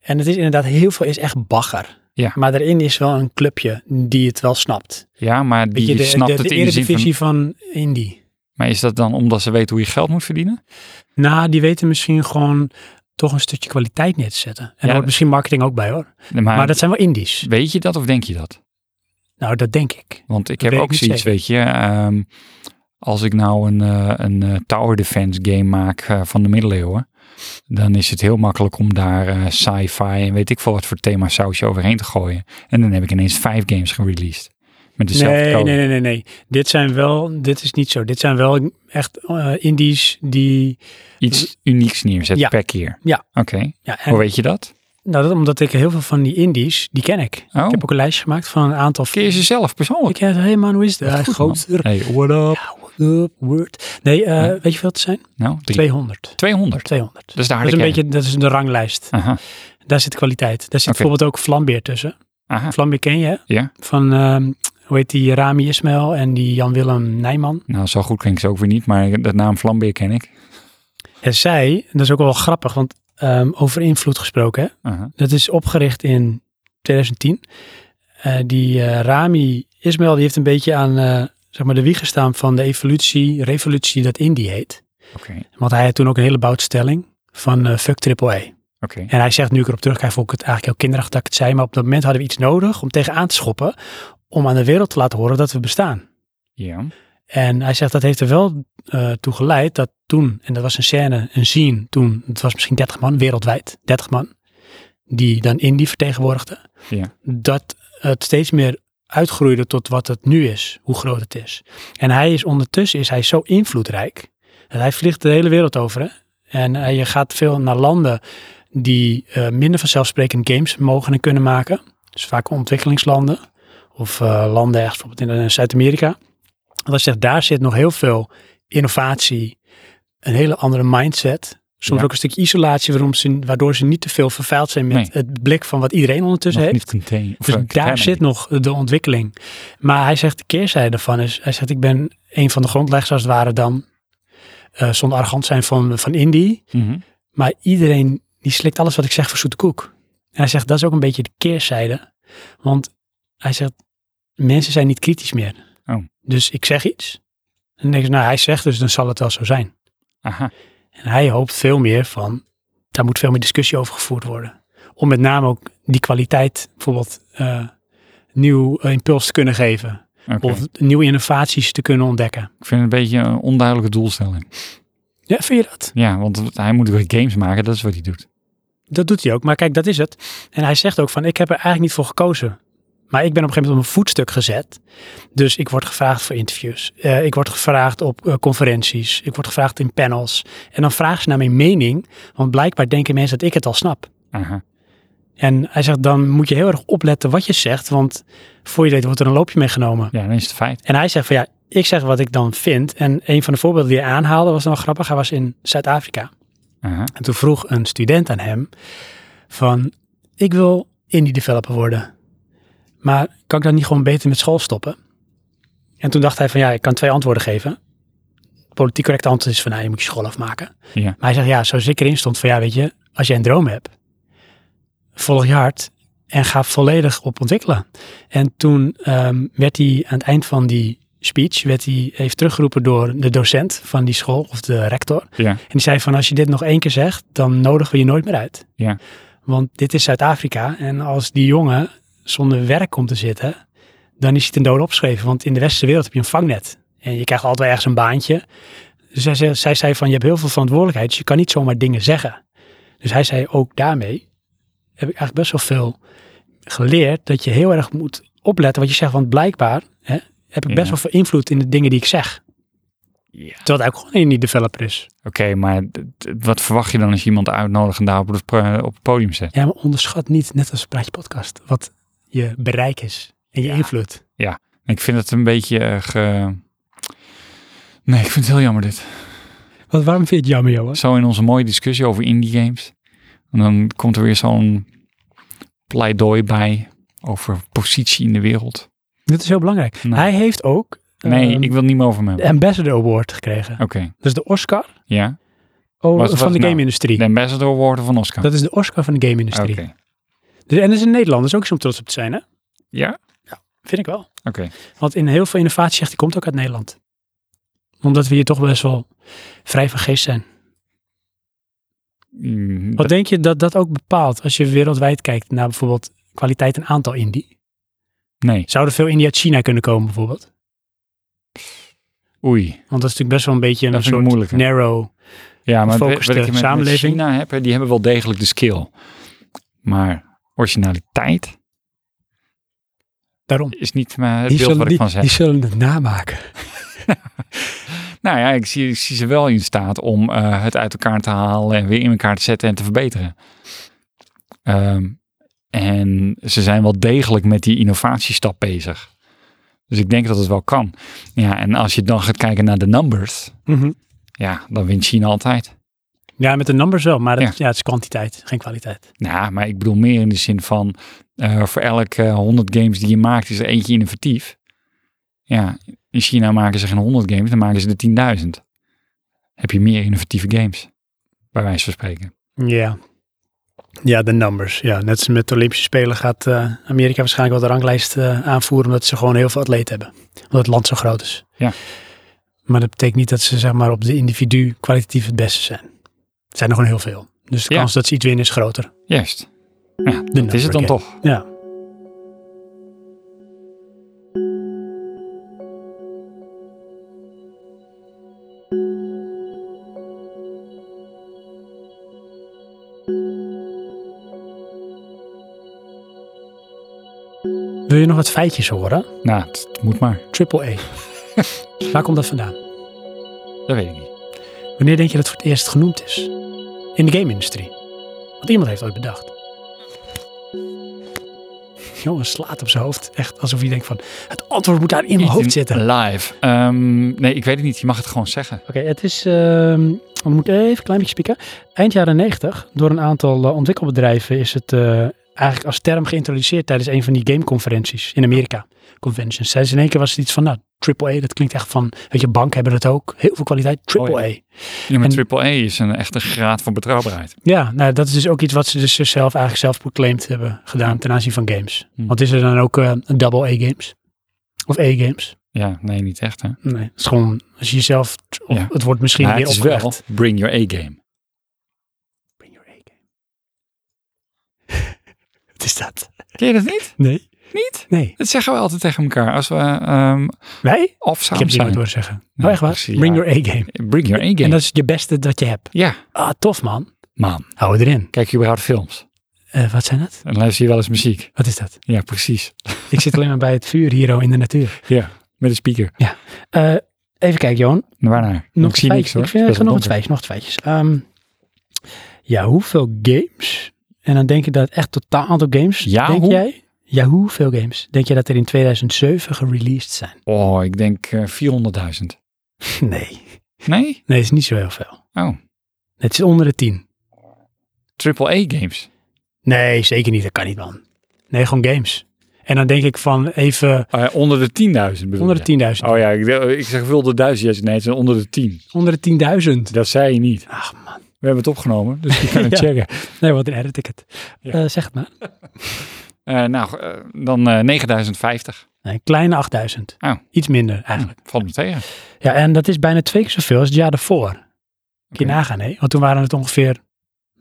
En het is inderdaad heel veel is echt bagger. Ja. Maar daarin is wel een clubje die het wel snapt. Ja, maar Weet die je, de, snapt de, het de in de zin van... eredivisie van... Indie. Maar is dat dan omdat ze weten hoe je geld moet verdienen? Nou, die weten misschien gewoon toch een stukje kwaliteit neer te zetten. En daar dat- hoort misschien marketing ook bij hoor. Nee, Maar, Maar, dat zijn wel indies. weet je dat of denk je dat? Nou, dat denk ik. Want ik Dat heb weet ook ik niet zoiets, zeker. weet je... ehm, als ik nou een, eh, een eh, tower defense game maak eh, van de middeleeuwen... dan is het heel makkelijk om daar eh, sci-fi en weet ik veel wat voor thema sausje overheen te gooien. En dan heb ik ineens vijf games gereleased. Met dezelfde Nee, nee, code. nee, nee, nee. Dit zijn wel, dit is niet zo. Dit zijn wel echt eh, indies die, Iets unieks neerzet Ja. per keer. Ja. Oké, ja, en- hoe weet je dat? nou, dat, omdat ik heel veel van die indies, die ken ik. Oh, Ik heb ook een lijstje gemaakt van een aantal. keer je ze zelf persoonlijk. Ik heb, hey man, hoe is dat? Wat goed, man. Groter. Hey, what up? Ja, what up, word. Nee, eh, Ja. weet je hoeveel het zijn? Nou, drie- 200. 200. 200. Dus daar Dat had is ik een beetje, dat is de ranglijst. Aha, Daar zit kwaliteit. Daar zit Oké. bijvoorbeeld ook Flambeer tussen. aha. Flambeer ken je, hè? Ja. Van, ehm, hoe heet die, Rami Ismail en die Jan-Willem Nijman. Nou, zo goed klink ik ze ook weer niet, maar de naam Vlambeer ken ik. En zij, dat is ook wel grappig, want ehm, over invloed gesproken, hè? Aha. Dat is opgericht in 2010. Eh, die eh, Rami Ismail die heeft een beetje aan eh, zeg maar de wieg gestaan van de evolutie, revolutie dat Indie heet. Oké, Want hij had toen ook een hele boutstelling van eh fuck AAA. oké. En hij zegt nu ik erop terugkijk, vond ik het eigenlijk heel kinderachtig dat ik het zei. Maar op dat moment hadden we iets nodig om tegenaan te schoppen. Om aan de wereld te laten horen dat we bestaan. Ja, En hij zegt dat heeft er wel eh, toe geleid dat toen, en dat was een scène, een scene toen, het was misschien 30 man wereldwijd, 30 man, die dan Indie vertegenwoordigden, Ja. dat het steeds meer uitgroeide tot wat het nu is, hoe groot het is. En hij is ondertussen is hij zo invloedrijk, dat hij vliegt de hele wereld over. Hè? En eh, je gaat veel naar landen die eh, minder vanzelfsprekend games mogen en kunnen maken. Dus vaak ontwikkelingslanden of eh, landen ergens bijvoorbeeld in eh, Zuid-Amerika. Want hij zegt, daar zit nog heel veel innovatie, een hele andere mindset Soms Ja. ook een stukje isolatie, waarom ze, waardoor ze niet te veel vervuild zijn met Nee. het blik van wat iedereen ondertussen nog heeft. niet contain. of, Dus eh, daar container. zit nog de ontwikkeling. Maar hij zegt, de keerzijde daarvan is, hij zegt, ik ben een van de grondleggers als het ware dan, eh, zonder arrogant zijn van, van Indie. Mhm. Maar iedereen die slikt alles wat ik zeg voor zoete koek. En hij zegt, dat is ook een beetje de keerzijde. Want hij zegt, mensen zijn niet kritisch meer. Oh. Dus ik zeg iets. En dan denk ik, nou hij zegt dus, dan zal het wel zo zijn. Aha. En hij hoopt veel meer van, daar moet veel meer discussie over gevoerd worden. Om met name ook die kwaliteit bijvoorbeeld eh, nieuw eh, impuls te kunnen geven. oké. Of nieuwe innovaties te kunnen ontdekken. Ik vind het een beetje een onduidelijke doelstelling. Ja, vind je dat? Ja, want hij moet weer games maken, dat is wat hij doet. Dat doet hij ook, maar kijk, dat is het. En hij zegt ook van, ik heb er eigenlijk niet voor gekozen. Maar ik ben op een gegeven moment op mijn voetstuk gezet. Dus ik word gevraagd voor interviews. Eh, ik word gevraagd op eh, conferenties. Ik word gevraagd in panels. En dan vragen ze naar mijn mening. Want blijkbaar denken mensen dat ik het al snap. Aha. En hij zegt, dan moet je heel erg opletten wat je zegt. Want voor je weet wordt er een loopje meegenomen. Ja, dan is het feit. En hij zegt van, ja, ik zeg wat ik dan vind. En een van de voorbeelden die hij aanhaalde was wel grappig. Hij was in Zuid-Afrika. Aha. En toen vroeg een student aan hem van, ik wil indie developer worden. Maar kan ik dan niet gewoon beter met school stoppen? En toen dacht hij van, ja, ik kan twee antwoorden geven. Het politiek correcte antwoord is van, nou, je moet je school afmaken. Ja. Maar hij zegt, ja, zoals ik erin stond van, ja, weet je, als jij een droom hebt, volg je hart en ga volledig op ontwikkelen. En toen ehm, werd hij aan het eind van die speech, werd hij even teruggeroepen door de docent van die school of de rector. Ja. En die zei van, als je dit nog één keer zegt, dan nodigen we je nooit meer uit. Ja. Want dit is Zuid-Afrika en als die jongen zonder werk komt te zitten, dan is hij ten dode opgeschreven. Want in de westerse wereld heb je een vangnet en je krijgt altijd ergens een baantje. Dus zij, zei- zij zei van, je hebt heel veel verantwoordelijkheid, dus je kan niet zomaar dingen zeggen. Dus hij zei, ook daarmee heb ik eigenlijk best wel veel geleerd dat je heel erg moet opletten wat je zegt. Want blijkbaar hè, heb ik best Ja. wel veel invloed in de dingen die ik zeg. Ja. Terwijl het ook gewoon een die developer is. Oké, maar d- d- wat verwacht je dan als je iemand uitnodigt en daar op het, pro- op het podium zet? Ja, maar onderschat niet, net als Praatje Podcast, wat je bereik is en je Ja. invloed. Ik vind het een beetje eh, ge- Nee, ik vind het heel jammer dit. Wat, waarom vind je het jammer, Johan? Zo in onze mooie discussie over indie games. En dan komt er weer zo'n pleidooi bij over positie in de wereld. Dit is heel belangrijk. Nee. Hij heeft ook Nee, ehm, ik wil het niet meer over me de hebben. Ambassador Award gekregen. Oké, Dat is de Oscar ja. o- Wat- van wat de nou? game-industrie. De ambassador worden van Oscar. Dat is de Oscar van de game-industrie. Ah, Oké, Dus, en dat is in Nederland, dat is ook iets om trots op te zijn, hè? ja? Vind ik wel. Oké, Want in heel veel innovatie zegt, die komt ook uit Nederland. Omdat we hier toch best wel vrij van geest zijn. Mm, Wat denk je dat dat ook bepaalt als je wereldwijd kijkt naar bijvoorbeeld kwaliteit en aantal indie? nee, Zou er veel indie uit China kunnen komen bijvoorbeeld? oei. Want dat is natuurlijk best wel een beetje Dat een vind ik soort moeilijker. narrow. Ja, maar wat- wat gefocuste ik met- met eh, samenleving. China heb, hè, die hebben wel degelijk de skill. Maar originaliteit Daarom. is niet eh, het beeld wat ik van zeg. zullen het namaken. Nou ja, ik zie, ik zie ze wel in staat om eh, het uit elkaar te halen en weer in elkaar te zetten en te verbeteren. Ehm, en ze zijn wel degelijk met die innovatiestap bezig. Dus ik denk dat het wel kan. Ja, en als je dan gaat kijken naar de numbers, ja, dan wint China altijd. Mhm. Ja, met de numbers wel, maar dat, Ja. ja. het is kwantiteit, geen kwaliteit. Nou, maar ik bedoel meer in de zin van eh, voor elke 100 games die je maakt is er eentje innovatief. Ja, in China maken ze geen 100 games, dan maken ze er 10.000. Heb je meer innovatieve games, bij wijze van spreken. Ja. Ja, de numbers. Ja, net als met de Olympische Spelen gaat eh, Amerika waarschijnlijk wel de ranglijst eh, aanvoeren omdat ze gewoon heel veel atleten hebben. Omdat het land zo groot is. Ja. Maar dat betekent niet dat ze zeg maar op de individu kwalitatief het beste zijn. Er zijn er gewoon heel veel. Dus de Ja. kans dat ze iets winnen is groter. Juist. Ja, dat number is het dan game. toch. Ja. Wil je nog wat feitjes horen? Nou, het, het moet maar. Triple E. Waar komt dat vandaan? Dat weet ik niet. Wanneer denk je dat het voor het eerst genoemd is? In de game-industrie. Want iemand heeft ooit bedacht. jongen slaat op zijn hoofd. Echt alsof hij denkt van, het antwoord moet daar in mijn hoofd zitten. Oké, Live. Ehm, nee, ik weet het niet. Je mag het gewoon zeggen. het is, ehm we moeten even een klein beetje spieken. Eind jaren 90 door een aantal eh, ontwikkelbedrijven is het eh, eigenlijk als term geïntroduceerd tijdens een van die gameconferenties in Amerika. Conventions. Tijdens in één keer was het iets van, nou, AAA, dat klinkt echt van, weet je, banken hebben dat ook. Heel veel kwaliteit, AAA. Oh Ja, maar En- AAA is een echte graad van betrouwbaarheid. Ja, nou, dat is dus ook iets wat ze dus zelf eigenlijk zelf proclaimed hebben gedaan ten aanzien van games. Hm. Want is er dan ook eh, een double A-games? Of A-games? Ja, nee, niet echt hè. Nee, het is gewoon als je jezelf, of Ja. het wordt misschien Maar weer het is opgelegd. wel bring your A-game. Bring your A-game. *laughs* Wat is dat? Ken je dat niet? Nee. Niet? Nee. Dat zeggen we altijd tegen elkaar als we ehm Wij? off Ik heb het samen nooit zijn. horen zeggen. Nee, oh, echt waar? precies, Bring ja. your A-game. Bring your En A-game. dat is je beste dat je hebt. Ja, Ah, tof man. man. Hou het erin. Kijk je überhaupt films? Eh, wat zijn dat? En luister je wel eens muziek? Wat is dat? Ja, precies. *laughs* Ik zit alleen maar bij het vuur hier oh, in de natuur. Ja, met een speaker. Eh, even kijken, Johan. Waarnaar? Nog ik zie twee- niks hoor. Ik vind Het is eigenlijk nog best het wel feitje, nog het feitjes. Ehm, ja, hoeveel games? En dan denk je dat echt totaal aantal games. Ja, denk hoe? jij? Ja, hoeveel games? Denk je dat er in 2007 gereleased zijn? donker. Oh, ik denk eh 400.000. Nee. *laughs* Nee? Nee, is niet zo heel veel. Oh, Het is onder de 10. AAA games. Nee, zeker niet. Dat kan niet, man. Nee, gewoon games. En dan denk ik van even Eh, onder de 10.000 bedoel onder je? de 10.000. Oh ja, ik, ik zeg veel de duizend. Nee, het zijn onder de 10. Onder de 10.000. Dat zei je niet. Ach, man. We hebben het opgenomen, dus je kan *laughs* Ja. het checken. Nee, wat een edit ik het. Ja. Eh, zeg het maar. Eh, nou, eh, dan eh 9050. Nee, kleine 8000. Oh. Iets minder eigenlijk. Hm, valt me tegen. Ja, en dat is bijna twee keer zoveel als het jaar daarvoor. Kun je Oké. nagaan, hè? Want toen waren het ongeveer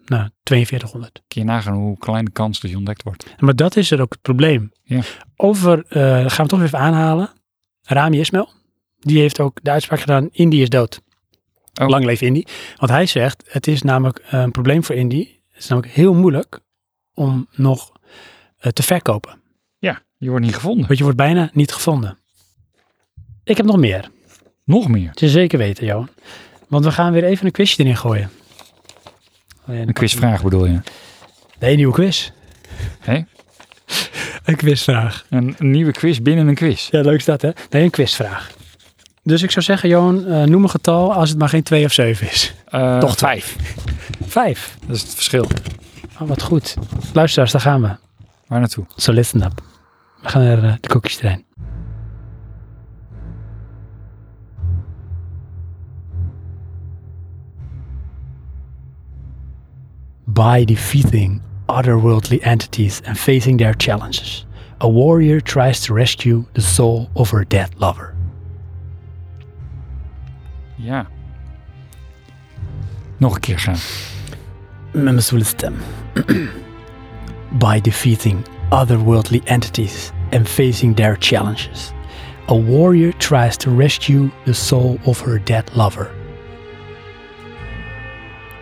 nou, 4200. Kun je nagaan hoe klein de kans dat je ontdekt wordt. Maar dat is er ook het probleem. Ja. Over, eh, gaan we toch even aanhalen, Rami Ismail. Die heeft ook de uitspraak gedaan, Indy is dood. Oh. Lang leef Indy. Want hij zegt, het is namelijk eh, een probleem voor Indy. Het is namelijk heel moeilijk om nog eh, te verkopen. Ja, je wordt niet gevonden. Want je wordt bijna niet gevonden. Ik heb nog meer. Nog meer. Het is zeker weten, Johan. Want we gaan weer even een quizje erin gooien. Oh ja, Een quizvraag bedoel je? Nee, een nieuwe quiz. Hé? Een quizvraag. Een, een nieuwe quiz binnen een quiz. Ja, leuk is dat, hè? Nee, een quizvraag. Dus ik zou zeggen, Johan, eh, noem een getal als het maar geen 2 of 7 is. Eh, Toch vijf. Vijf. Dat is het verschil. Oh, wat goed. Luisteraars, daar gaan we. Waar naartoe? So listen up. We gaan naar eh, de koekjestrein. By defeating otherworldly entities and facing their challenges, a warrior tries to rescue the soul of her dead lover. Ja. Nog een keer gaan. Met mijn zwoele stem. *clears throat* By defeating otherworldly entities and facing their challenges, a warrior tries to rescue the soul of her dead lover.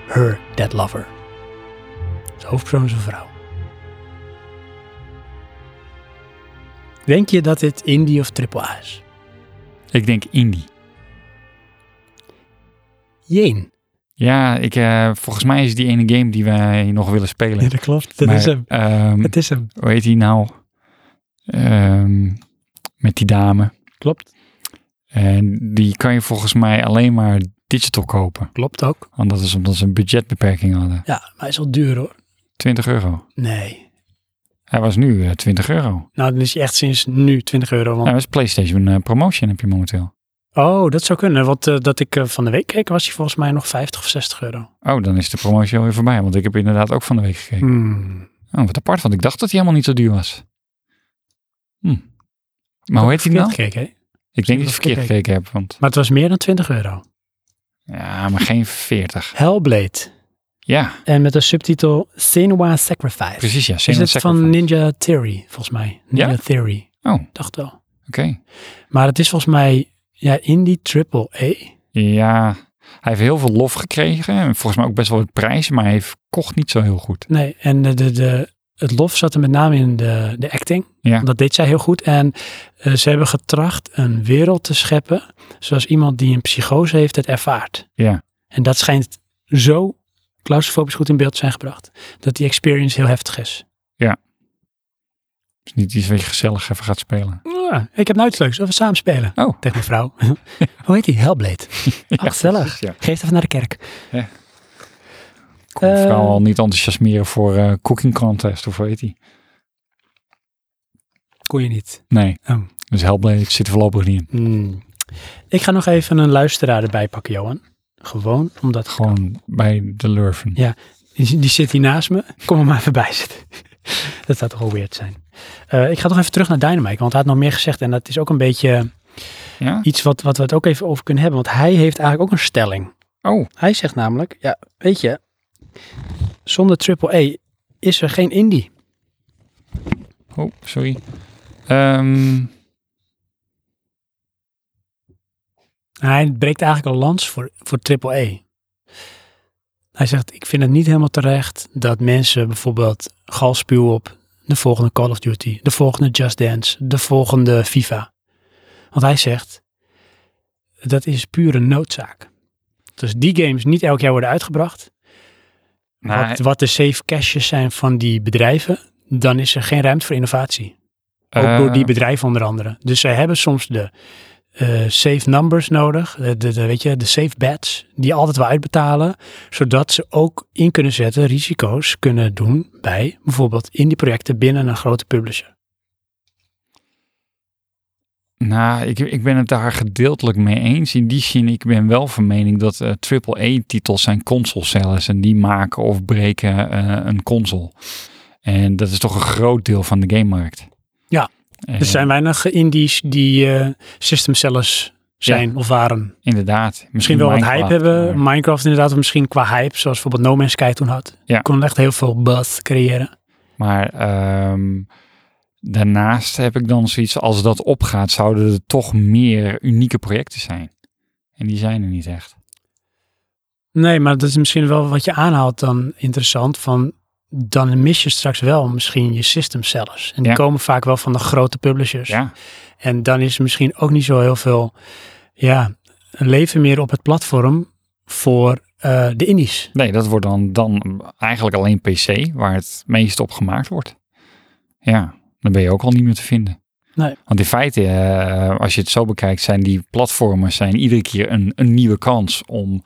Her dead lover. De hoofdpersoon is een vrouw. Denk je dat dit indie of AAA is? Ik denk indie. Jeen. Ja, ik, eh, volgens mij is die ene game die wij nog willen spelen. dat klopt. Maar, ehm, is hem. hoe heet die nou? Ehm, met die dame. Klopt. En die kan je volgens mij alleen maar digital kopen. Klopt ook. Want dat is omdat ze een budgetbeperking hadden. Ja, maar hij is al duur hoor. 20 euro. Nee. Hij was nu eh, 20 euro. Nou, dan is hij echt sinds nu 20 euro. Want... Hij was PlayStation eh, Promotion heb je momenteel. Oh, dat zou kunnen. Want eh, dat ik eh, van de week keek, was hij volgens mij nog 50 of 60 euro. Oh, dan is de promotie alweer voorbij. Want ik heb inderdaad ook van de week gekeken. Hmm. Hm. Oh, wat apart, want ik dacht dat hij helemaal niet zo duur was. Hm. Maar hoe heet hij Verkeerd nou? gekeken, hè? Ik denk dat ik verkeerd Verkeerd gekeken heb. Want, Maar het was meer dan 20 euro. ja, maar geen 40. Hellblade. Ja, En met de subtitel Senua Sacrifice. precies ja. Is Senua's het van Sacrifice. Ninja Theory, volgens mij. Ninja Ja? Theory. Oh, oké. Dacht wel. Maar het is volgens mij ja, Indie Triple E. Ja, hij heeft heel veel lof gekregen. En volgens mij ook best wel wat prijs, maar hij heeft kocht niet zo heel goed. Nee, en de, de, de, het lof zat er met name in de, de acting. Ja. Dat deed zij heel goed. En eh, ze hebben getracht een wereld te scheppen zoals iemand die een psychose heeft het ervaart. Ja. En dat schijnt zo claustrofobisch goed in beeld te zijn gebracht. Dat die experience heel heftig is. Ja. is Dus niet iets wat je gezellig even gaat spelen. Ja, ik heb nou iets leuks. Zullen we samen spelen? Oh. Tegen mijn vrouw. *laughs* Hoe heet die? *laughs* Hellblade. Ach, gezellig. precies, ja. Geef even naar de kerk. Kom Eh. vooral al niet enthousiasmeren voor eh, cooking contest of hoe heet die? Kon je niet. Nee. Oh. Dus Hellblade zit er voorlopig niet in. Hmm. Ik ga nog even een luisteraar erbij pakken, Johan. Gewoon omdat... Gewoon bij de Lurven. Ja, die, die zit hier naast me. Kom er maar even bij zitten. *laughs* dat zou toch wel weird zijn. Eh, ik ga toch even terug naar Dynamite, want hij had nog meer gezegd. En dat is ook een beetje Ja? iets wat, wat we het ook even over kunnen hebben. Want hij heeft eigenlijk ook een stelling. Oh, Hij zegt namelijk, ja, weet je, zonder triple E is er geen indie. oh sorry. Ehm, Hij breekt eigenlijk een lans voor, voor triple E. Hij zegt, ik vind het niet helemaal terecht dat mensen bijvoorbeeld gal spuwen op de volgende Call of Duty, de volgende Just Dance, de volgende FIFA. Want hij zegt, dat is pure noodzaak. Dus die games niet elk jaar worden uitgebracht, nou, wat, wat de safe caches zijn van die bedrijven, dan is er geen ruimte voor innovatie. Ook eh, door die bedrijven onder andere. Dus zij hebben soms de eh, safe numbers nodig, de, de, de- weet je, de safe bets, die altijd wel uitbetalen, zodat ze ook in kunnen zetten, risico's kunnen doen bij bijvoorbeeld in die projecten binnen een grote Mhm. publisher. Nou, ik, ik ben het daar gedeeltelijk mee eens. In die zin, ik ben wel van mening dat eh AAA-titels zijn consolecellers en die maken of breken eh, een console. En dat is toch een groot deel van de gamemarkt. Eh, Ja. En Dus Er zijn weinig indies die eh, system sellers zijn of waren. Inderdaad. Misschien wel wat hype Minecraft, hebben. maar- Minecraft inderdaad, of misschien qua hype, zoals bijvoorbeeld No Man's Sky toen had. Ja. Kon echt heel veel buzz creëren. Maar ehm, daarnaast heb ik dan zoiets, als dat opgaat, zouden er toch meer unieke projecten zijn. En die zijn er niet echt. Nee, maar dat is misschien wel wat je aanhaalt dan interessant. Van, dan mis je straks wel misschien je system sellers. En die Ja. komen vaak wel van de grote publishers. Ja, En dan is er misschien ook niet zo heel veel ja, leven meer op het platform voor eh, de indies. nee, dat wordt dan, dan eigenlijk alleen PC, waar het meest op gemaakt wordt. Ja, dan ben je ook al niet meer te vinden. Nee. Want in feite, eh, als je het zo bekijkt, zijn die platformen zijn iedere keer een, een nieuwe kans om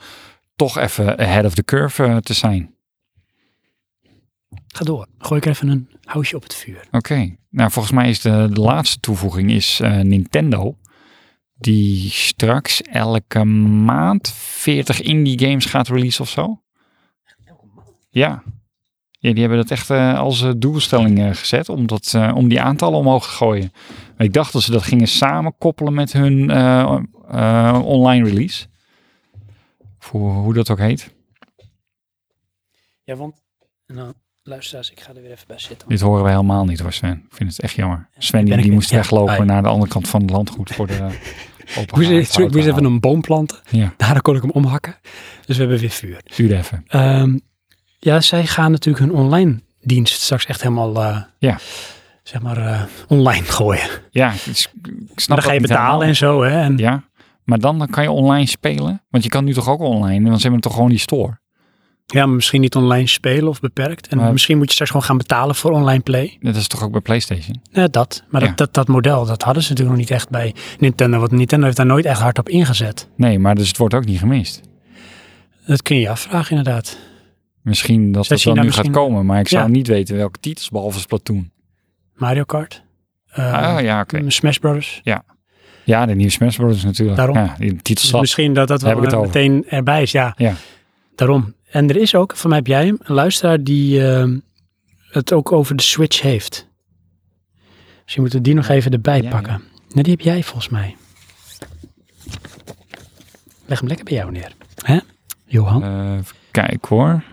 toch even ahead of the curve eh, te zijn. Ga door. Gooi ik er even een houtje op het vuur. Oké. Nou, volgens mij is de, de laatste toevoeging is eh, Nintendo. Die straks elke maand 40 indie games gaat releasen of zo. Ja. ja die hebben dat echt eh, als eh, doelstelling eh, gezet. Om, dat, eh, om die aantallen omhoog te gooien. Maar ik dacht dat ze dat gingen samen koppelen met hun eh, eh, online release. Voor hoe dat ook heet. Ja, want nou, luisteraars, ik ga er weer even bij zitten. Dit horen we helemaal niet hoor, Sven. Ik vind het echt jammer. Sven die, ben ik die weer. moest Ja, weglopen bye. naar de andere kant van het landgoed *laughs* voor de eh, open. moest, eerst- ik moest even een boom planten. Ja, Daarna kon ik hem omhakken. Dus we hebben weer vuur. duurde even. Ehm, ja, zij gaan natuurlijk hun online dienst straks echt helemaal, eh, Ja. zeg maar, eh, online gooien. Ja, ik, ik snap Maar dan dat ga je niet betalen helemaal. en zo, hè. En, Ja, maar dan, dan kan je online spelen. Want je kan nu toch ook online, want ze hebben toch gewoon die store. ja, maar misschien niet online spelen of beperkt. En Maar- misschien moet je straks gewoon gaan betalen voor online play. Dat is toch ook bij PlayStation? Ja, dat. Maar Ja. dat, dat, dat model, dat hadden ze natuurlijk nog niet echt bij Nintendo. Want Nintendo heeft daar nooit echt hard op ingezet. Nee, maar dus het wordt ook niet gemist. Dat kun je je afvragen, inderdaad. Misschien Zou dat dat wel China nu misschien- gaat komen, maar ik zou Ja. niet weten welke titels, behalve Splatoon. Mario Kart. eh, ah ja, oké. Smash Brothers. Ja, de nieuwe Smash Bros. natuurlijk. Daarom. Ja, die titels. Dus misschien dat dat Daar wel heb ik het eh, over. meteen erbij is. Ja, Ja. daarom. En er is ook, van mij heb jij hem, een luisteraar die ehm, het ook over de Switch heeft. Dus Misschien moeten we die nog even erbij ja. pakken. Nee, die heb jij volgens mij. Leg hem lekker bij jou neer. Hè? Johan? Eh, even kijken hoor.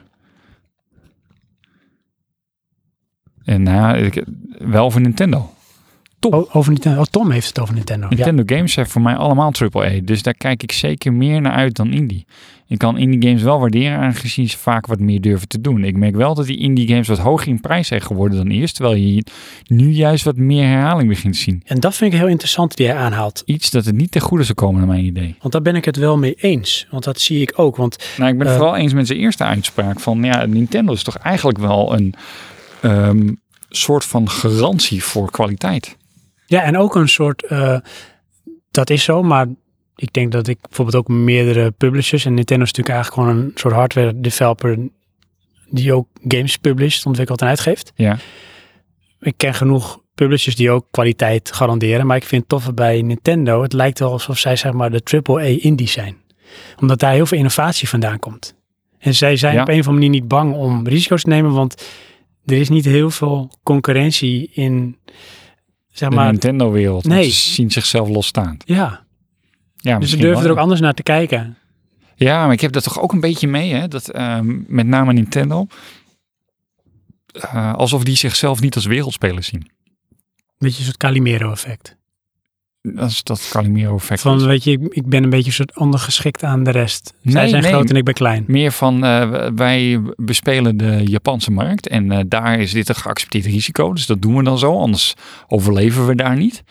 En nou, ik, wel voor Nintendo. O- over Nintendo. Oh, Tom heeft het over Nintendo. Ja. Nintendo games zijn voor mij allemaal AAA. Dus daar kijk ik zeker meer naar uit dan indie. Ik kan indie games wel waarderen aangezien ze vaak wat meer durven te doen. Ik merk wel dat die indie games wat hoger in prijs zijn geworden dan eerst. Terwijl je nu juist wat meer herhaling begint te zien. En dat vind ik heel interessant die hij aanhaalt. Iets dat het niet ten goede zou komen naar mijn idee. Want daar ben ik het wel mee eens. Want dat zie ik ook. Want Nou, ik ben het Eh, vooral eens met zijn eerste uitspraak van ja, Nintendo is toch eigenlijk wel een ehm, soort van garantie voor kwaliteit. Ja, en ook een soort, eh, dat is zo, maar ik denk dat ik bijvoorbeeld ook meerdere publishers, en Nintendo is natuurlijk eigenlijk gewoon een soort hardware developer die ook games publisht, ontwikkelt en uitgeeft. Ja. Ik ken genoeg publishers die ook kwaliteit garanderen, maar ik vind het toffe bij Nintendo, het lijkt wel alsof zij zeg maar de AAA indie zijn. Omdat daar heel veel innovatie vandaan komt. En zij zijn Ja. op een of andere manier niet bang om risico's te nemen, want er is niet heel veel concurrentie in, zeg De maar, Nintendo-wereld. Nee. Nee. Ze zien zichzelf losstaand. ja. Ja, Dus ze misschien durven wel, er ja. ook anders naar te kijken. Ja, maar ik heb dat toch ook een beetje mee, hè? Dat ehm, met name Nintendo. eh, alsof die zichzelf niet als wereldspeler zien. Beetje een soort Calimero-effect. Dat is dat Calimero-effect. Van, is. weet je, ik, ik ben een beetje een soort ondergeschikt aan de rest. Zij Nee, zijn nee. groot en ik ben klein. Meer van, eh, wij bespelen de Japanse markt en eh, daar is dit een geaccepteerd risico. Dus dat doen we dan zo, anders overleven we daar niet.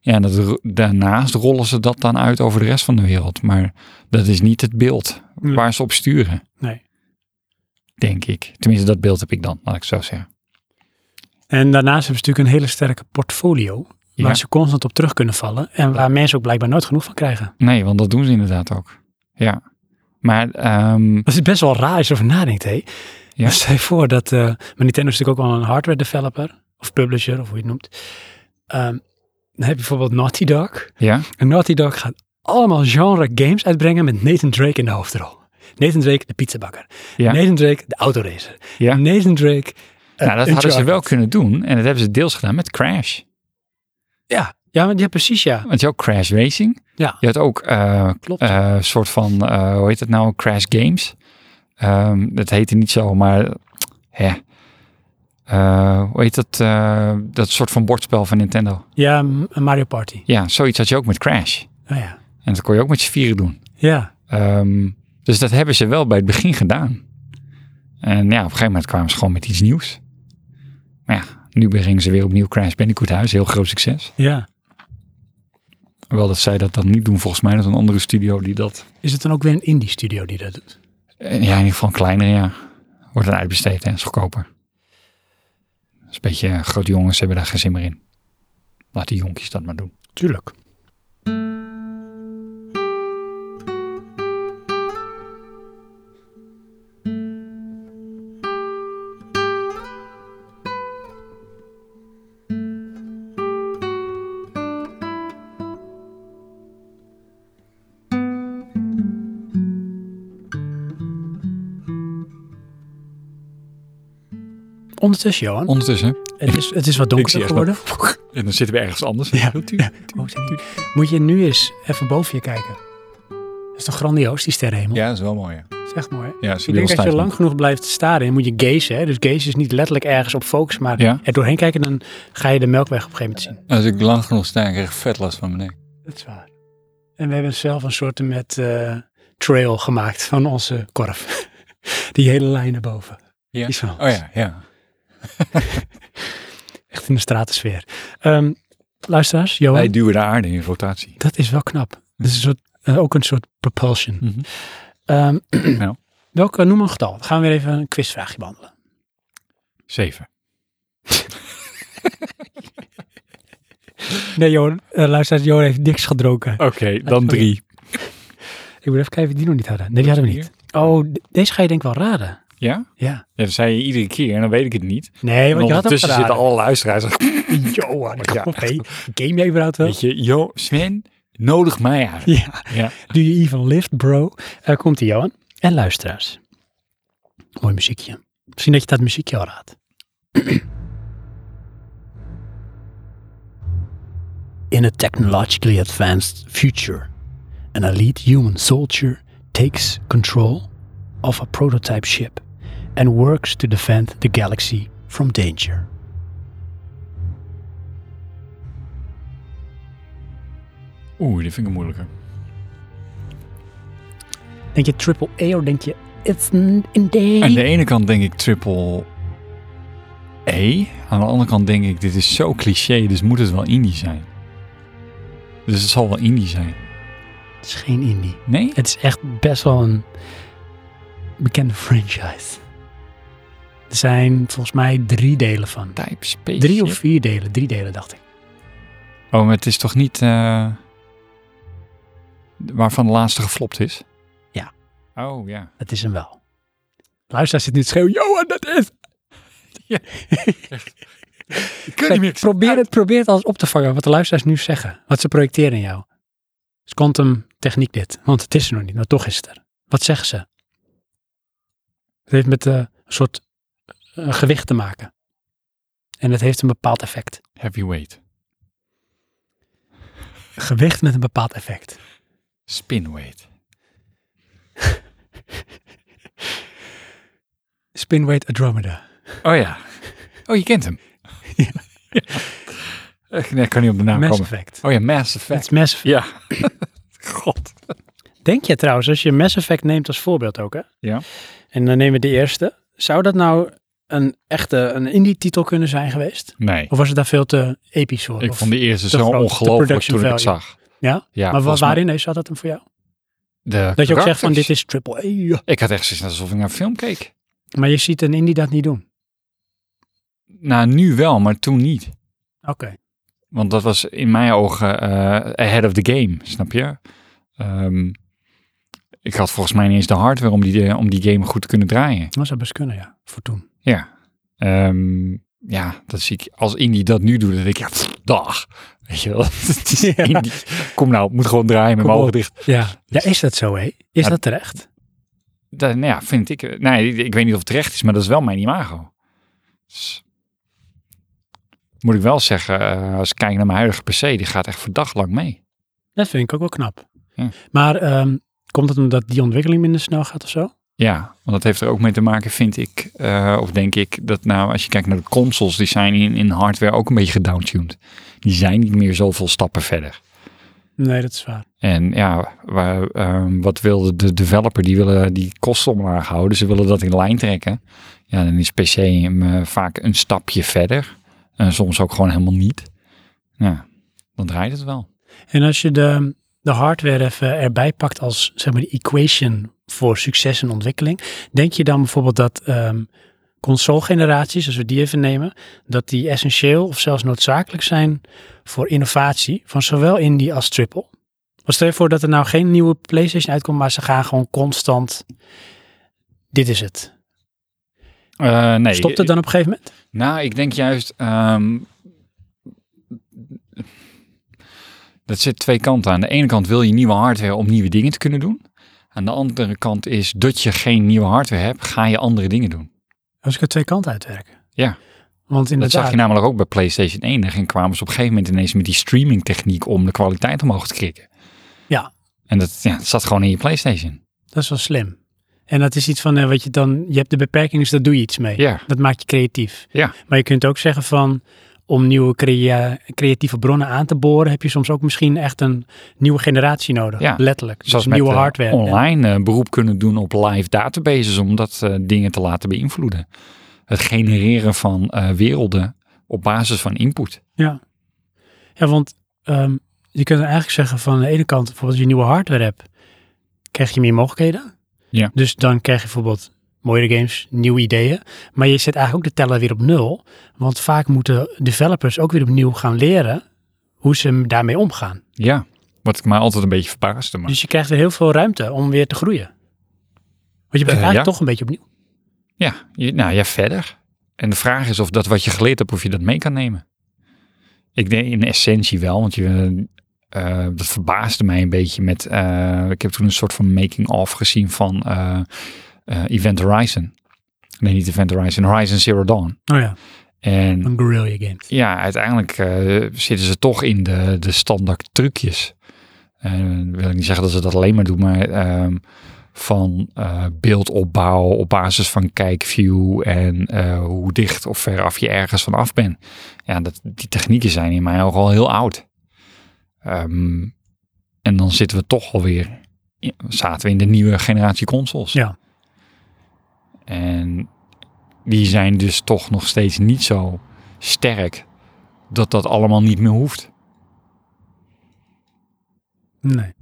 Ja, en dat, ro- daarnaast rollen ze dat dan uit over de rest van de wereld. Maar dat is niet het beeld Nee. waar ze op sturen. Nee. Denk ik. Tenminste, dat beeld heb ik dan, laat ik het zo zeggen. En daarnaast hebben ze natuurlijk een hele sterke portfolio. Ja. Waar ze constant op terug kunnen vallen. En waar mensen ook blijkbaar nooit genoeg van krijgen. Nee, want dat doen ze inderdaad ook. Ja. Maar ehm, Dat is best wel raar als je erover nadenkt, hé. Ja. Maar Stel je voor dat... eh maar Nintendo is natuurlijk ook wel een hardware developer. Of publisher, of hoe je het noemt. Ehm, dan heb je bijvoorbeeld Naughty Dog. ja, En Naughty Dog gaat allemaal genre games uitbrengen met Nathan Drake in de hoofdrol. Nathan Drake, de pizzabakker. Ja. Nathan Drake, de autoracer. Ja. Nathan Drake. eh, nou, dat hadden ze Uncharted. wel kunnen doen. En dat hebben ze deels gedaan met Crash. Ja, ja, maar- ja precies ja. Want je had ook Crash Racing. Ja. Je had ook eh, Klopt. eh, soort van, eh, hoe heet het nou, Crash Games. Ehm dat heette niet zo, maar hè. Eh, hoe heet dat, eh, dat soort van bordspel van Nintendo? ja, m- Mario Party. Ja, zoiets had je ook met Crash. Oh, ja. En dat kon je ook met z'n vieren doen. ja, Ehm, dus dat hebben ze wel bij het begin gedaan. En ja, op een gegeven moment kwamen ze gewoon met iets nieuws. Maar ja, nu brengen ze weer opnieuw Crash Bandicoot huis. Heel groot succes. ja. Wel dat zij dat dan niet doen volgens mij. Dat is een andere studio die dat Is het dan ook weer een indie studio die dat doet? Eh, Ja, in ieder geval een kleiner, ja. Wordt dan uitbesteed, hè. Is goedkoper. Dat is een beetje... eh, grote jongens hebben daar geen zin meer in. Laat die jonkjes dat maar doen. Tuurlijk. Ondertussen, Johan, Ondertussen... het is, het is wat Ik zie donkerder echt geworden. *laughs* En dan zitten we ergens anders. Ja. Oh, zijn die- Moet je nu eens even boven je kijken. Dat is toch grandioos, die sterrenhemel? dat is wel mooi, ja. Dat is echt mooi, hè? Ja, is Ik denk dat je lang genoeg blijft staren en moet je gazen. Hè? Dus gazen is niet letterlijk ergens op focussen, maar Ja. er doorheen kijken, dan ga je de melkweg op een gegeven moment zien. Als ik lang genoeg sta, krijg ik vet last van mijn nek. Dat is waar. En we hebben zelf een soort met eh, trail gemaakt van onze korf. *laughs* Die hele lijn naar boven. Ja. Die is van Oh ja, ja. Echt in de stratosfeer. Ehm luisteraars, Johan, Wij duwen de aarde in rotatie. dat is wel knap. Dat is een soort, eh, ook een soort propulsion. Mhm. *clears throat* Ehm, Nou. Welke, noem een getal. Dan gaan we weer even een quizvraagje behandelen. Zeven. Nee, Johan, eh, luisteraars, Johan heeft niks gedronken. Oké, dan drie. Ik moet even kijken of we die nog niet hadden. Nee, die hadden we niet. Oh, de- deze ga je denk ik wel raden. Ja? Ja. Ja, dat zei je iedere keer en dan weet ik het niet. Nee, En want je had hem ondertussen geraden. zitten alle luisteraars. *laughs* Johan, Ja. kom op, hé. Game jij überhaupt wel? Weet je, joh, Sven, nodig mij uit. Ja. Ja. Do you even lift, bro? Eh komt die Johan. En luisteraars. Mooi muziekje. Misschien dat je dat muziekje al raadt. *clears throat* In a technologically advanced future, an elite human soldier takes control of a prototype ship and works to defend the galaxy from danger. Oeh, die vind ik moeilijker. Denk je triple A of denk je it's n- in day? Aan de ene kant denk ik triple E. Aan de andere kant denk ik, dit is zo cliché, dus moet het wel indie zijn. Dus het zal wel indie zijn. Het is geen indie. Nee? Het is echt best wel een bekende franchise. Er zijn volgens mij drie delen van. Type space. Drie of vier delen. Drie delen, dacht ik. Oh, maar het is toch niet eh, waarvan de laatste geflopt is? Ja. Oh ja. Dat is hem wel. Luisteraar zit nu te schreeuwen. Johan, dat is... Ik kan niet meer. Probeer het, probeer het alles op te vangen. Wat de luisteraars nu zeggen. Wat ze projecteren in jou. Het is quantum techniek dit. Want het is er nog niet. Maar toch is het er. Wat zeggen ze? Het heeft met eh, een soort eh, gewicht te maken. En het heeft een bepaald effect. Heavyweight. Gewicht met een bepaald effect. Spinweight. Spinweight Andromeda. Oh ja. Oh, je kent *laughs* hem. Echt, Nee, ik kan niet op de naam Mass komen. Effect. Oh ja, Mass Het Effect. is Mass Effect. Ja. *laughs* God. Denk je trouwens, als je Mass Effect neemt als voorbeeld ook, hè? Ja. En dan nemen we de eerste. Zou dat nou een echte, een indie-titel kunnen zijn geweest? Nee. Of was het daar veel te episch voor? Ik Of- vond de eerste te zo groot, de ongelooflijk production toen ik het value. zag. Ja? Ja, maar wa- volgens mij- waarin is, zat dat hem voor jou? De Dat je ook zegt van karakters. dit is triple A. ja. Ik had echt zoiets alsof ik naar een film keek. Maar je ziet een indie dat niet doen. Nou, nu wel, maar toen niet. Oké. Want dat was in mijn ogen eh, ahead of the game, snap je? Ehm, ik had volgens mij niet eens de hardware om die, eh, om die game goed te kunnen draaien. Dat zou best kunnen, ja. Voor toen. Ja. Ehm, ja, dat zie ik. Als Indie dat nu doet, dan denk ik, ja, pff, dag. Weet je wel, *laughs* het is Ja. Indie. Kom nou, moet gewoon draaien met Kom mijn op. ogen dicht. Ja. Ja, is dat zo, hé? Is Ja. dat terecht? Dat, nou ja, vind ik. eh, Nee, ik weet niet of het terecht is, maar dat is wel mijn imago. Dus, moet ik wel zeggen, eh, als ik kijk naar mijn huidige PC, die gaat echt voor dag lang mee. Dat vind ik ook wel knap. Ja. Maar ehm, komt het omdat die ontwikkeling minder snel gaat of zo? Ja, want dat heeft er ook mee te maken, vind ik, eh, of denk ik, dat nou, als je kijkt naar de consoles, die zijn in, in hardware ook een beetje gedowntuned. Die zijn niet meer zoveel stappen verder. Nee, dat is waar. En ja, waar, ehm, wat wilde de developer? Die willen die kosten omlaag houden. Ze willen dat in lijn trekken. Ja, dan is PC hem eh, vaak een stapje verder. En soms ook gewoon helemaal niet. Ja, dan draait het wel. En als je de, de hardware even erbij pakt als zeg maar de equation voor succes en ontwikkeling, denk je dan bijvoorbeeld dat ehm console-generaties, als we die even nemen, dat die essentieel of zelfs noodzakelijk zijn voor innovatie van zowel indie als triple? Want stel je voor dat er nou geen nieuwe PlayStation uitkomt, maar ze gaan gewoon constant. Dit is het. Eh, nee, Stopt het dan op een gegeven moment? Nou, ik denk juist. ehm, dat zit twee kanten aan. Aan de ene kant wil je nieuwe hardware om nieuwe dingen te kunnen doen. Aan de andere kant is dat je geen nieuwe hardware hebt, ga je andere dingen doen. Als ik er twee kanten uitwerk. Ja. Want Dat zag inderdaad, je namelijk ook bij PlayStation 1. Daar ging- kwamen ze op een gegeven moment ineens met die streaming techniek om de kwaliteit omhoog te krikken. Ja. En dat, ja, dat zat gewoon in je PlayStation. dat is wel slim. En dat is iets van, eh, wat je dan, je hebt de beperking, dus daar doe je iets mee. Ja. Dat maakt je creatief. Ja. Maar je kunt ook zeggen van, om nieuwe crea- creatieve bronnen aan te boren, heb je soms ook misschien echt een nieuwe generatie nodig. Ja. Letterlijk. Zoals dus met nieuwe eh, hardware. online eh, beroep kunnen doen op live databases om dat eh, dingen te laten beïnvloeden. Het genereren van eh, werelden op basis van input. Ja, ja want ehm, je kunt eigenlijk zeggen van aan de ene kant, bijvoorbeeld als je nieuwe hardware hebt, krijg je meer mogelijkheden. Ja. Dus dan krijg je bijvoorbeeld mooiere games, nieuwe ideeën. Maar je zet eigenlijk ook de teller weer op nul. Want vaak moeten developers ook weer opnieuw gaan leren hoe ze daarmee omgaan. Ja, wat ik mij altijd een beetje verbaasde. Maar Dus je krijgt weer heel veel ruimte om weer te groeien. Want je bent Eh, eigenlijk ja. toch een beetje opnieuw. ja, je- nou ja, verder. En de vraag is of dat wat je geleerd hebt, of je dat mee kan nemen. Ik denk in essentie wel, want je, eh, dat verbaasde mij een beetje met... eh, ik heb toen een soort van making-of gezien van eh, eh, Event Horizon. Nee, niet Event Horizon, Horizon Zero Dawn. Oh ja, En een guerrilla game. ja, uiteindelijk eh, zitten ze toch in de, de standaard trucjes. Eh, wil ik niet zeggen dat ze dat alleen maar doen, maar ehm, van eh, beeldopbouw op basis van kijkview en eh, hoe dicht of veraf je ergens van af bent. Ja, dat, die technieken zijn in mijn ogen al heel oud. Ehm, en dan zitten we toch alweer, ja, zaten we in de nieuwe generatie consoles. Ja. En die zijn dus toch nog steeds niet zo sterk dat dat allemaal niet meer hoeft. Nee.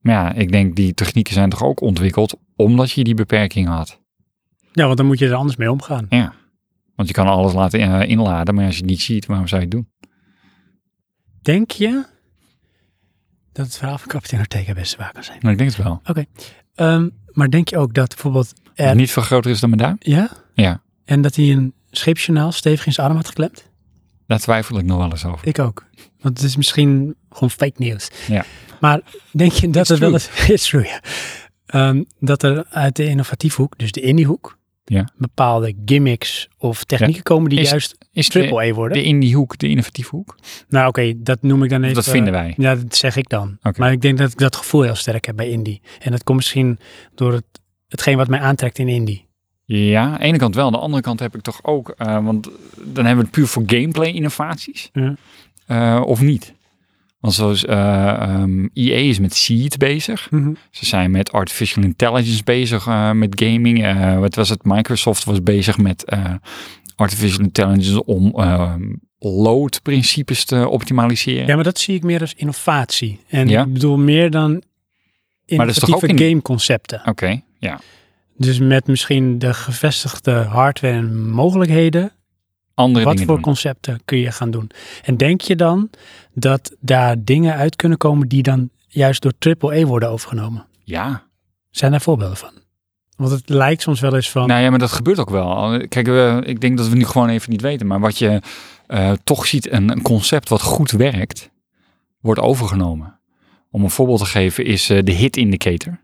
Maar ja, ik denk die technieken zijn toch ook ontwikkeld omdat je die beperking had. Ja, want dan moet je er anders mee omgaan. Ja. Want je kan alles laten eh, inladen, maar als je het niet ziet, waarom zou je het doen? Denk je dat het verhaal van kapitein Ortega best waar kan zijn? Nou, ik denk het wel. Ehm, maar denk je ook dat bijvoorbeeld er... Niet veel groter is dan mijn duim? Ja? Ja. En dat hij een scheepsjournaal stevig in zijn arm had geklemd? Daar twijfel ik nog wel eens over. Ik ook. Want het is misschien gewoon fake nieuws. Ja. Maar denk je dat It's het wel eens... *laughs* It's true, ja. Ehm, dat er uit de innovatieve hoek, dus de indie-hoek, Ja. bepaalde gimmicks of technieken komen die Is- juist Is de, triple A worden. de in die hoek, de innovatieve hoek? Nou oké, dat noem ik dan even... dat vinden wij. Ja, dat zeg ik dan. Oké. Maar ik denk dat ik dat gevoel heel sterk heb bij indie. En dat komt misschien door het, hetgeen wat mij aantrekt in indie. Ja, aan de ene kant wel. Aan de andere kant heb ik toch ook, eh, want dan hebben we het puur voor gameplay innovaties. Ja. Eh, of niet? Want zoals eh ehm, EA is met Seed bezig. Ze zijn met artificial intelligence bezig, eh, met gaming. Eh, wat was het? Microsoft was bezig met eh, artificial intelligence om ehm load-principes te optimaliseren. Ja, maar dat zie ik meer als innovatie. En Ja. ik bedoel meer dan dat is toch ook innovatieve in- gameconcepten. Oké, ja. Dus met misschien de gevestigde hardware en mogelijkheden, Andere wat dingen voor doen. concepten kun je gaan doen? En denk je dan dat daar dingen uit kunnen komen die dan juist door AAA worden overgenomen? Ja, Zijn daar voorbeelden van? Want het lijkt soms wel eens van, Nou ja, maar dat gebeurt ook wel. Kijk, we, ik denk dat we nu gewoon even niet weten. Maar wat je eh, toch ziet, een, een concept wat goed werkt, wordt overgenomen. Om een voorbeeld te geven is eh, de hit indicator.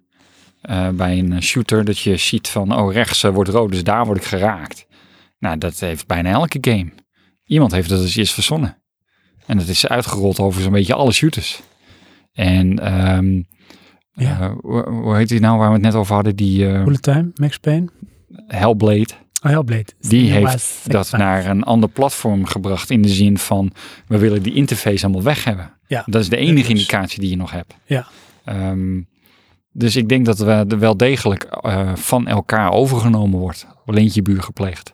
Eh, bij een shooter dat je ziet van, oh rechts eh, wordt rood, dus daar word ik geraakt. Nou, dat heeft bijna elke game. Iemand heeft dat eens eerst verzonnen. En dat is uitgerold over zo'n beetje alle shooters. En ehm, Ja. eh, hoe, hoe heet die nou waar we het net over hadden? Die eh, Bullet Time, Max Payne, Hellblade. oh Hellblade. Die Ja, maar heeft het- dat nou. naar een ander platform gebracht in de zin van we willen die interface allemaal weg hebben. Ja. Dat is de enige Dus- indicatie die je nog hebt. Ja. Ehm, dus ik denk dat we er wel degelijk eh, van elkaar overgenomen wordt. Leentje buur gepleegd.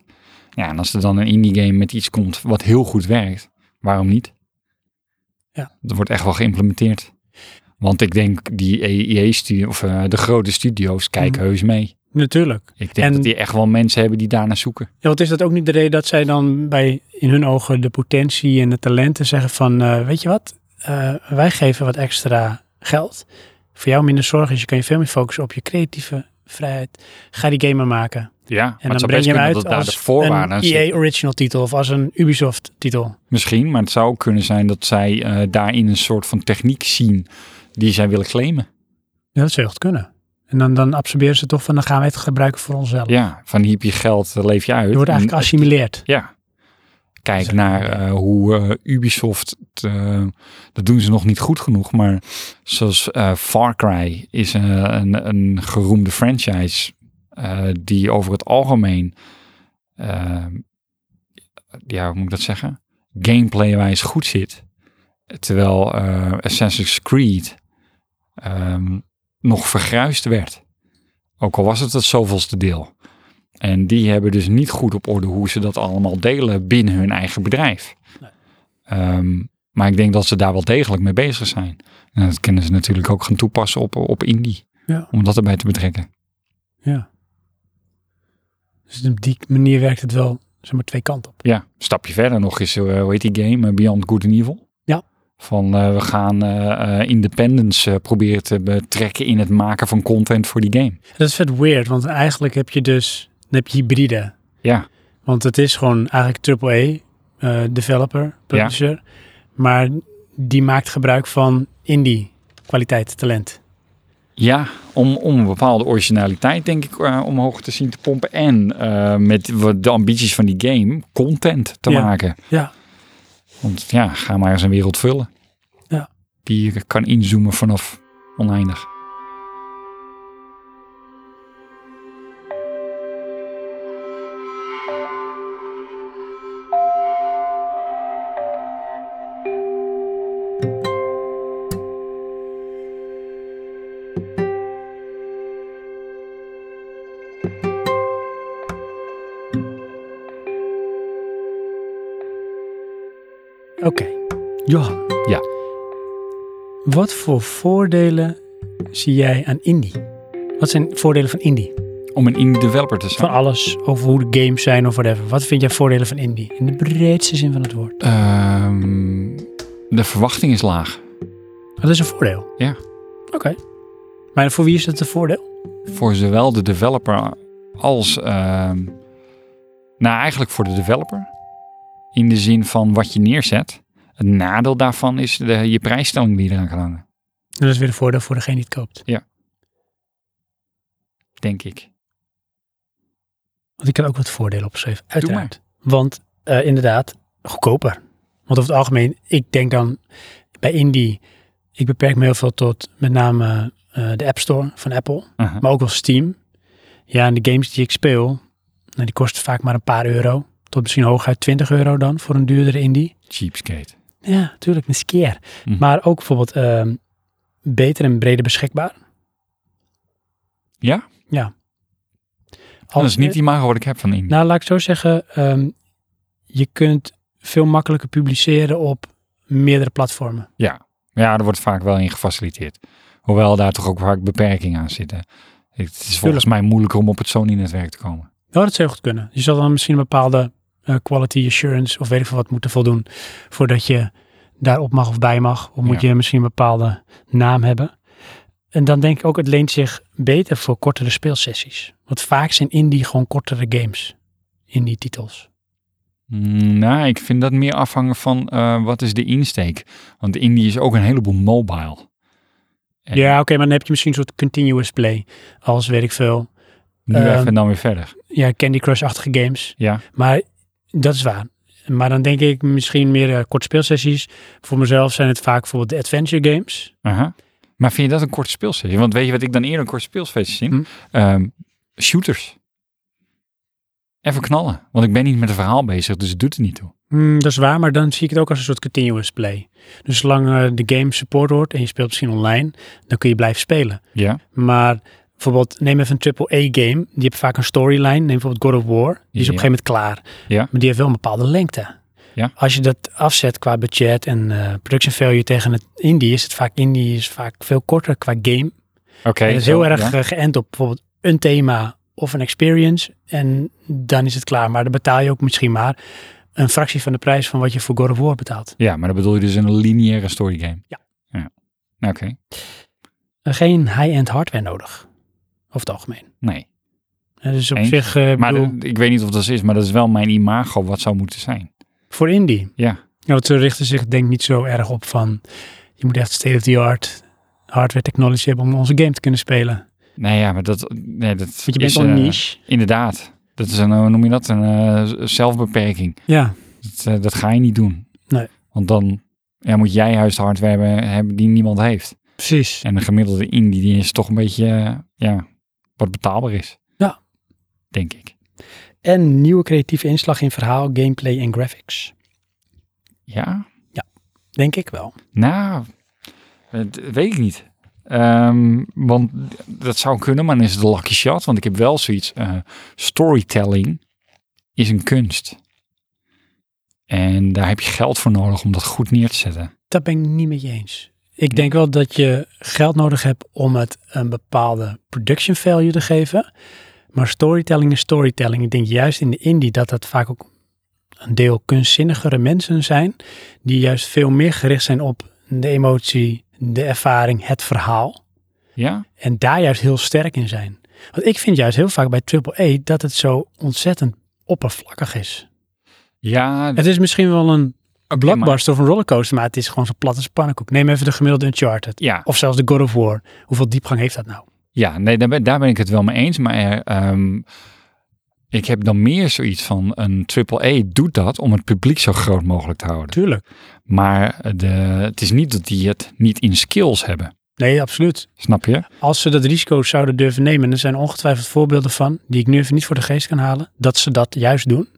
Ja, en als er dan een indie game met iets komt wat heel goed werkt, waarom niet? Ja. Dat wordt echt wel geïmplementeerd. Want ik denk die EA-studio of eh, de grote studio's kijken Mhm. heus mee. Natuurlijk. Ik denk En- dat die echt wel mensen hebben die daarnaar zoeken. Ja, want is dat ook niet de reden dat zij dan bij in hun ogen de potentie en de talenten zeggen van, eh, weet je wat, Eh, wij geven wat extra geld. Voor jou minder zorg is, je kan je veel meer focussen op je creatieve vrijheid. Ga die game maar maken. Ja, maar En het dan zou breng best je hem kunnen uit dat het daar de als voorwaarden een E aan zitten. EA Original titel of als een Ubisoft titel. Misschien, maar het zou ook kunnen zijn dat zij eh, daarin een soort van techniek zien die zij willen claimen. Ja, dat zou heel goed kunnen. En dan, dan absorberen ze toch van, dan gaan wij het gebruiken voor onszelf. Ja, van hier heb je geld, eh, leef je uit. je wordt eigenlijk En- geassimileerd. Ja. Kijk Zo. naar eh, hoe eh, Ubisoft, het, eh, dat doen ze nog niet goed genoeg, maar zoals eh, Far Cry is eh, een, een geroemde franchise eh, die over het algemeen, eh, ja, hoe moet ik dat zeggen, gameplay-wijs goed zit. Terwijl eh, Assassin's Creed ehm, nog vergruisd werd. Ook al was het het zoveelste deel. En die hebben dus niet goed op orde hoe ze dat allemaal delen binnen hun eigen bedrijf. Nee. Ehm, maar ik denk dat ze daar wel degelijk mee bezig zijn. En dat kunnen ze natuurlijk ook gaan toepassen op, op indie. Ja. Om dat erbij te betrekken. Dus op die manier werkt het wel, zeg maar, twee kanten op. Ja, een stapje verder nog is, eh, hoe heet die game? Eh, Beyond Good and Evil. Ja. Van eh, we gaan eh, eh, independence eh, proberen te betrekken in het maken van content voor die game. Dat is vet weird, want eigenlijk heb je dus, dan heb je hybride. Ja. Want het is gewoon eigenlijk AAA, eh developer, producer. Maar die maakt gebruik van indie kwaliteit, talent. Ja, om, om een bepaalde originaliteit, denk ik, eh, omhoog te zien te pompen. En eh, met wat de ambities van die game content te Ja. maken. Ja. Want ja, ga maar eens een wereld vullen. Ja. Die je kan inzoomen vanaf oneindig. Oké, Johan. Ja. Wat voor voordelen zie jij aan indie? Wat zijn voordelen van indie? Om een indie developer te zijn? Van alles, over hoe de games zijn of whatever. Wat vind jij voordelen van indie? In de breedste zin van het woord. Ehm, de verwachting is laag. Dat is een voordeel. Ja. Oké. Maar voor wie is dat een voordeel? Voor zowel de developer als... ehm, nou, eigenlijk voor de developer. In de zin van wat je neerzet. Het nadeel daarvan is de, je prijsstelling die je eraan kan hangen. Dat is weer een voordeel voor degene die het koopt. Denk ik. Want ik had ook wat voordelen opgeschreven. Uiteraard. Want eh, inderdaad, goedkoper. Want over het algemeen, ik denk dan bij indie, ik beperk me heel veel tot met name eh, de App Store van Apple, Aha. maar ook wel Steam. Ja, en de games die ik speel, nou, die kosten vaak maar een paar euro. Tot misschien hooguit 20 euro dan voor een duurdere indie. Cheapskate. Ja, natuurlijk, een skeer. Mhm. Maar ook bijvoorbeeld ehm, beter en breder beschikbaar. Ja? Ja. Dat is niet die imago wat ik heb van indie. Nou, laat ik het zo zeggen. ehm, je kunt veel makkelijker publiceren op meerdere platformen. Ja, daar wordt vaak wel in gefaciliteerd. Hoewel daar toch ook vaak beperkingen aan zitten. Het is volgens mij moeilijker om op het Sony-netwerk te komen. Nou, dat zou goed kunnen. Je zal dan misschien een bepaalde eh, quality assurance of weet ik veel wat moeten voldoen voordat je daarop mag of bij mag. Of moet Ja. je misschien een bepaalde naam hebben. En dan denk ik ook, het leent zich beter voor kortere speelsessies. Want vaak zijn indie gewoon kortere games. Indie titels. Mm, nou, ik vind dat meer afhangen van eh, wat is de insteek. Want indie is ook een heleboel mobile. En Ja, oké, maar dan heb je misschien een soort continuous play. Als weet ik veel. Nu ehm, even en dan weer verder. Ja, Candy Crush-achtige games. Ja, Maar dat is waar. Maar dan denk ik misschien meer eh kort speelsessies. Voor mezelf zijn het vaak bijvoorbeeld de adventure games. aha. Maar vind je dat een korte speelsessie? Want weet je wat ik dan eerder een korte speelsessie zie? Hm. Ehm, shooters. Even knallen. Want ik ben niet met een verhaal bezig, dus het doet er niet toe. Hmm, dat is waar, maar dan zie ik het ook als een soort continuous play. Dus zolang eh, de game support wordt en je speelt misschien online, dan kun je blijven spelen. Ja, Maar bijvoorbeeld, neem even een AAA-game. Die heeft vaak een storyline. Neem bijvoorbeeld God of War. Die is op een Ja. gegeven moment klaar. Ja. Maar die heeft wel een bepaalde lengte. Ja. Als je dat afzet qua budget en eh, production value tegen het indie, is het vaak indie is vaak veel korter qua game. oké. Het is zo, heel erg ja. eh, geënt op bijvoorbeeld een thema of een experience. En dan is het klaar. Maar dan betaal je ook misschien maar een fractie van de prijs van wat je voor God of War betaalt. Ja, maar dan bedoel je dus een lineaire story game. Ja. Oké, Eh, Geen high-end hardware nodig. Over het algemeen. nee. Eh, Dus op Eens. zich, eh, Maar bedoel, d- ik weet niet of dat is, maar dat is wel mijn imago wat zou moeten zijn. voor indie. Ja. Ja, want ze richten zich denk ik niet zo erg op van... je moet echt state-of-the-art hardware technology hebben om onze game te kunnen spelen. Nee, Nou ja, maar dat, nee, dat Want je is... bent al eh, niche. Inderdaad. Dat is een, hoe noem je dat, een eh, z- zelfbeperking. Ja, Dat, eh, dat ga je niet doen. Nee. Want dan ja, moet jij juist hardware hebben, hebben die niemand heeft. precies. En de gemiddelde indie die is toch een beetje, eh, ja, wat betaalbaar is. Ja. Denk ik. En nieuwe creatieve inslag in verhaal, gameplay en graphics. Ja, Denk ik wel. Nou, het- weet ik niet. Ehm, want dat zou kunnen, maar dan is het een lucky shot. Want ik heb wel zoiets. eh, storytelling is een kunst. En daar heb je geld voor nodig om dat goed neer te zetten. Dat ben ik niet met je eens. Ik denk wel dat je geld nodig hebt om het een bepaalde production value te geven. Maar storytelling is storytelling. Ik denk juist in de indie dat dat vaak ook een deel kunstzinnigere mensen zijn. Die juist veel meer gericht zijn op de emotie, de ervaring, het verhaal. Ja? En daar juist heel sterk in zijn. Want ik vind juist heel vaak bij AAA dat het zo ontzettend oppervlakkig is. Ja, Het is misschien wel een maar- blockbuster of een rollercoaster, maar het is gewoon zo plat als een pannenkoek. Neem even de gemiddelde Uncharted. ja, Of zelfs de God of War. Hoeveel diepgang heeft dat nou? ja nee, daar, ben, daar ben ik het wel mee eens. Maar eh, ehm, ik heb dan meer zoiets van een AAA doet dat om het publiek zo groot mogelijk te houden. Tuurlijk. Maar de, het is niet dat die het niet in skills hebben. Nee, absoluut. Snap je? Als ze dat risico zouden durven nemen, er zijn ongetwijfeld voorbeelden van, die ik nu even niet voor de geest kan halen, dat ze dat juist doen.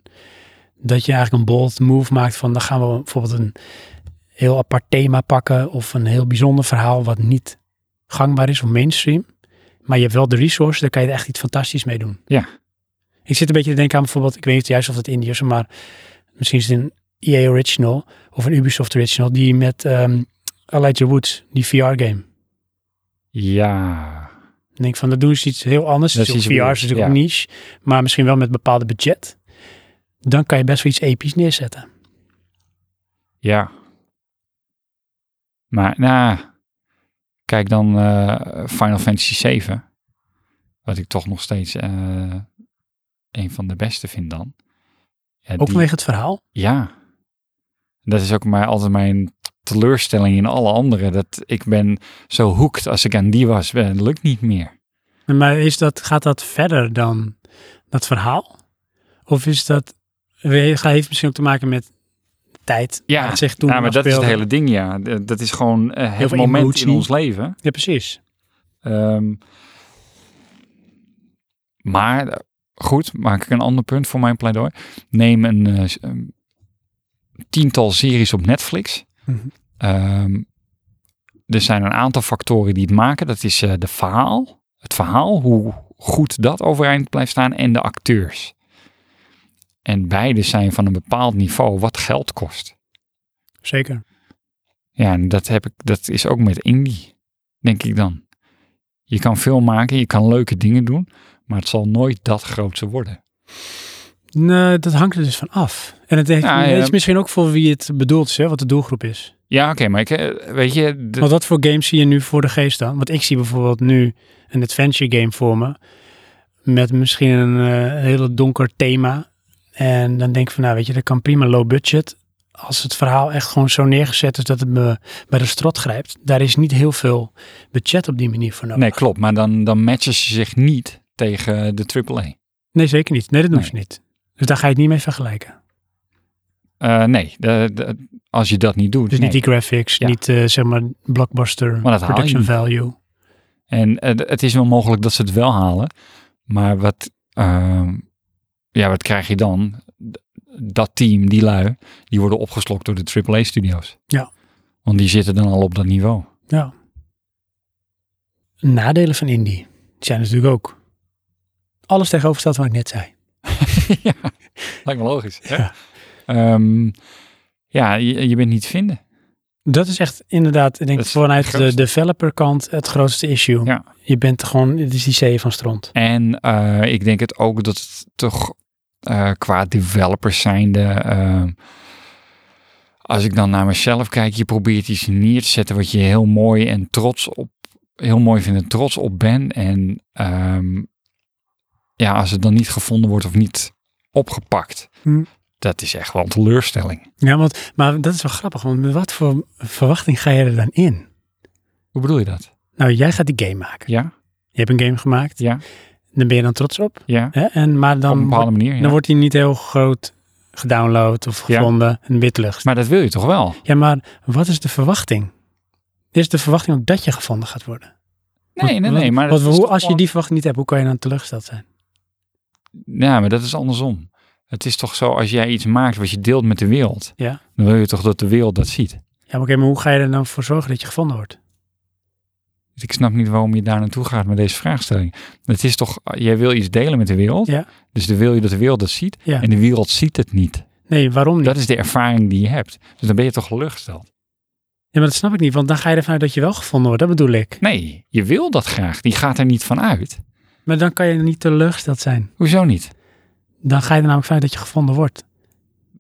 Dat je eigenlijk een bold move maakt van, dan gaan we bijvoorbeeld een heel apart thema pakken of een heel bijzonder verhaal wat niet gangbaar is of mainstream. Maar je hebt wel de resource, daar kan je er echt iets fantastisch mee doen. Ja. Ik zit een beetje te denken aan bijvoorbeeld, ik weet niet juist of dat Indiërs, maar misschien is het een EA Original of een Ubisoft Original, die met ehm Elijah Woods, die VR-game. Ja. Ik denk van, dat doen ze iets heel anders. Dat is VR is iets weirds, natuurlijk ja. ook niche, maar misschien wel met een bepaalde budget. Dan kan je best wel iets episch neerzetten. Ja. Maar, nou, kijk dan eh, Final Fantasy 7. Wat ik toch nog steeds eh, een van de beste vind dan. Ja, Ook die- vanwege het verhaal. ja. Dat is ook maar altijd mijn teleurstelling in alle andere. Dat ik ben zo hoekt als ik aan die was. eh, lukt niet meer. Maar is dat, gaat dat verder dan dat verhaal? Of is dat, heeft het misschien ook te maken met de tijd? Ja, waar het zich toen nou, maar dat is het afspeelde? hele ding, ja. D- Dat is gewoon eh, het veel moment emotie. in ons leven. Ja, precies. Ehm, maar eh, goed, maak ik een ander punt voor mijn pleidooi. Neem een eh, s- een tiental series op Netflix. Mhm. Ehm, er zijn een aantal factoren die het maken. Dat is eh, de verhaal, het verhaal, hoe goed dat overeind blijft staan en de acteurs. En beide zijn van een bepaald niveau wat geld kost. Zeker. Ja, en dat, heb ik, dat is ook met indie, denk ik dan. Je kan veel maken, je kan leuke dingen doen, maar het zal nooit dat grootste worden. Nee, dat hangt er dus van af. En het heeft, Ja, Nou, ja. het is misschien ook voor wie het bedoeld is, hè, wat de doelgroep is. Ja, oké, maar ik, eh, weet je, de- Want wat voor games zie je nu voor de geest dan? Want ik zie bijvoorbeeld nu een adventure game voor me. Met misschien een eh, hele donker thema. En dan denk ik van, nou weet je, dat kan prima low budget. Als het verhaal echt gewoon zo neergezet is dat het me bij de strot grijpt. Daar is niet heel veel budget op die manier voor nodig. nee, klopt, maar dan, dan matchen ze zich niet tegen de AAA. Nee, zeker niet. Nee, dat doen Nee. ze niet. Dus daar ga je het niet mee vergelijken. Eh, nee, de- de- als je dat niet doet. Dus niet nee. die graphics, Ja. niet eh, zeg maar blockbuster Maar dat haal je production niet. value. En eh, d- het is wel mogelijk dat ze het wel halen, maar wat, ehm, ja, wat krijg je dan? D- Dat team, die lui, die worden opgeslokt door de AAA-studio's. Ja. Want die zitten dan al op dat niveau. Ja. Nadelen van indie zijn natuurlijk ook. Alles tegenovergesteld wat ik net zei. *laughs* ja, lijkt me logisch. hè? Ja. Ehm, ja, je, je bent niet te vinden. Dat is echt inderdaad, ik denk Dat is vanuit het de grootste. developer kant het grootste issue. Ja. Je bent gewoon, het is die zee van stront. En eh, ik denk het ook dat het toch eh, qua developers zijnde... ehm, als ik dan naar mezelf kijk, je probeert iets neer te zetten wat je heel mooi en trots op, heel mooi vindt en trots op bent. En ehm, ja, als het dan niet gevonden wordt of niet opgepakt, Hm. dat is echt wel een teleurstelling. Ja, want, maar dat is wel grappig, want met wat voor verwachting ga je er dan in? Hoe bedoel je dat? Nou, jij gaat die game maken. Ja, Je hebt een game gemaakt, ja, daar ben je dan trots op. ja. Hè? En, maar Op een dan, bepaalde manier, ja. dan wordt die niet heel groot gedownload of Ja. gevonden en witlucht. Maar dat wil je toch wel? Ja, maar wat is de verwachting? Is de verwachting ook dat je gevonden gaat worden? Nee, nee, Want- nee. Maar dat want is hoe, toch als je gewoon- die verwachting niet hebt, hoe kan je dan teleurgesteld zijn? Ja, maar dat is andersom. Het is toch zo, als jij iets maakt wat je deelt met de wereld, Ja. dan wil je toch dat de wereld dat ziet. Ja, maar oké, maar hoe ga je er dan voor zorgen dat je gevonden wordt? Dus ik snap niet waarom je daar naartoe gaat met deze vraagstelling. Het is toch, jij wil iets delen met de wereld, Ja. dus dan wil je dat de wereld dat ziet. Ja. En de wereld ziet het niet. Nee, waarom niet? Dat is de ervaring die je hebt. Dus dan ben je toch teleurgesteld. Ja, maar dat snap ik niet, want dan ga je ervan uit dat je wel gevonden wordt, dat bedoel ik. Nee, je wil dat graag. Die gaat er niet van uit. Maar dan kan je niet teleurgesteld zijn. Hoezo niet? Dan ga je er namelijk vanuit dat je gevonden wordt.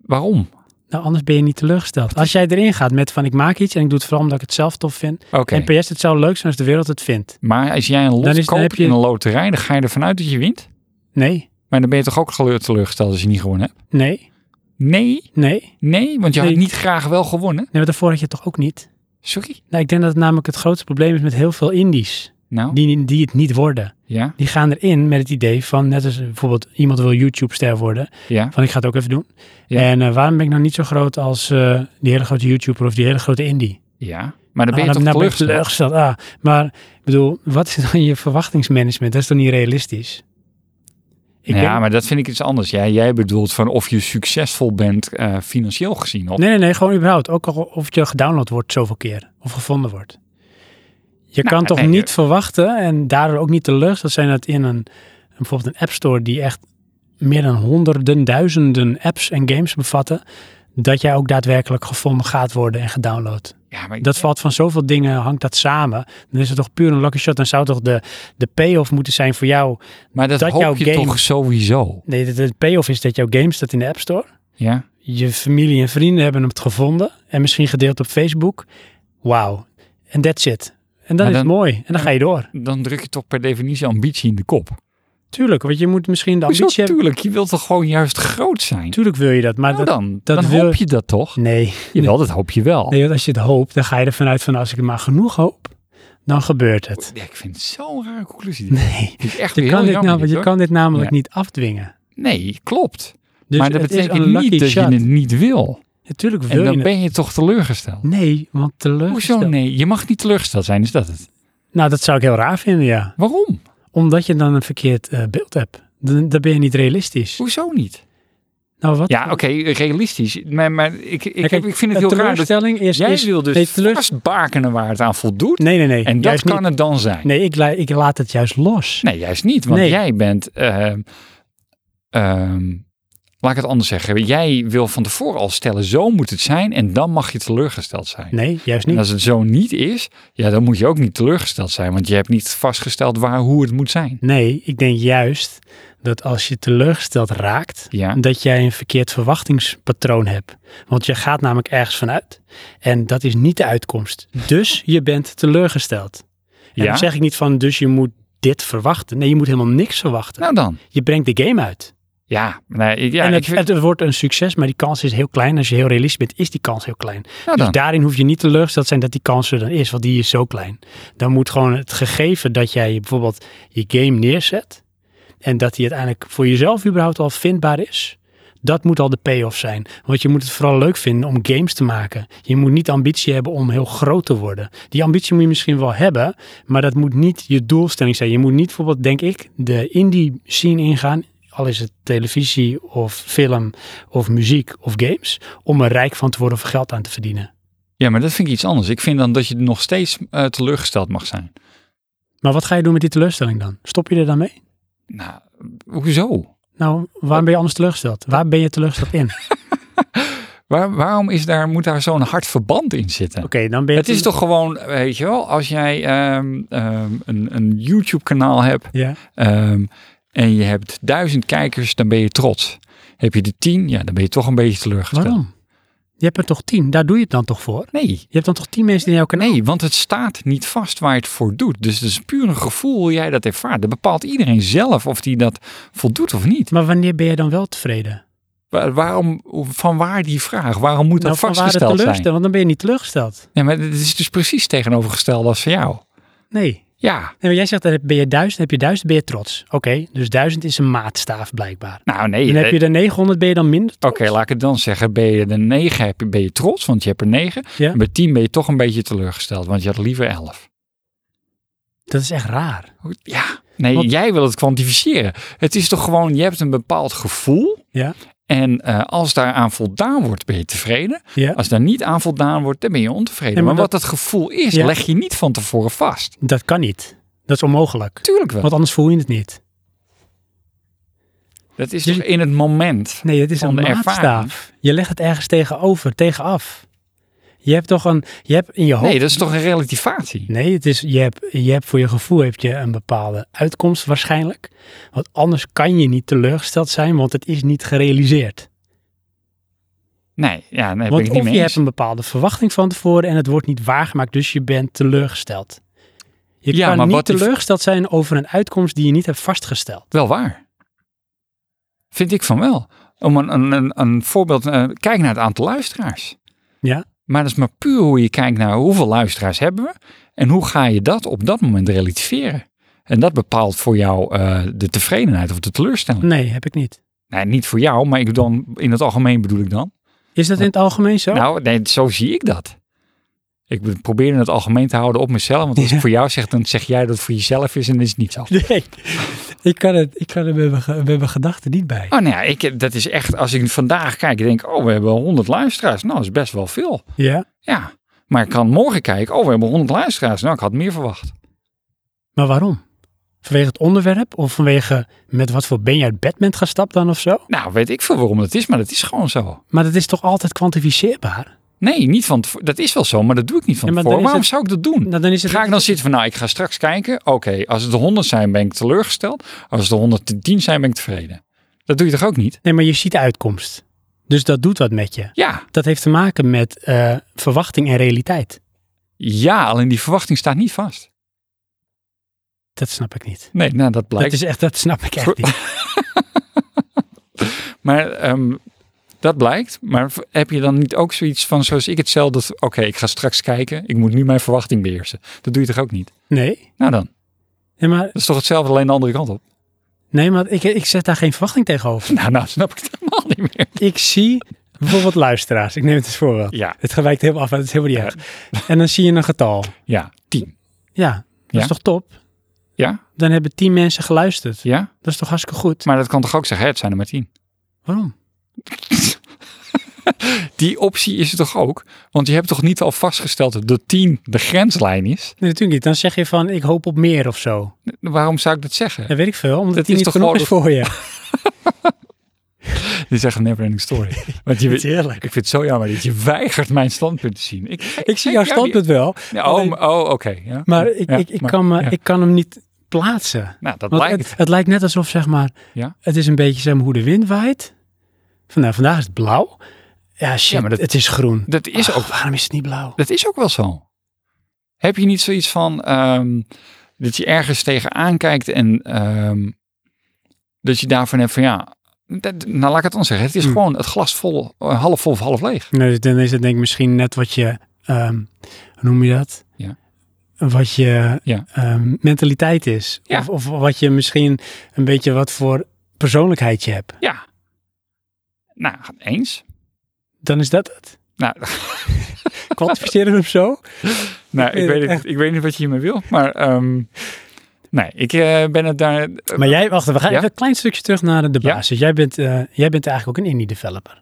Waarom? Nou, anders ben je niet teleurgesteld. Als jij erin gaat met van ik maak iets en ik doe het vooral omdat ik het zelf tof vind. Oké, En PS, het zou leuk zijn als de wereld het vindt. maar als jij een lot Dan is- dan koopt heb je- in een loterij, dan ga je ervan uit dat je wint. Nee, Maar dan ben je toch ook teleur- teleurgesteld als je niet gewonnen hebt? nee, Nee, nee. Nee, nee, want je had Nee. niet graag wel gewonnen. maar daarvoor had je het toch ook niet? Sorry. Nou, ik denk dat het namelijk het grootste probleem is met heel veel indies. Nou, die, die het niet worden. ja, Die gaan erin met het idee van, net als bijvoorbeeld iemand wil YouTube-ster worden, ja. van ik ga het ook even doen. Ja. En eh, waarom ben ik nou niet zo groot als eh, die hele grote YouTuber of die hele grote indie? Ja, maar dan ben je Ah, toch nou ben ik teleurgesteld? teleurgesteld. Ah, maar ik bedoel, wat is dan je verwachtingsmanagement? Dat is dan niet realistisch? Ik Nou ja, denk- maar dat vind ik iets anders. Jij, jij bedoelt van of je succesvol bent eh, financieel gezien. Of, Nee, nee, nee, gewoon überhaupt. Ook al of je gedownload wordt zoveel keer of gevonden wordt. Je Nou, kan toch nee, niet je- verwachten en daardoor ook niet teleurgesteld zijn dat in een bijvoorbeeld een app store die echt meer dan honderden, duizenden apps en games bevatten, dat jij ook daadwerkelijk gevonden gaat worden en gedownload. Ja, maar Dat valt van zoveel dingen, hangt dat samen. Dan is het toch puur een lucky shot. Dan zou toch de, de payoff moeten zijn voor jou. Maar dat, Dat jouw hoop je game- toch sowieso? Nee, de, de payoff is dat jouw game staat in de App Store. Ja? Je familie en vrienden hebben het gevonden. En misschien gedeeld op Facebook. Wauw. En that's it. En dan Maar is het dan- mooi. En dan ga je door. Dan druk je toch per definitie ambitie in de kop. Tuurlijk, want je moet misschien de Hoezo ambitie hebben. tuurlijk? Je wilt toch gewoon juist groot zijn? Tuurlijk wil je dat, maar Nou dat, dan, dat dan wil- hoop je dat toch? nee. Jawel, dat hoop je wel. nee. Want als je het hoopt, dan ga je ervan uit van als ik er maar genoeg hoop, dan gebeurt het. *laughs* Ja, ik vind het zo'n rare conclusie. Nee. Vind ik echt Je heel kan, dit jammer, namelijk, je hoor. kan dit namelijk Ja. niet afdwingen. Nee, klopt. Dus maar dat het is een betekent lucky niet dat shot. je het niet wil. Natuurlijk wil En je dan het. ben je toch teleurgesteld. Nee, want teleurgesteld. Hoezo nee? Je mag niet teleurgesteld zijn, is dat het? Nou, dat zou ik heel raar vinden, ja. Waarom? Omdat je dan een verkeerd eh, beeld hebt. Dan, dan ben je niet realistisch. Hoezo niet? Nou, wat? Ja, oké, realistisch. Maar, maar ik, ik, Ja, kijk, heb- ik vind het een heel raar dat teleurstelling is... jij is, wil dus nee, teleur- vast bakenen waar het aan voldoet. Nee, nee, nee. en dat juist kan niet. het dan zijn. Nee, ik, la- ik laat het juist los. Nee, juist niet. Want Nee. jij bent. ehm, ehm, laat ik het anders zeggen. Jij wil van tevoren al stellen, zo moet het zijn. En dan mag je teleurgesteld zijn. Nee, juist En niet. als het zo niet is, ja, dan moet je ook niet teleurgesteld zijn. Want je hebt niet vastgesteld waar hoe het moet zijn. Nee, ik denk juist dat als je teleurgesteld raakt, Ja. dat jij een verkeerd verwachtingspatroon hebt. Want je gaat namelijk ergens vanuit en dat is niet de uitkomst. *laughs* Dus je bent teleurgesteld. En Ja? dan zeg ik niet van, dus je moet dit verwachten. Nee, je moet helemaal niks verwachten. Nou dan. Je brengt de game uit. Ja, nee, ik- ja en ik het, vind- het wordt een succes, maar die kans is heel klein. Als je heel realistisch bent, is die kans heel klein. Dus nou dan. daarin hoef je niet teleurgesteld te zijn dat die kans er dan is, want die is zo klein. Dan moet gewoon het gegeven dat jij bijvoorbeeld je game neerzet en dat die uiteindelijk voor jezelf überhaupt al vindbaar is, dat moet al de payoff zijn. Want je moet het vooral leuk vinden om games te maken. Je moet niet ambitie hebben om heel groot te worden. Die ambitie moet je misschien wel hebben, maar dat moet niet je doelstelling zijn. Je moet niet bijvoorbeeld, denk ik, de indie scene ingaan, al is het televisie of film of muziek of games, om er rijk van te worden of er geld aan te verdienen. Ja, maar dat vind ik iets anders. Ik vind dan dat je nog steeds eh, teleurgesteld mag zijn. Maar wat ga je doen met die teleurstelling dan? Stop je er dan mee? Nou, hoezo? Nou, waarom ben je anders teleurgesteld? Waar ben je teleurgesteld *laughs* in? Oké, Waar, waarom is daar, moet daar zo'n hard verband in zitten? dan ben je... Het is toch gewoon, weet je wel, als jij ehm, ehm, een, een YouTube-kanaal hebt Ja, ehm, en je hebt duizend kijkers, dan ben je trots. Heb je de tien, ja, dan ben je toch een beetje teleurgesteld. waarom? Je hebt er toch tien? Daar doe je het dan toch voor? Nee, Je hebt dan toch tien mensen die in jouw kanaal... nee, want het staat niet vast waar je het voor doet. Dus het is puur een gevoel hoe jij dat ervaart. Dat bepaalt iedereen zelf of die dat voldoet of niet. Maar wanneer ben je dan wel tevreden? Wa- waarom, van waar die vraag? Waarom moet dat Nou, van waar het vastgesteld teleurstellen, zijn? Want dan ben je niet teleurgesteld. Nee, maar het is dus precies tegenovergesteld als van jou. Nee. nee Ja, maar jij zegt, dan heb- ben je duizend, heb je duizend, ben je trots. Oké, dus duizend is een maatstaaf blijkbaar. nou nee. Dan eh, heb je er 900, ben je dan minder Oké, laat ik het dan zeggen. Ben je de 9, heb je, ben je trots, want je hebt er 9. Ja. En bij 10 ben je toch een beetje teleurgesteld, want je had liever 11. Dat is echt raar. Ja, nee, Want- jij wil het kwantificeren. Het is toch gewoon, je hebt een bepaald gevoel. Ja. En eh, als daaraan voldaan wordt, ben je tevreden. Ja. Als daar niet aan voldaan wordt, dan ben je ontevreden. Nee, maar maar wat dat gevoel is, Ja. leg je niet van tevoren vast. Dat kan niet. Dat is onmogelijk. Tuurlijk wel. Want anders voel je het niet. Dat is Dus- toch in het moment. Nee, het is van een de ervaring. maatstaaf. Je legt het ergens tegenover, tegenaf. Je hebt toch een, je hebt in je hoofd. Nee, dat is toch een relativatie. Nee, het is, je, hebt, je hebt voor je gevoel heb je een bepaalde uitkomst waarschijnlijk. Want anders kan je niet teleurgesteld zijn, want het is niet gerealiseerd. Nee, ja, nee, ben want ik niet of mee je eens. hebt een bepaalde verwachting van tevoren en het wordt niet waargemaakt, dus je bent teleurgesteld. Je Ja, maar kan niet wat die- teleurgesteld zijn over een uitkomst die je niet hebt vastgesteld. Wel waar. Vind ik van wel. Om een, een, een, een voorbeeld, eh, kijk naar het aantal luisteraars. Ja. Maar dat is maar puur hoe je kijkt naar hoeveel luisteraars hebben we en hoe ga je dat op dat moment relativeren. En dat bepaalt voor jou eh, de tevredenheid of de teleurstelling. Nee, heb ik niet. Nee, niet voor jou, maar ik dan, in het algemeen bedoel ik dan. Is dat in het algemeen zo? Nou, nee, zo zie ik dat. Ik probeer het algemeen te houden op mezelf, want als ik Ja. voor jou zeg, dan zeg jij dat het voor jezelf is en dat is het niet zo. *laughs* Nee, ik kan, het, ik kan er met mijn, ge- met mijn gedachten niet bij. Oh, nou ja, ik, dat is echt, als ik vandaag kijk, ik denk oh, we hebben 100 luisteraars. Nou, dat is best wel veel. Ja, Ja. Maar ik kan morgen kijken, oh, we hebben 100 luisteraars. Nou, ik had meer verwacht. maar waarom? Vanwege het onderwerp of vanwege met wat voor ben je uit bed bent gestapt dan of zo? Nou, weet ik veel waarom dat is, maar dat is gewoon zo. Maar dat is toch altijd kwantificeerbaar? Nee, niet van tevoren. Dat is wel zo, maar dat doe ik niet van Ja, maar tevoren. dan is Waarom het- zou ik dat doen? Nou, dan is het Hm. Ga ik dan zitten van, nou, ik ga straks kijken. Oké, als het de 100 zijn, ben ik teleurgesteld. Als het de 110 zijn, ben ik tevreden. Dat doe je toch ook niet? Nee, maar je ziet de uitkomst. Dus dat doet wat met je. Ja, Dat heeft te maken met eh, verwachting en realiteit. ja, alleen die verwachting staat niet vast. Dat snap ik niet. Nee, nou, dat blijkt. Dat, is echt, dat snap ik echt *laughs* niet. Maar ehm, dat blijkt. Maar v- heb je dan niet ook zoiets van, zoals ik het zelf, dat, oké, ik ga straks kijken. Ik moet nu mijn verwachting beheersen. Dat doe je toch ook niet? Nee, Nou dan, nee maar, dat is toch hetzelfde, alleen de andere kant op. *laughs* nee, maar ik, ik zet daar geen verwachting tegenover. Nou, nou, snap ik het helemaal niet meer. Ik zie bijvoorbeeld luisteraars. Ik neem het als voorbeeld. Ja, Het gewijkt heel af, maar het is helemaal niet erg. En dan zie je een getal. ja, 10. Ja, dat Ja. is toch top? Ja, Dan hebben tien mensen geluisterd. ja. Dat is toch hartstikke goed? Maar dat kan toch ook zeggen, hè, het zijn er maar 10. Waarom? Die optie is er toch ook? Want je hebt toch niet al vastgesteld dat de 10 de grenslijn is? Nee, natuurlijk niet. Dan zeg je van, ik hoop op meer of zo. Waarom zou ik dat zeggen? Dat weet ik veel, omdat Dat die is niet toch genoeg is gewoon *laughs* voor je. Dit is echt een never-ending *laughs* story. Want je, Dat is heerlijk. ik vind het zo jammer dat je weigert mijn standpunt te zien. Ik, Ik zie jouw Ja, standpunt wel, Ja, oh, m- oh oké. ja. maar ik, Ja, ik, ik, maar- kan, me, ja. ik kan hem niet plaatsen. Nou, dat Want blijkt. het, het lijkt net alsof, zeg maar, Ja. het is een beetje zeg maar, hoe de wind waait. Van, nou, vandaag is het blauw. Ja, shit, Ja, maar dat- het is groen. Dat is, Ach, ook, waarom is het niet blauw? dat is ook wel zo. Heb je niet zoiets van ehm, dat je ergens tegenaan kijkt en ehm, dat je daarvan hebt van ja, dat, nou laat ik het dan zeggen. Het is Hmm. gewoon het glas vol, eh, half vol of half leeg. Nee, dus dan is het denk ik misschien net wat je, ehm, hoe noem je dat? Ja. Wat je Ja. ehm, mentaliteit is. Ja. Of, of wat je misschien een beetje wat voor persoonlijkheid je hebt. Ja. Nou, eens. Dan is dat het. Nou, *laughs* Kwantificeren we hem zo? nou ik, vind weet het het, ik weet niet wat je hiermee wil, maar ehm, nee, ik eh, ben het daar. eh, Maar jij, wacht, we gaan Ja. even een klein stukje terug naar de Ja. basis. Jij, bent, eh, jij bent eigenlijk ook een indie developer.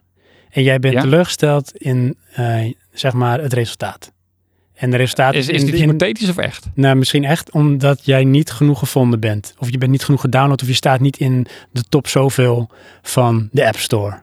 En jij bent Ja. teleurgesteld in, eh, zeg maar, het resultaat. En de resultaat is, is in- dit in- hypothetisch of echt? Nou, misschien echt omdat jij niet genoeg gevonden bent. Of je bent niet genoeg gedownload. Of je staat niet in de top zoveel van de App Store.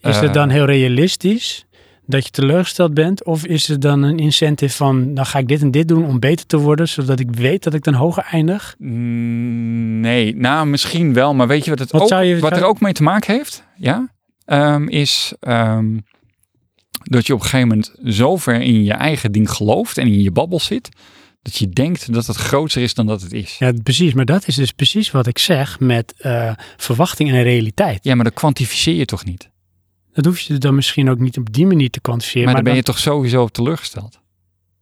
Is Eh. het dan heel realistisch dat je teleurgesteld bent? Of is er dan een incentive van, dan ga ik dit en dit doen om beter te worden. Zodat ik weet dat ik dan hoger eindig? Mm, Nee, nou misschien wel, maar weet je wat, het Wat ook, zou je- wat zou- er ook mee te maken heeft? Ja, Ehm, is ehm, dat je op een gegeven moment zo ver in je eigen ding gelooft en in je babbel zit, dat je denkt dat het groter is dan dat het is. Ja, Ja, precies. Maar dat is dus precies wat ik zeg met eh, verwachting en realiteit. maar dat kwantificeer je toch niet? Dat hoef je dan misschien ook niet op die manier te kwantificeren. maar dan ben dan- je toch sowieso op teleurgesteld?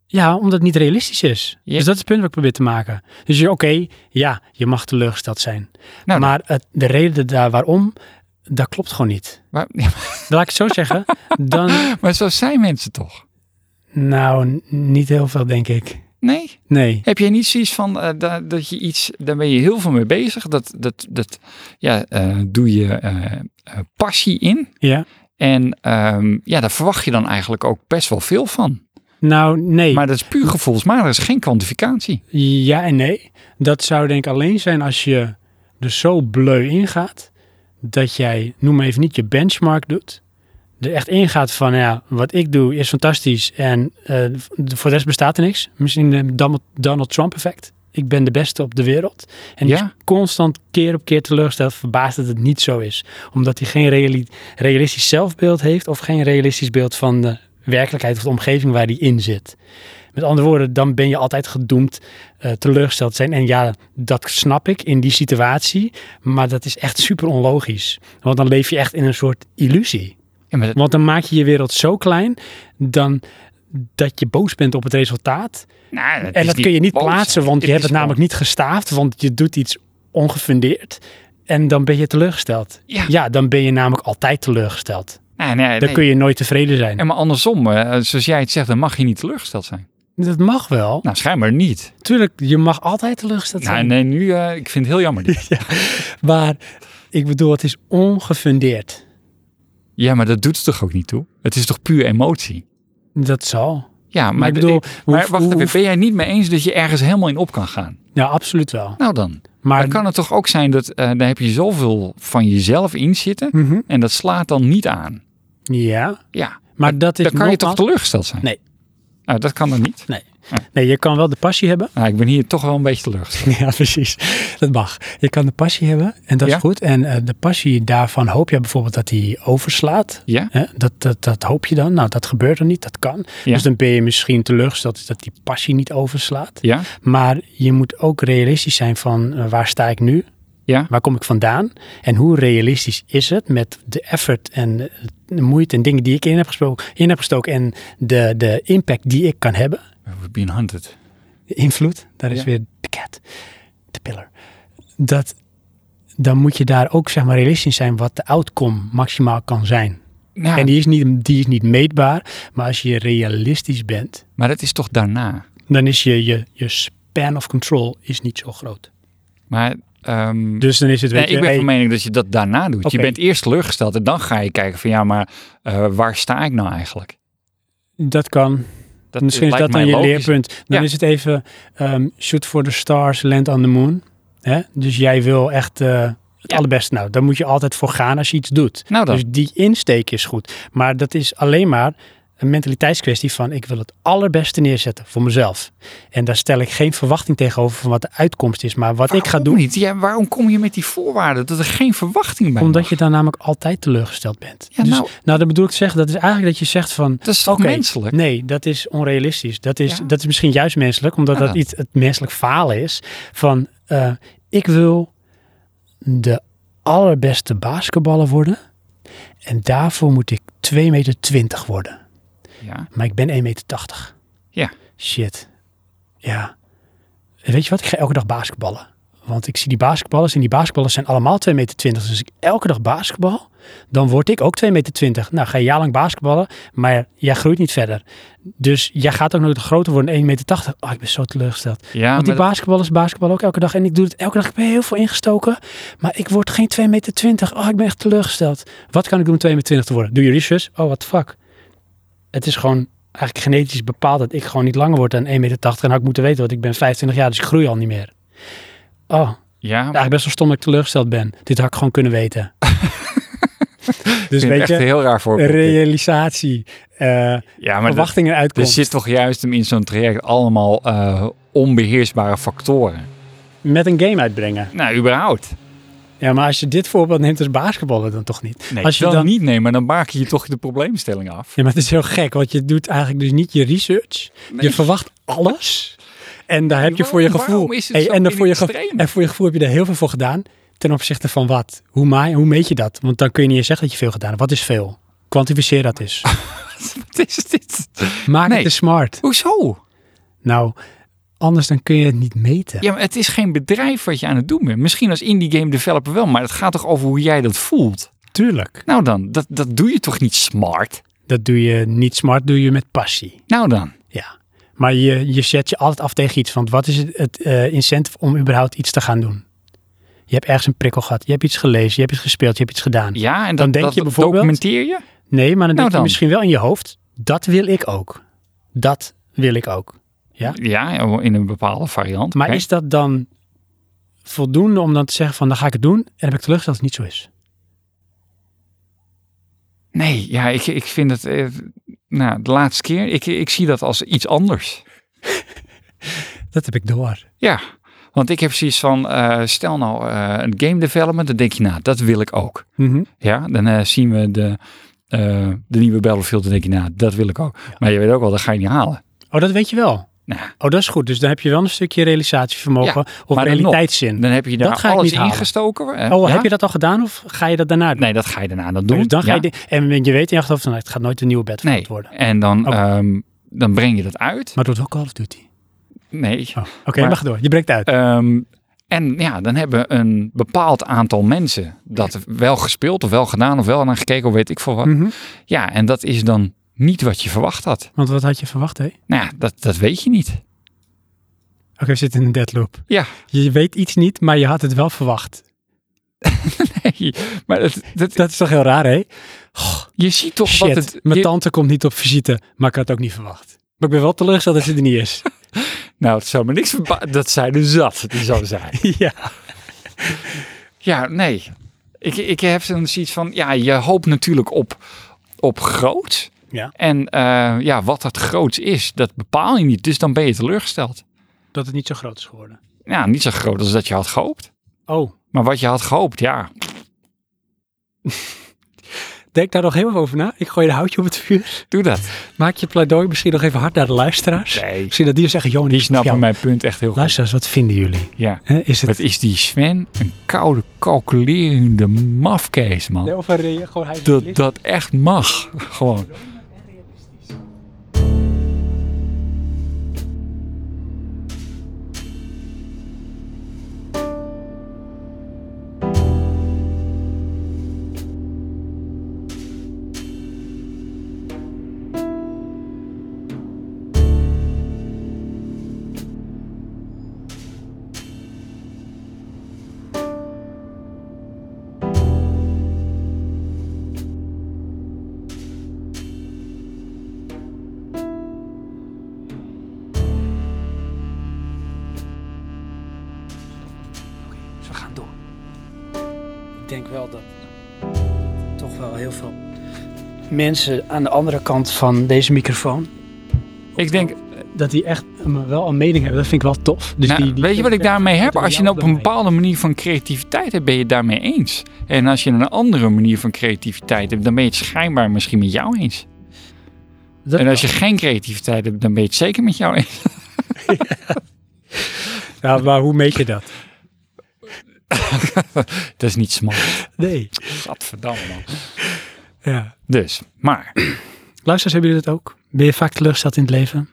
Ja, omdat het niet realistisch is. Ja. Dus dat is het punt wat ik probeer te maken. Dus je- oké, ja, je mag teleurgesteld zijn. Nou, maar het- de reden daar waarom, dat klopt gewoon niet. Waar- Laat ik het zo zeggen, dan... maar zo zijn mensen toch? Nou, n- niet heel veel, denk ik. Nee? Nee. Heb je niet zoiets van eh, da- dat je iets, daar ben je heel veel mee bezig, dat, dat, dat ja, eh, doe je eh, eh, passie in? Ja. En ehm, ja, daar verwacht je dan eigenlijk ook best wel veel van. Nou, nee. Maar dat is puur gevoelsmatig, er is geen kwantificatie. Ja en nee. Dat zou denk ik alleen zijn als je er zo bleu ingaat dat jij, noem maar even niet je benchmark doet. Er echt ingaat van, ja, wat ik doe is fantastisch en eh, voor de rest bestaat er niks. Misschien de Donald, Donald Trump effect. Ik ben de beste op de wereld. En die Ja. is constant keer op keer teleurgesteld, verbaasd dat het niet zo is. Omdat hij geen reali- realistisch zelfbeeld heeft of geen realistisch beeld van de werkelijkheid of de omgeving waar hij in zit. Met andere woorden, dan ben je altijd gedoemd eh, teleurgesteld te zijn. En ja, dat snap ik in die situatie, maar dat is echt super onlogisch. Want dan leef je echt in een soort illusie. Ja, maar dat- Want dan maak je je wereld zo klein, dan dat je boos bent op het resultaat. nou, dat En is dat kun je niet boos. plaatsen, want je is hebt het namelijk niet gestaafd, want je doet iets ongefundeerd. En dan ben je teleurgesteld. Ja. dan ben je namelijk altijd teleurgesteld. gewoon- Nou, nee, Dan kun je nooit tevreden zijn. En maar andersom, eh, zoals jij het zegt, dan mag je niet teleurgesteld zijn. Dat mag wel. Nou, schijnbaar niet. Tuurlijk, je mag altijd teleurgesteld Nou, zijn. nee, nu, eh, ik vind het heel *laughs* jammer. dit. Maar ik bedoel, het is ongefundeerd. Ja, maar dat doet het toch ook niet toe? Het is toch puur emotie? Dat zal. Ja, maar, Maar ik bedoel, de- maar hoe- wacht hoe- even, ben jij niet mee eens dat je ergens helemaal in op kan gaan? Ja, absoluut wel. Nou dan, Maar dan kan het toch ook zijn dat eh, daar heb je zoveel van jezelf in zitten Mhm. en dat slaat dan niet aan. ja, Ja, Maar dat is Dan kan je toch nogmaals- teleurgesteld zijn? Nee. Nou, dat kan dan niet. Nee, je kan wel de passie hebben. *laughs* Nou, ik ben hier toch wel een beetje teleurgesteld. Ja, precies. Dat mag. Je kan de passie hebben en dat Ja. is goed. En eh, de passie daarvan hoop je bijvoorbeeld dat die overslaat. Ja? Hè? Dat, dat, dat hoop je dan. Nou, dat gebeurt er niet. Dat kan. Ja. Dus dan ben je misschien teleurgesteld dat die passie niet overslaat. Ja? Maar je moet ook realistisch zijn van eh, waar sta ik nu? Ja? Waar kom ik vandaan? En hoe realistisch is het met de effort en eh, de moeite en dingen die ik in heb, gesproken, in heb gestoken en de, de impact die ik kan hebben? We've been hunted. De invloed, daar is Ja. weer de cat, de pillar. Dat, dan moet je daar ook zeg maar realistisch in zijn wat de outcome maximaal kan zijn. Nou, En die is, niet, die is niet meetbaar, maar als je realistisch bent, Maar dat is toch daarna? dan is je, je, je span of control is niet zo groot. Maar... ehm, Dus dan is het, weet Nee, je, ik ben hey, van mening dat je dat daarna doet. Je Oké. bent eerst teleurgesteld en dan ga je kijken van ja, maar eh, waar sta ik nou eigenlijk? dat kan, Dat Misschien is lijkt dat dan mij je logisch. leerpunt. Dan Ja. is het even ehm, shoot for the stars, land on the moon. Hè? Dus jij wil echt eh, het Ja. allerbeste. Nou, daar moet je altijd voor gaan als je iets doet. Nou dan. Dus die insteek is goed. Maar dat is alleen maar een mentaliteitskwestie van ik wil het allerbeste neerzetten voor mezelf. En daar stel ik geen verwachting tegenover van wat de uitkomst is. Maar wat ik ga Waarom doen, Niet? Ja, waarom kom je met die voorwaarden dat er geen verwachting bij omdat mag? je daar namelijk altijd teleurgesteld bent. Ja, dus, nou- nou, dan bedoel ik te zeggen, dat is eigenlijk dat je zegt van Dat is toch Oké, menselijk? Nee, dat is onrealistisch. Dat is, Ja. dat is misschien juist menselijk, omdat Ja. dat iets het menselijk falen is. Van eh, ik wil de allerbeste basketballer worden. En daarvoor moet ik 2,20 meter worden. Ja. Maar ik ben 1,80 meter. Ja. Shit. Ja. En Weet je wat? Ik ga elke dag basketballen. Want ik zie die basketballers en die basketballers zijn allemaal 2,20 meter. Dus als ik elke dag basketbal, dan word ik ook 2,20 meter. Nou, ga je jaarlang basketballen, maar jij groeit niet verder. Dus jij gaat ook nooit groter worden, 1,80 meter. Oh, ik ben zo teleurgesteld. Ja, Want die maar dat- basketballers basketballen ook elke dag. En ik doe het elke dag. Ik ben heel veel ingestoken, maar ik word geen 2,20 meter. Oh, ik ben echt teleurgesteld. Wat kan ik doen om 2,20 meter te worden? Doe je research? Oh, what the fuck. Het is gewoon eigenlijk genetisch bepaald dat ik gewoon niet langer word dan 1,80 meter. En had ik moeten weten, want ik ben 25 jaar, dus ik groei al niet meer. Oh, ja, eigenlijk best wel stom dat ik teleurgesteld ben. Dit had ik gewoon kunnen *laughs* weten. ik dus vind het weet echt een je, heel raar voorbeeld. realisatie, eh ja, maar dat- verwachtingen er uitkomt. zit toch juist in zo'n traject allemaal eh, onbeheersbare factoren. Met een game uitbrengen. Nou, überhaupt. Ja, maar als je dit voorbeeld neemt als basketballer, dan toch niet. Nee, als je dan, dan, niet nemen, dan maak je toch de probleemstelling af. Ja, maar het is heel gek, want je doet eigenlijk dus niet je research. Je verwacht alles. En daar heb je voor je Waarom- gevoel. waarom is het zo en, dan voor je in het gevo- extreme? en voor je gevoel heb je daar heel veel voor gedaan. Ten opzichte van wat? Hoe, ma- hoe meet je dat? Want dan kun je niet eens zeggen dat je veel gedaan hebt. Wat is veel? Kwantificeer dat *laughs* eens. *laughs* Wat is dit? Maak Nee. het te smart. Hoezo? Nou, anders dan kun je het niet meten. Ja, maar het is geen bedrijf wat je aan het doen bent. Misschien als indie game developer wel, maar het gaat toch over hoe jij dat voelt? Tuurlijk. Nou dan, dat, dat doe je toch niet smart? Dat doe je niet smart, doe je met passie. Nou dan. Ja. Maar je, je zet je altijd af tegen iets. Want wat is het, het eh, incentive om überhaupt iets te gaan doen? Je hebt ergens een prikkel gehad. Je hebt iets gelezen. Je hebt iets gespeeld. Je hebt iets gedaan. Ja, en dat, Dan denk dat je bijvoorbeeld- documenteer je? Nee, maar dan Nou denk dan. je misschien wel in je hoofd, dat wil ik ook. Dat wil ik ook. Ja? Ja, oh, in een bepaalde variant. Maar oké. is dat dan voldoende om dan te zeggen van, dan ga ik het doen en dan heb ik teleurgesteld dat het niet zo is? Nee, ja, ik, ik vind het... eh, nou, de laatste keer, ik, ik zie dat als iets anders. Dat heb ik door. Ja, want ik heb zoiets van, eh, stel nou eh, een game development, dan denk je, nou, dat wil ik ook. Mhm. Ja, dan eh, zien we de, eh, de nieuwe Battlefield, dan denk je, nou, dat wil ik ook. Maar je weet ook wel, dat ga je niet halen. Oh, dat weet je wel. Nou, Oh, dat is goed. Dus dan heb je wel een stukje realisatievermogen of maar dan nog. realiteitszin. Dan heb je Dat daar ga ik alles niet halen. ingestoken. eh, Oh, ja? heb je dat al gedaan of ga je dat daarna doen? Nee, dat ga je daarna dan doen. Dus dan ga ja. je di- en je weet in je achterhoofd, nou, het gaat nooit een nieuwe Battlefield Nee, worden. en dan, Oké. ehm, dan breng je dat uit. Maar dat wordt wel Call of Duty. Nee. Oh, Oké, Maar- maar ga door. Je breekt uit. Ehm, en ja, dan hebben een bepaald aantal mensen dat wel gespeeld of wel gedaan of wel naar gekeken of weet ik veel wat. Mhm. Ja, en dat is dan niet wat je verwacht had. Want wat had je verwacht, hè? Nou ja, dat, dat weet je niet. *laughs* Oké, we zitten in een deadloop. Ja, Je weet iets niet, maar je had het wel verwacht. nee, maar dat, dat, Dat is toch heel raar, hè? je ziet toch Shit, wat het... mijn je- tante komt niet op visite, maar ik had het ook niet verwacht. Maar ik ben wel teleurgesteld dat ze er niet *laughs* is. nou, het zou me niks verba- *laughs* Dat zij er zat, die zou zijn. ja. *laughs* Ja, nee. Ik, ik heb zo'n zoiets van, ja, je hoopt natuurlijk op, op groot. Ja. En eh, ja, wat dat groots is, dat bepaal je niet. Dus dan ben je teleurgesteld. Dat het niet zo groot is geworden. Ja, niet zo groot als dat je had gehoopt. Oh, Maar wat je had gehoopt, ja. denk daar nog heel even over na. Ik gooi een houtje op het vuur. Doe dat. Maak je pleidooi misschien nog even hard naar de luisteraars. Nee. Misschien dat die zeggen, Johan, Die ik snap snappen jou. mijn punt echt heel goed. Luisteraars, wat vinden jullie? Ja. Hè, is het... Wat is die Sven? Een koude, calculerende mafkees, man. Nee, of een re- gewoon hij dat dat echt mag. Gewoon. we gaan door. Ik denk wel dat toch wel heel veel mensen aan de andere kant van deze microfoon, Ik denk, dat die echt een- wel een mening hebben. Dat vind ik wel tof. Dus nou, die, die- weet je wat ik daarmee heb? doe Als je jou nou op een dan mee. bepaalde manier van creativiteit hebt, ben je het daarmee eens. En als je een andere manier van creativiteit hebt, dan ben je het schijnbaar misschien met jou eens. Dat- en als je geen creativiteit hebt, dan ben je het zeker met jou eens. Ja, maar hoe meet je dat? Dat is niet smart. Nee. Gadverdamme, man. Ja. Dus, maar. Luisteraars, hebben jullie dat ook? Ben je vaak teleurgesteld in het leven?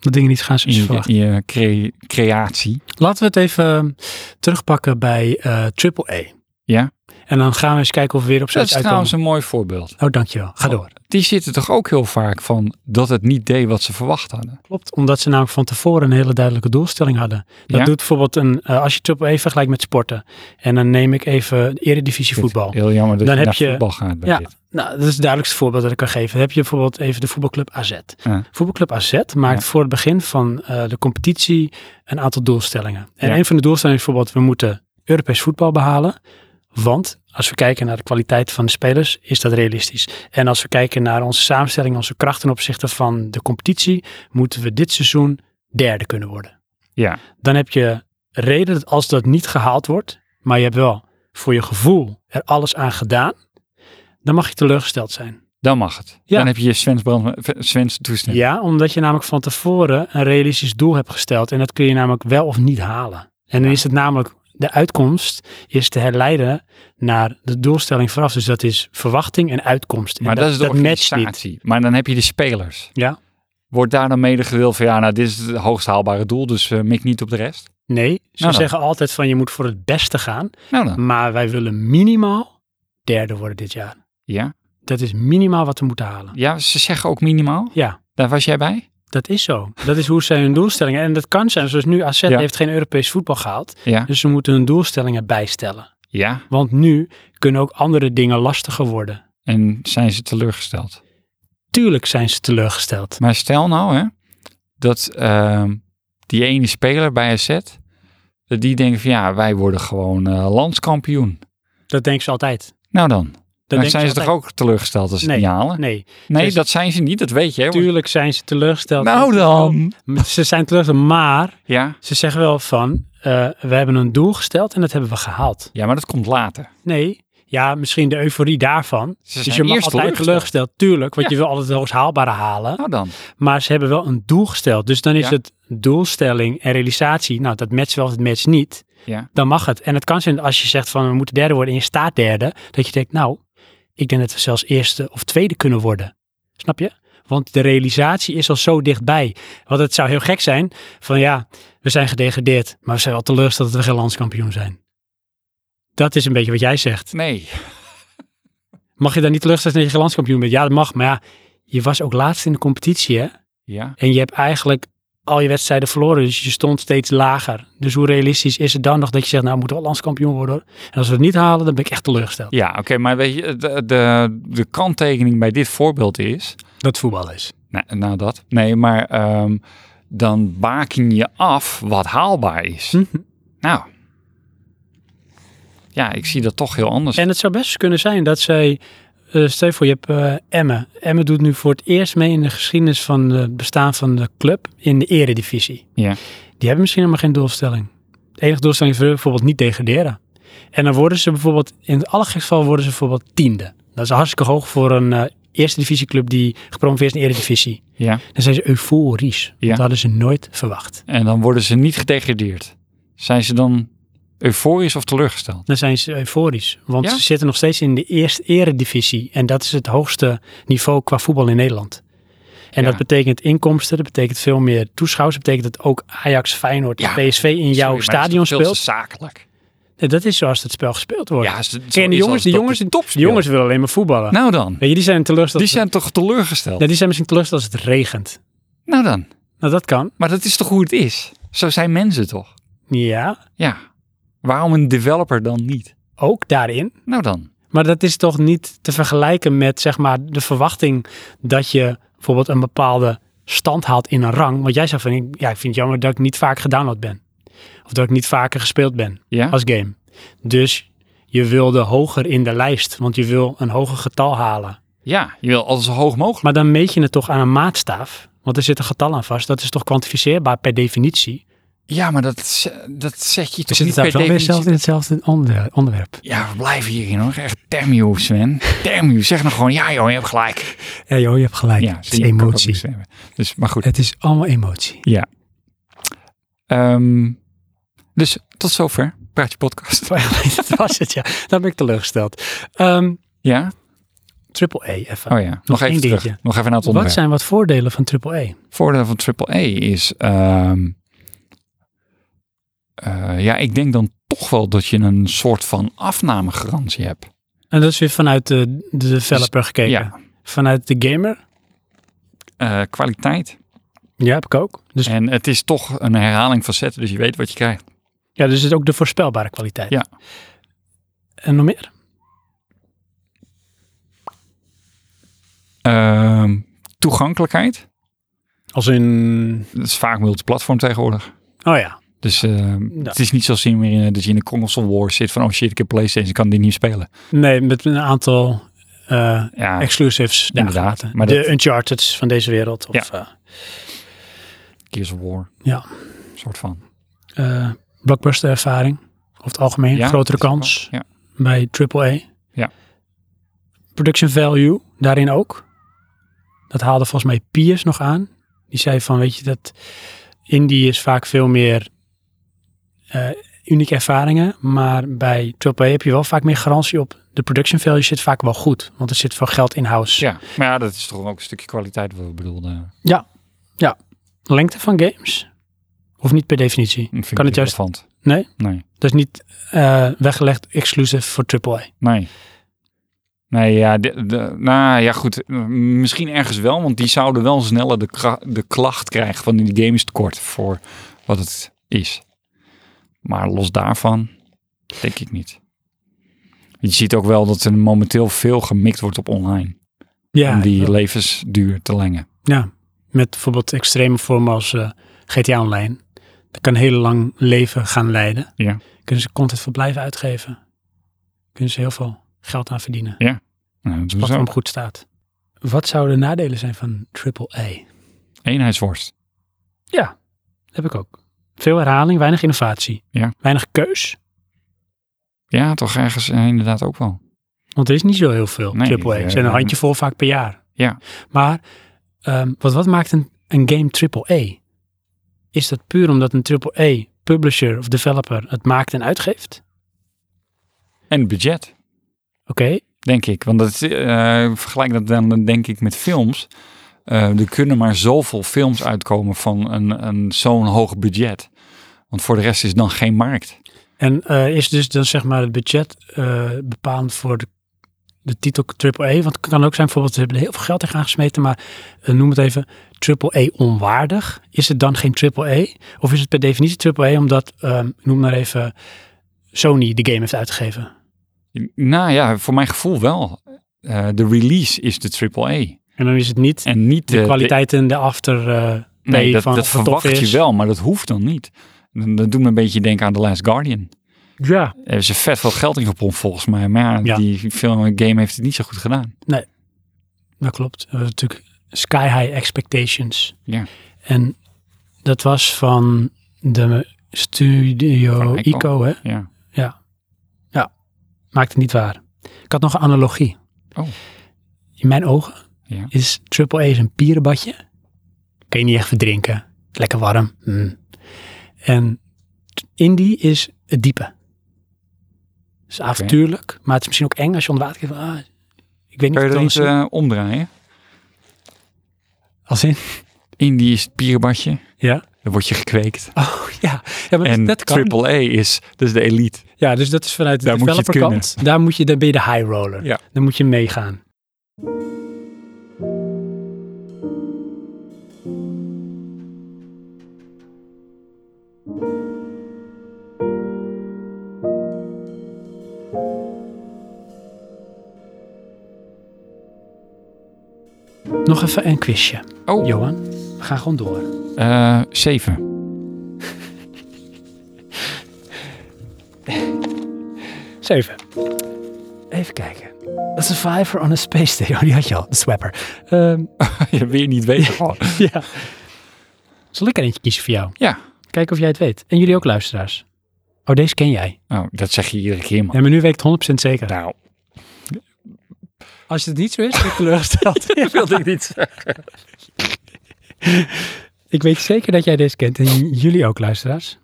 Dat dingen niet gaan zoals je Je, verwacht. je cre- creatie. Laten we het even eh, terugpakken bij eh, Triple AAA. Ja. En dan gaan we eens kijken of we weer op Dat zoiets is uitkomen. trouwens een mooi voorbeeld. Oh, dankjewel. Ga door. Die zitten toch ook heel vaak van dat het niet deed wat ze verwacht hadden. Klopt, omdat ze namelijk van tevoren een hele duidelijke doelstelling hadden. Dat Ja. doet bijvoorbeeld een, eh, als je Triple E vergelijkt met sporten. En dan neem ik even eredivisie voetbal. Heel jammer dat Dan je heb naar je- voetbal gaat bij Ja, dit. nou, dat is het duidelijkste voorbeeld dat ik kan geven. Dan heb je bijvoorbeeld even de voetbalclub AZ. Ja. Voetbalclub AZ maakt voor het begin van eh, de competitie een aantal doelstellingen. En Ja. een van de doelstellingen is bijvoorbeeld, we moeten Europees voetbal behalen. Want als we kijken naar de kwaliteit van de spelers, is dat realistisch. En als we kijken naar onze samenstelling, onze krachten ten opzichte van de competitie, moeten we dit seizoen derde kunnen worden. Ja, dan heb je reden dat als dat niet gehaald wordt, maar je hebt wel voor je gevoel er alles aan gedaan, dan mag je teleurgesteld zijn. dan mag het. Ja. Dan heb je je Sven's, brand, Sven's toestemming. Ja, omdat je namelijk van tevoren een realistisch doel hebt gesteld en dat kun je namelijk wel of niet halen. En dan is het namelijk, de uitkomst is te herleiden naar de doelstelling vooraf. Dus dat is verwachting en uitkomst. En Maar dat, is de matcht niet. organisatie. Maar dan heb je de spelers. Ja. Wordt daar dan mede gedeeld van ja, nou dit is het hoogst haalbare doel, dus eh, mik niet op de rest. Nee, ze Nou dan. zeggen altijd van je moet voor het beste gaan, Nou dan, maar wij willen minimaal derde worden dit jaar. ja. Dat is minimaal wat we moeten halen. Ja, ze zeggen ook minimaal. Ja. Daar was jij bij? Dat is zo. Dat is hoe zij hun doelstellingen. En dat kan zijn. Zoals nu, AZ Ja. heeft geen Europees voetbal gehaald. Ja. Dus ze moeten hun doelstellingen bijstellen. Ja. Want nu kunnen ook andere dingen lastiger worden. En zijn ze teleurgesteld. Tuurlijk zijn ze teleurgesteld. Maar stel nou hè, dat ehm, die ene speler bij AZ, dat die denkt van ja, wij worden gewoon eh, landskampioen. Dat denken ze altijd. Dat Nou dan, dan denken zijn ze toch ook teleurgesteld als ze het Nee. niet halen? Nee, Nee, Dus- dat zijn ze niet, dat weet je. hè, want- tuurlijk zijn ze teleurgesteld. Nou dan. Ze zijn teleurgesteld, maar Ja. ze zeggen wel van... eh, we hebben een doel gesteld en dat hebben we gehaald. ja, maar dat komt later. Nee, ja, misschien de euforie daarvan. Ze dus zijn je mag eerst altijd teleurgesteld. teleurgesteld, tuurlijk. Want Ja. je wil altijd het hoogst haalbare halen. Nou dan. Maar ze hebben wel een doel gesteld. Dus dan is Ja. het doelstelling en realisatie. Nou, dat matcht wel of het matcht niet. Ja. Dan mag het. En het kan zijn dat als je zegt van we moeten derde worden en je staat derde. Dat je denkt nou, ik denk dat we zelfs eerste of tweede kunnen worden. Snap je? Want de realisatie is al zo dichtbij. Want het zou heel gek zijn van ja, we zijn gedegradeerd. Maar we zijn wel teleurgesteld dat we geen landskampioen zijn. Dat is een beetje wat jij zegt. Nee. Mag je dan niet teleurgesteld zijn dat je geen landskampioen bent? Ja, dat mag. Maar ja, je was ook laatst in de competitie hè. Ja. En je hebt eigenlijk al je wedstrijden verloren. Dus je stond steeds lager. Dus hoe realistisch is het dan nog dat je zegt, nou we moeten wel landskampioen worden. hoor. En als we het niet halen, dan ben ik echt teleurgesteld. Ja, oké, maar weet je, de, de, de kanttekening bij dit voorbeeld is, Dat voetbal is. nou, nou dat, nee, maar ehm, dan baken je af wat haalbaar is. Mhm. Nou, ja, ik zie dat toch heel anders. En het zou best kunnen zijn dat zij eh, stel je voor, je hebt eh Emmen. Emmen doet nu voor het eerst mee in de geschiedenis van het bestaan van de club in de eredivisie. Ja. Die hebben misschien helemaal geen doelstelling. De enige doelstelling is bijvoorbeeld niet degraderen. En dan worden ze bijvoorbeeld, in het allergekste geval worden ze bijvoorbeeld tiende. Dat is hartstikke hoog voor een eh, eerste divisieclub die gepromoveerd is in de eredivisie. Ja. Dan zijn ze euforisch. Ja. Dat hadden ze nooit verwacht. En dan worden ze niet gedegradeerd. Zijn ze dan euforisch of teleurgesteld? Dan zijn ze euforisch. Want Ja? ze zitten nog steeds in de eerste eredivisie. En dat is het hoogste niveau qua voetbal in Nederland. En Ja. dat betekent inkomsten, dat betekent veel meer toeschouwers. Dat betekent dat ook Ajax, Feyenoord en Ja. PSV in Sorry, maar jouw dat is stadion toch veel te speelt. zakelijk. Nee, dat is zoals het spel gespeeld wordt. Ja, ze, Kijk, en de jongens, de jongens, top de jongens willen alleen maar voetballen. Nou dan. Weet je, die zijn teleurgesteld. Die zijn toch teleurgesteld? Ja, die zijn misschien teleurgesteld als het regent. Nou dan. Nou, dat kan. Maar dat is toch hoe het is? Zo zijn mensen toch? Ja, Ja. Waarom een developer dan niet? ook daarin. Nou dan. Maar dat is toch niet te vergelijken met zeg maar, de verwachting dat je bijvoorbeeld een bepaalde stand haalt in een rang. Want jij zegt van, ik- ja, ik vind het jammer dat ik niet vaak gedownload ben. Of dat ik niet vaker gespeeld ben Ja? als game. Dus je wilde hoger in de lijst, want je wil een hoger getal halen. Ja, je wil alles zo hoog mogelijk. Maar dan meet je het toch aan een maatstaaf, want er zit een getal aan vast. Dat is toch kwantificeerbaar per definitie? Ja, maar dat, z- dat zeg We je toch niet zitten per trouwens wel weer definitie. zelfs in hetzelfde onder- onderwerp. Ja, we blijven hierin hoor. Echt damn you, Sven. Damn you. Zeg nog gewoon, ja joh, je hebt gelijk. Ja joh, je hebt gelijk. Ja, het zie is je, kan ik ook emotie. niks hebben. Dus, maar goed. Het is allemaal emotie. Ehm, dus tot zover. Praatje podcast. *laughs* dat was het, ja. Daar ben ik teleurgesteld. Ehm Ja? triple E even. Oh ja. Nog één even terug. dingetje. Nog even naar het wat onderwerp. zijn wat voordelen van triple E? voordeel van AAA is... ehm, eh, ja, ik denk dan toch wel dat je een soort van afnamegarantie hebt. En dat is weer vanuit de, de developer gekeken. Dus, Ja. Vanuit de gamer. Eh, kwaliteit. Ja, heb ik ook. Dus, ja. En het is toch een herhaling van zetten, dus je weet wat je krijgt. dus het is ook de voorspelbare kwaliteit. Ja. En nog meer? Ehm, toegankelijkheid. Als in... Dat is vaak multiplatform tegenwoordig. Oh ja. Dus ehm, het is niet zoals in meer eh, dat je in de console wars zit van oh shit, ik heb PlayStation, ik kan die niet spelen. Nee, met een aantal eh, Ja, exclusives. inderdaad. daargelaten. Maar de dat- Uncharted van deze wereld. Of, eh, ja. Gears of War. Ja. Soort van. eh, blockbuster ervaring. Over het algemeen. Ja, grotere dat is ook kans. wel- Ja. bij AAA. Ja. Production value, daarin ook. Dat haalde volgens mij Piers nog aan. Die zei van, weet je, dat indie is vaak veel meer eh, unieke ervaringen. Maar bij AAA heb je wel vaak meer garantie op. De production value zit vaak wel goed, want er zit veel geld in-house. ja, maar ja, dat is toch ook een stukje kwaliteit wat we bedoelden. Lengte van games? Of niet per definitie? Vind Kan ik het juist- relevant. Nee? Nee. Dat is niet eh, weggelegd exclusief voor AAA. Nee. Nee, ja, de, de- nou ja, goed. m- Misschien ergens wel, want die zouden wel sneller de, kra- de klacht krijgen van die game is te kort voor wat het is. Maar los daarvan, denk ik niet. Je ziet ook wel dat er momenteel veel gemikt wordt op online. om Ja, die levensduur te lengen. Ja, met bijvoorbeeld extreme vormen als eh, GTA Online. Dat kan heel lang leven gaan leiden. Ja. Kunnen ze content voor blijven uitgeven. Kunnen ze heel veel geld aan verdienen. Nou, dat doen Als ze het ook. goed staat. Wat zouden de nadelen zijn van AAA? Eenheidsworst. Heb ik ook. Veel herhaling, weinig innovatie. Ja. Weinig keus. Ja, toch ergens eh, inderdaad ook wel. Want er is niet zo heel veel Nee, AAA. eh, Er zijn een handjevol vaak per jaar. Ja. Maar ehm, wat, wat maakt een, een game AAA? Is dat puur omdat een AAA publisher of developer het maakt en uitgeeft? En het budget. Oké, Denk ik. Want dat, is, eh, vergelijk dat dan denk ik met films. Eh, er kunnen maar zoveel films uitkomen van een, een, zo'n hoog budget. Want voor de rest is dan geen markt. en eh, is dus dan zeg maar het budget eh bepalend voor de, de titel AAA? Want het kan ook zijn bijvoorbeeld, ze hebben er heel veel geld in gaan gesmeten, maar eh, noem het even AAA onwaardig. Is het dan geen AAA? Of is het per definitie AAA omdat, ehm, noem maar even, Sony de game heeft uitgegeven? Nou ja, voor mijn gevoel wel. Eh, de release is de AAA. En dan is het niet En niet de, kwaliteit en de after... eh, de- nee, pay dat, van dat of het tof verwacht je is. wel, maar dat hoeft dan niet. Dan- Dat doet me een beetje denken aan The Last Guardian. Ja. Daar hebben ze vet veel geld in gepompt volgens mij. Maar ja, Ja. die film game heeft het niet zo goed gedaan. Dat klopt. Dat was natuurlijk Sky High Expectations. Ja. En dat was van de studio Van Ico. Ico, hè? Ja. Maakt het niet waar. Ik had nog een analogie. Oh. In mijn ogen Ja. is Triple A's een pierenbadje. Kun je niet echt verdrinken. Lekker warm. Mm. En t- Indie is het diepe. Het is avontuurlijk, maar het is misschien ook eng als je onder water kijkt. van, ah, ik weet niet Kan of je het dat anders niet is. eh, omdraaien? als in. Indie is het pierenbadje. Ja. Dan word je gekweekt. Oh ja, ja maar en dat kan. triple A is dus de elite. Ja, dus dat is vanuit de Daar moet je het developerkant. Daar moet je, dan ben je de high roller. Ja. Dan moet je meegaan. Nog even een quizje, Oh, Johan. We gaan gewoon door. eh, zeven. *laughs* Zeven. Even kijken. A Survivor on a Space Station. *laughs* Oh, die had je al. De Swapper. Ehm, je weer niet weten. Oh, ja. Zal ik er eentje kiezen voor jou? Ja. Kijken of jij het weet. En jullie ook luisteraars. Oh, deze ken jij. Oh, dat zeg je iedere keer, man. Ja, maar nu weet ik het 100% zeker. Nou, Als het niet zo is, ben ik *laughs* teleurgesteld. dat wilde ik niet ik weet zeker dat jij deze kent. En j- jullie ook, luisteraars.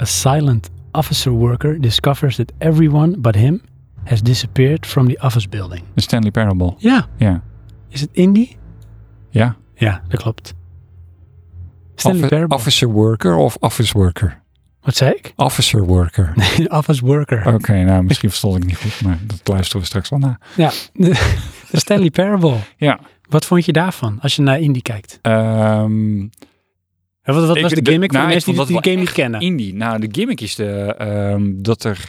A silent officer worker discovers that everyone but him has disappeared from the office building. de Stanley Parable. Ja, Ja. is het indie? Ja. Ja, dat klopt. Stanley Offi- Parable. Officer worker of office worker? Wat zei ik? Officer worker. *laughs* office worker. Oké, nou, misschien verstond ik niet goed, maar dat luisteren we straks wel na. Ja, *laughs* de, de Stanley Parable. Ja. Wat vond je daarvan als je naar indie kijkt? Ehm, Hè, Wat, wat Ik- was de de- gimmick nou, voor de ik mensen die, vond die dat game wel niet kennen? Indie. Nou, de gimmick is de, ehm, dat er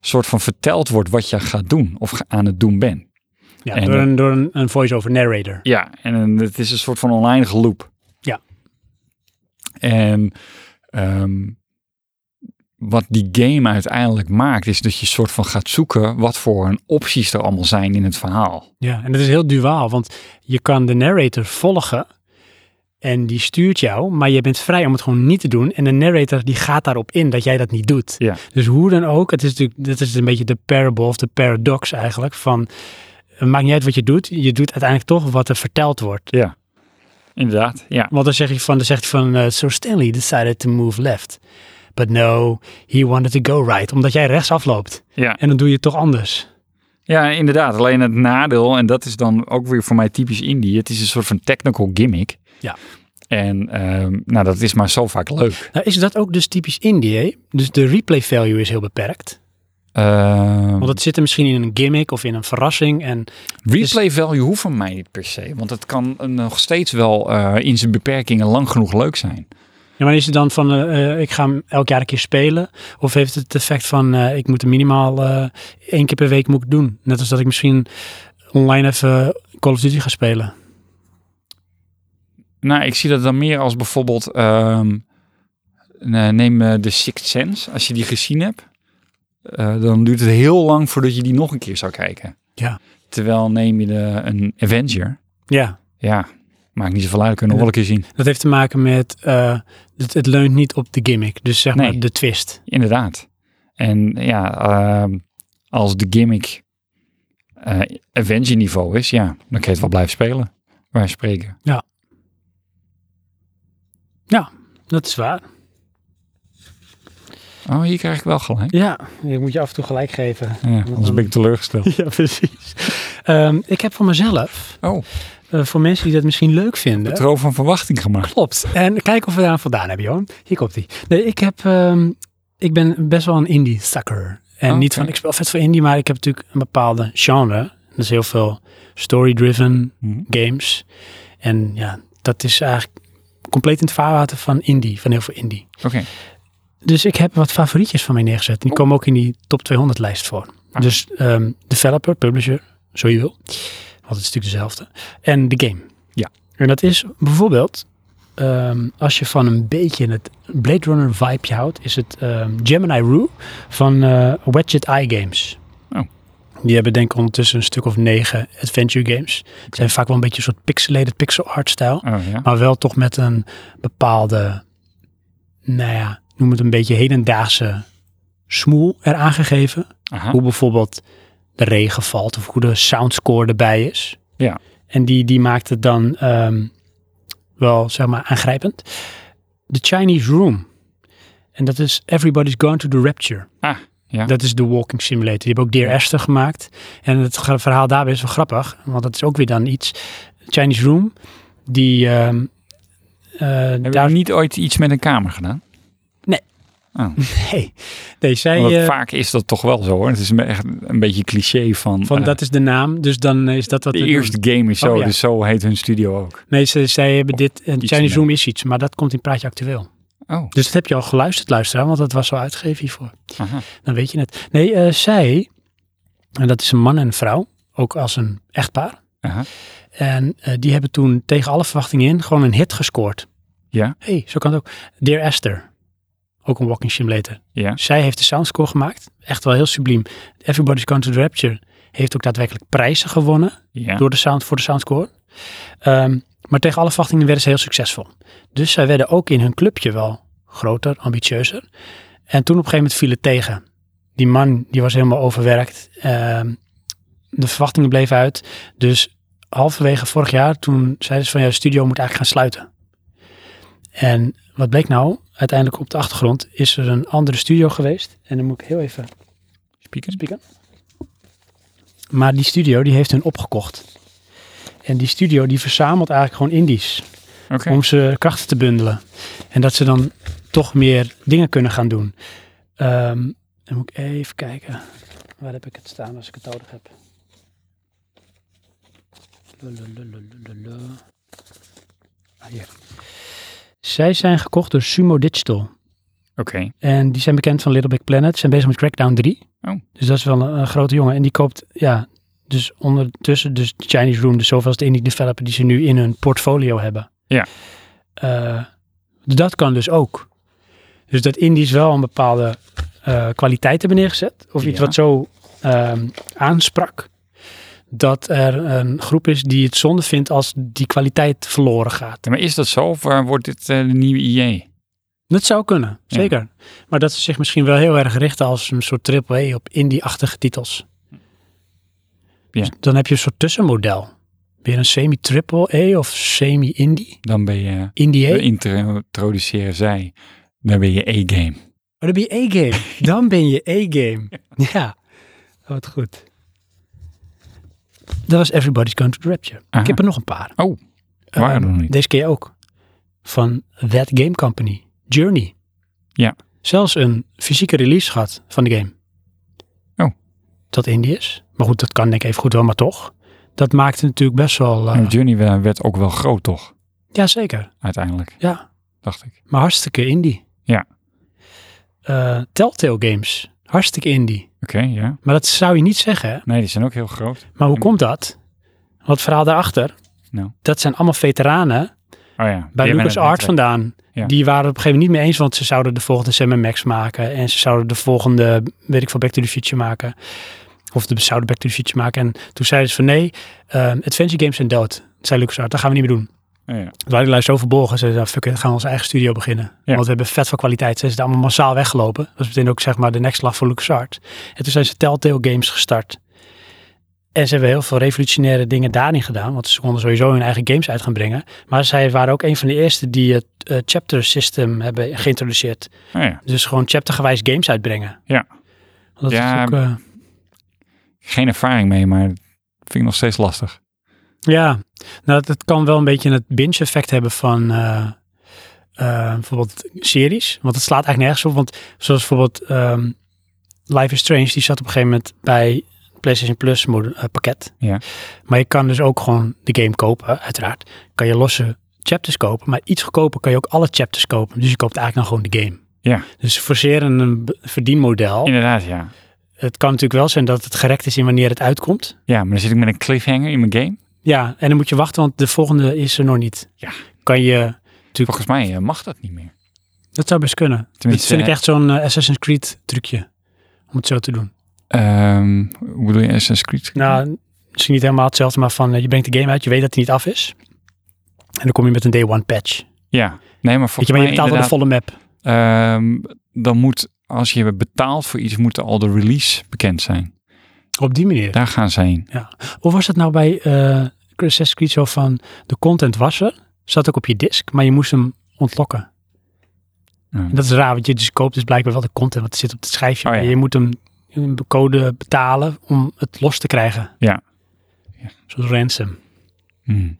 soort van verteld wordt wat je gaat doen of ge- aan het doen bent. Ja, en- door een, door een, een voice-over narrator. Ja, en een- het is een soort van online geloop. Ja. En ehm, wat die game uiteindelijk maakt, is dat je soort van gaat zoeken wat voor een opties er allemaal zijn in het verhaal. Ja, en dat is heel duaal, want je kan de narrator volgen en die stuurt jou, maar je bent vrij om het gewoon niet te doen. En de narrator die gaat daarop in dat jij dat niet doet. Ja. Dus hoe dan ook, het is natuurlijk, dit is een beetje de parable of de paradox eigenlijk van... Het maakt niet uit wat je doet, je doet uiteindelijk toch wat er verteld wordt. Inderdaad, ja. Want dan zeg je van, dan zegt hij van, eh, so Stanley decided to move left. But no, he wanted to go right, omdat jij rechtsaf loopt. Ja. En dan doe je het toch anders. Ja, inderdaad. Alleen het nadeel, en dat is dan ook weer voor mij typisch indie, het is een soort van technical gimmick. Ja. En ehm, nou, dat is maar zo vaak leuk. Nou is dat ook dus typisch indie, hè? Dus de replay value is heel beperkt. Ehm, Want het zit er misschien in een gimmick of in een verrassing. En replay value hoeft van mij niet per se, want het kan een- nog steeds wel eh, in zijn beperkingen lang genoeg leuk zijn. ja, maar is het dan van, eh, eh, ik ga hem elk jaar een keer spelen? Of heeft het het effect van, eh, ik moet hem minimaal eh, één keer per week moet ik doen? Net als dat ik misschien online even Call of Duty ga spelen. Nou, ik zie dat dan meer als bijvoorbeeld, ehm, ne- neem eh, de Sixth Sense. Als je die gezien hebt, eh, dan duurt het heel lang voordat je die nog een keer zou kijken. Ja. Terwijl neem je de, een Avenger, Ja, Ja, maakt niet zoveel uit. Kunnen we wel een keer zien. dat heeft te maken met, eh, het, het leunt niet op de gimmick. Dus zeg Nee. maar de twist. Inderdaad. En ja, ehm, als de gimmick eh Avenger niveau is, ja, dan kan je het wel blijven spelen. Wij spreken. Dat is waar. Oh, hier krijg ik wel *laughs* gelijk. Ja, ik moet je af en toe gelijk geven. Ja, anders ben ik teleurgesteld. *laughs* Ja, precies. Ehm, ik heb voor mezelf Oh, Eh, voor mensen die dat misschien leuk vinden. patroon van verwachting gemaakt. Klopt. En kijk of we daar vandaan hebben, Johan. Hier komt hij. Nee, ik heb, ehm, ik ben best wel een indie sucker. En Oké. niet van, ik speel vet voor indie, maar ik heb natuurlijk een bepaalde genre. Dus heel veel story-driven Mhm. games. En ja, dat is eigenlijk compleet in het vaarwater van indie, van heel veel indie. Oké. Dus ik heb wat favorietjes van mij neergezet. Die Oh. komen ook in die top 200 lijst voor. Ah. Dus ehm, developer, publisher, zo je wil. Want het is natuurlijk dezelfde. En de game. Ja. En dat is bijvoorbeeld ehm, als je van een beetje het Blade Runner vibe houdt, is het ehm, Gemini Rue van eh Wedget Eye Games. Oh. Die hebben denk ik ondertussen een stuk of negen adventure games. Het zijn vaak wel een beetje een soort pixelated pixel art stijl. Oh ja. Maar wel toch met een bepaalde, nou ja, noem het een beetje hedendaagse smoel eraan gegeven. Aha. Hoe bijvoorbeeld de regen valt of hoe de soundscore erbij is. Ja. En die, die maakt het dan ehm, wel, zeg maar, aangrijpend. The Chinese Room. En dat is Everybody's Gone to the Rapture. Ah, ja. Dat is de Walking Simulator. Die hebben ook Dear Ja. Esther gemaakt. En het gra- verhaal daarbij is wel grappig. Want dat is ook weer dan iets. Chinese Room, die... ehm, eh, Heb daar... *laughs* je niet ooit iets met een kamer gedaan? Nee. nee, zij... Want eh, vaak is dat toch wel zo hoor. Het is me- echt een beetje cliché van, van eh, dat is de naam, dus dan is dat wat de we doen. eerste game is zo. Oh, ja. Dus zo heet hun studio ook. Nee, ze- zij hebben Of dit... En iets Chinese ermee. Room is iets, maar dat komt in Praatje Actueel. Oh, Dus dat heb je al geluisterd, luisteraar, want dat was al uitgegeven hiervoor. aha. Dan weet je het. Nee, eh, zij, en dat is een man en een vrouw, ook als een echtpaar. aha. En eh, die hebben toen tegen alle verwachtingen in gewoon een hit gescoord. Ja. Hé, hey, zo kan het ook. Dear Esther, ook een walking simulator. Ja. Zij heeft de soundscore gemaakt, echt wel heel subliem. Everybody's Gone to the Rapture heeft ook daadwerkelijk prijzen gewonnen Ja. door de sound, voor de soundscore. Ehm, maar tegen alle verwachtingen werden ze heel succesvol. Dus zij werden ook in hun clubje wel groter, ambitieuzer. En toen op een gegeven moment viel het tegen. Die man die was helemaal overwerkt. Ehm, de verwachtingen bleven uit. Dus halverwege vorig jaar, toen zeiden ze van ja, de studio moet eigenlijk gaan sluiten. En wat bleek nou? Uiteindelijk op de achtergrond is er een andere studio geweest. En dan moet ik heel even Speaker? Spieken. Maar die studio die heeft hun opgekocht. En die studio die verzamelt eigenlijk gewoon indies. Oké. Om ze krachten te bundelen. En dat ze dan toch meer dingen kunnen gaan doen. Ehm, dan moet ik even kijken. Waar heb ik het staan als ik het nodig heb? Lulululululu. Ah, hier. Zij zijn gekocht door Sumo Digital. Oké. En die zijn bekend van Little Big Planet. Ze zijn bezig met Crackdown 3. Oh. Dus dat is wel een, een grote jongen. En die koopt, ja, dus ondertussen, dus de Chinese Room, dus zoveel als de indie developer die ze nu in hun portfolio hebben. Ja. Eh, dat kan dus ook. Dus dat indies wel een bepaalde eh, kwaliteit hebben neergezet. Of iets Ja. wat zo ehm, aansprak. Dat er een groep is die het zonde vindt als die kwaliteit verloren gaat. Ja, maar is dat zo of eh, wordt dit eh, de nieuwe IE? Dat zou kunnen, Ja. zeker. Maar dat ze zich misschien wel heel erg richten als een soort triple E op indie-achtige titels. Ja. Dus dan heb je een soort tussenmodel. Weer een semi-triple E of semi-indie. Dan ben je, Indie E. we introduceren zij, dan ben je E-game. Oh, dan ben je *laughs* E-game. Dan ben je E-game. Ja, Oh, wat goed. Dat was Everybody's Going to the Rapture. Aha. Ik heb er nog een paar. Oh, waren Ehm, er nog niet. Deze keer ook. Van That Game Company. Journey. Ja. Zelfs een fysieke release gehad van de game. Oh. Dat indie is. Maar goed, dat kan denk ik even goed wel, maar toch. Dat maakte natuurlijk best wel... eh, En Journey werd- werd ook wel groot toch, ja, zeker. uiteindelijk, Ja. dacht ik. Maar hartstikke indie. Ja. Eh, Telltale Games. Hartstikke indie. Oké, ja. Maar dat zou je niet zeggen. hè? Nee, die zijn ook heel groot. Maar hoe En- komt dat? Wat het verhaal daarachter? Nou. Dat zijn allemaal veteranen Oh ja. bij Lucas LucasArts vandaan. Ja. Die waren op een gegeven moment niet mee eens, want ze zouden de volgende Sam Max maken. En ze zouden de volgende, weet ik veel, Back to the Future maken. Of de, zouden Back to the Future maken. En toen zeiden ze van nee, ehm, adventure games zijn dood. Dat zei LucasArts, dat gaan we niet meer doen. Oh, ja. Toen waren die lui zo verborgen. Ze zeiden, "Nou, fuck it, gaan we onze eigen studio beginnen. Want we hebben vet van kwaliteit. Ze zijn allemaal massaal weggelopen. Dat is meteen ook zeg maar de next slag voor LucasArts. En toen zijn ze Telltale Games gestart. En ze hebben heel veel revolutionaire dingen daarin gedaan. Want ze konden sowieso hun eigen games uit gaan brengen. Maar zij waren ook een van de eerste die het eh, chapter system hebben geïntroduceerd. Oh, ja. Dus gewoon chaptergewijs games uitbrengen. Ja. Want Dat Ja, is ook, eh, Geen ervaring mee, maar dat vind ik nog steeds lastig. Ja, nou, dat kan wel een beetje het binge-effect hebben van eh, eh, bijvoorbeeld series. Want het slaat eigenlijk nergens op. Want zoals bijvoorbeeld ehm, Life is Strange, die zat op een gegeven moment bij PlayStation Plus mod- eh, pakket. Ja. Maar je kan dus ook gewoon de game kopen, uiteraard. Kan je losse chapters kopen, maar iets goedkoper kan je ook alle chapters kopen. Dus je koopt eigenlijk dan gewoon de game. Ja. Dus ze forceren een be- verdienmodel. Inderdaad, ja. Het kan natuurlijk wel zijn dat het gerekt is in wanneer het uitkomt. Ja, maar dan zit ik met een cliffhanger in mijn game. Ja, en dan moet je wachten, want de volgende is er nog niet. Ja. Kan je Natuurlijk, Volgens mij eh, mag dat niet meer. dat zou best kunnen. Dat Tenminste, vind ik eh, echt zo'n eh, Assassin's Creed trucje. Om het zo te doen. Mhm. ehm, hoe bedoel je Assassin's Creed? Nou, misschien niet helemaal hetzelfde, maar van eh, je brengt de game uit, je weet dat hij niet af is. En dan kom je met een day one patch. Ja, nee, maar Weet volgens je, maar je mij betaalt wel de inderdaad, volle map. ehm, dan moet, als je betaalt voor iets, moet al de release bekend zijn. Op die manier. Daar gaan ze heen. Hoe was dat nou bij eh Assassin's Creed zo van, de content was er, zat ook op je disk, maar je moest hem ontlokken. Ja. En Dat is raar, want je dus koopt dus blijkbaar wel de content, want het zit op het schijfje. Oh ja. maar Je moet hem een code betalen om het los te krijgen. Ja. Ja. Zo'n ransom. Hmm.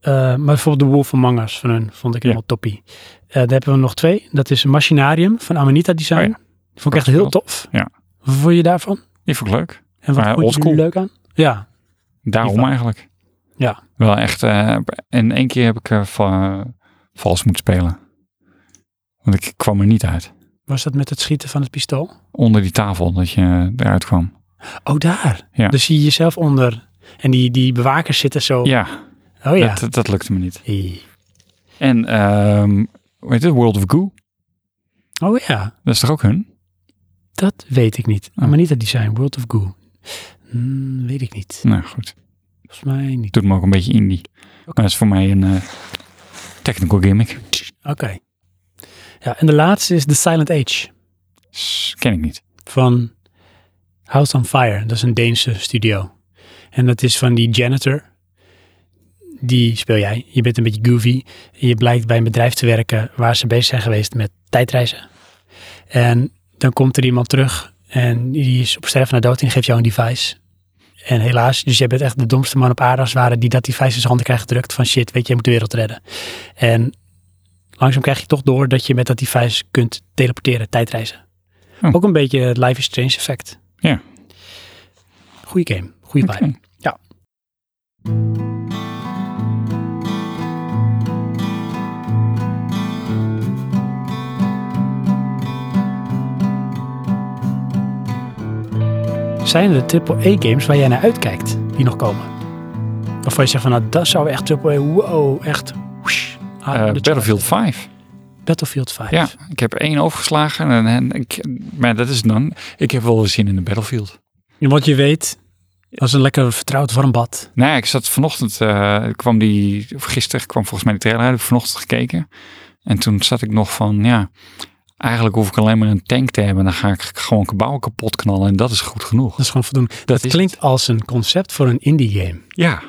Eh, maar bijvoorbeeld de Wolf Among Us van hun vond ik Ja. helemaal toppie. Eh daar hebben we nog twee. Dat is een Machinarium van Amanita Design. Oh ja. Die vond ik echt heel tof. Ja. Wat vond je daarvan? Die vond ik leuk. En wat Maar vond je er oldschool. leuk aan? Ja, Die Daarom van- eigenlijk. Ja. Wel echt. eh, en één keer heb ik eh, va- vals moeten spelen. Want ik kwam er niet uit. was dat met het schieten van het pistool? Onder die tafel dat je eruit kwam. Oh, daar. Ja. Dus zie je jezelf onder. En die, die bewakers zitten zo. Ja, Oh ja. Dat, eh. dat lukte me niet. Hey. En ehm hoe heet het? World of Goo. Oh ja, Dat is toch ook hun? dat weet ik niet. Oh. Amanita Design, World of Goo. Hmm, weet ik niet. Nou goed. Volgens mij niet. Doet me ook een beetje indie. Maar dat is voor mij een eh, technical gimmick. Oké. Ja, en de laatste is The Silent Age. S- Ken ik niet. van House on Fire. Dat is een Deense studio. En dat is van die janitor. Die speel jij. Je bent een beetje goofy. En je blijkt bij een bedrijf te werken waar ze bezig zijn geweest met tijdreizen. En dan komt er iemand terug en die is op sterven na dood en die geeft jou een device. En helaas, dus jij bent echt de domste man op aarde als het ware die dat device in zijn handen krijgt gedrukt van shit, weet je, je moet de wereld redden. En langzaam krijg je toch door dat je met dat device kunt teleporteren, tijdreizen. Oh. Ook een beetje het Life is Strange effect. Ja. Goeie game, goede vibe. Oké. Ja. Zijn er triple games waar jij naar uitkijkt die nog komen? Of waar je zegt van nou dat zou echt triple wow, echt. whoosh, ah, Eh, dat zou- Battlefield 5. Battlefield 5. Ja, ik heb er één overgeslagen. En, en, ik, maar dat is dan. Ik heb wel weer zin in de Battlefield. Want je weet, dat is een lekker vertrouwd warm bad. Nou ja, ik zat vanochtend, eh, kwam die, of gisteren kwam volgens mij de trailer uit, heb ik vanochtend gekeken. En toen zat ik nog van, ja, eigenlijk hoef ik alleen maar een tank te hebben. Dan ga ik gewoon gebouwen kapot knallen en dat is goed genoeg. Dat is gewoon voldoende. Dat, is klinkt als een concept voor een indie game. Ja,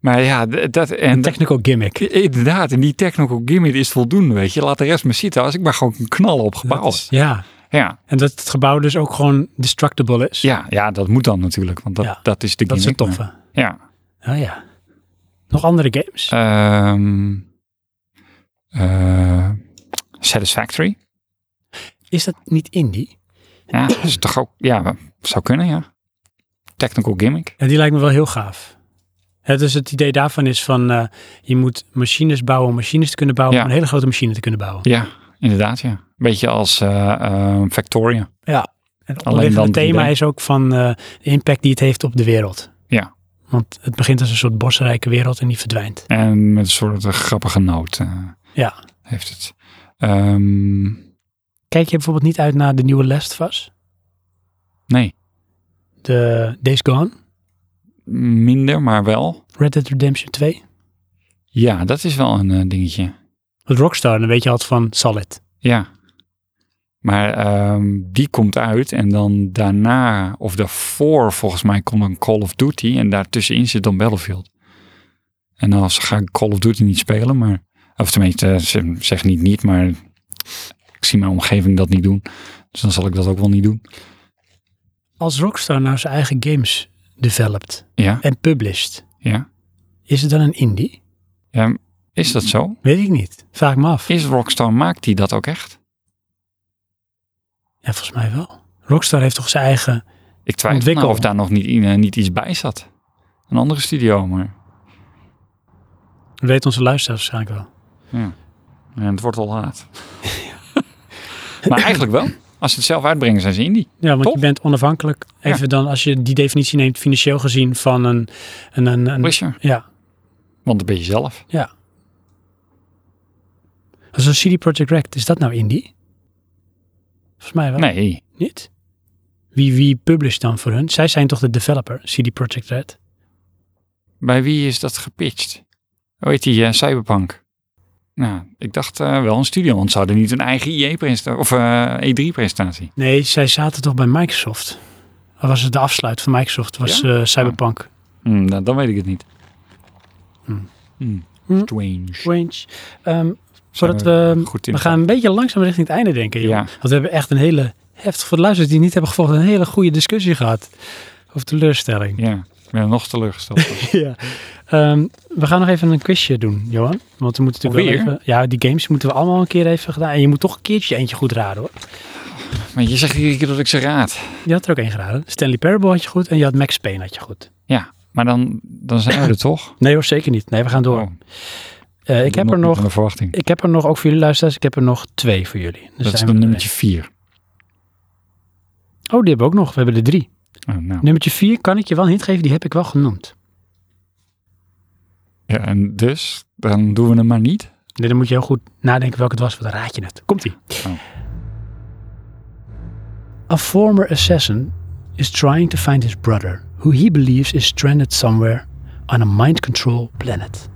maar ja, d- dat en Een technical gimmick. inderdaad, en die technical gimmick is voldoende, weet je. Laat de rest maar zitten als ik maar gewoon kan knallen op gebouwen. Dat is- Ja, Ja, en dat het gebouw dus ook gewoon destructible is. ja, ja, dat moet dan natuurlijk, want dat, Ja, dat is de dat is een gimmick. toffe. maar- Ja, Ah ja. Nog andere games? Ehm, eh, Satisfactory. Is dat niet indie? Ja, dat is toch ook, ja, zou kunnen, ja. Technical gimmick. En die lijkt me wel heel gaaf. Hè, dus het idee daarvan is van eh, je moet machines bouwen om machines te kunnen bouwen, Ja. om een hele grote machine te kunnen bouwen. Ja, inderdaad, ja. Beetje als eh, eh, Factoria. En het Alleen onderliggende dan 3D. thema is ook van eh, de impact die het heeft op de wereld. Ja. Want het begint als een soort bosrijke wereld en die verdwijnt. En met een soort eh, grappige noot eh, Ja. heeft het. Ehm, Kijk je bijvoorbeeld niet uit naar de nieuwe Last of Us? nee, De Days Gone? minder, maar wel. Red Dead Redemption 2? Ja, dat is wel een eh, dingetje. Want Rockstar, dan weet je altijd van Solid. Ja. Maar ehm, die komt uit en dan daarna of daarvoor volgens mij komt een Call of Duty en daartussenin zit dan Battlefield. En dan ga ik Call of Duty niet spelen, maar of tenminste eh, ze- zeg niet niet, maar ik zie mijn omgeving dat niet doen. Dus dan zal ik dat ook wel niet doen. Als Rockstar nou zijn eigen games developt Ja, en published, ja. is het dan een indie? ja is dat zo? Weet ik niet. Vraag ik me af. Is Rockstar, maakt die dat ook echt? Ja, volgens mij wel. Rockstar heeft toch zijn eigen... Ik twijfel Ontwikkel. nou of daar nog niet, eh, niet iets bij zat. Een andere studio, maar Dat weet onze luisteraars waarschijnlijk wel. En het wordt al *laughs* laat. *laughs* maar eigenlijk wel. Als ze het zelf uitbrengen, zijn ze indie. Ja, want Toch? je bent onafhankelijk. Even dan, als je die definitie neemt, financieel gezien, van een... een, een, een Publisher. ja, Want dat ben je zelf. Ja. Zo'n CD Projekt Red, is dat nou indie? Volgens mij wel. Nee. Niet? Wie, wie publisht dan voor hun? Zij zijn toch de developer, CD Projekt Red? Bij wie is dat gepitcht? Hoe heet die eh, Cyberpunk? Nou, ik dacht eh, wel een studio, want ze hadden niet een eigen IE-presentatie of eh, E E3-presentatie. Nee, zij zaten toch bij Microsoft? Of was het de afsluit van Microsoft? Was eh, Cyberpunk? nou, dan weet ik het niet. Hmm. Hmm. Hmm. Strange. Strange. Ehm, voordat Zijn we... Goed in. We gaan een beetje langzaam richting het einde denken. joh. Ja. Want we hebben echt een hele... Heftig voor de luisteraars die niet hebben gevolgd, een hele goede discussie gehad. Over teleurstelling. *laughs* Ja, ik ben *laughs* nog teleurgesteld. Ja. Ehm, we gaan nog even een quizje doen, Johan. Want we moeten natuurlijk wel Alweer? even... Ja, die games moeten we allemaal een keer even gedaan. En je moet toch een keertje eentje goed raden, hoor. maar je zegt iedere keer dat ik ze raad. Je had er ook één geraden. Stanley Parable had je goed en je had Max Payne had je goed. Ja, maar dan, dan zijn *clears throat* we er toch? Nee hoor, zeker niet. Nee, we gaan door. Oh, Eh, ik, heb er niet nog, aan de verwachting. ik heb er nog, ook voor jullie luisteraars, ik heb er nog twee voor jullie. Dus dat is zijn dan we- nummertje 4. Oh, die hebben we ook nog. We hebben er drie. Oh, nou. Nummertje vier kan ik je wel een hint geven. Die heb ik wel genoemd. Ja, en dus, dan doen we hem maar niet. Nee, dan moet je heel goed nadenken welke het was, want dan raad je het. Komt-ie. Oh. A former assassin is trying to find his brother, who he believes is stranded somewhere on a mind control planet.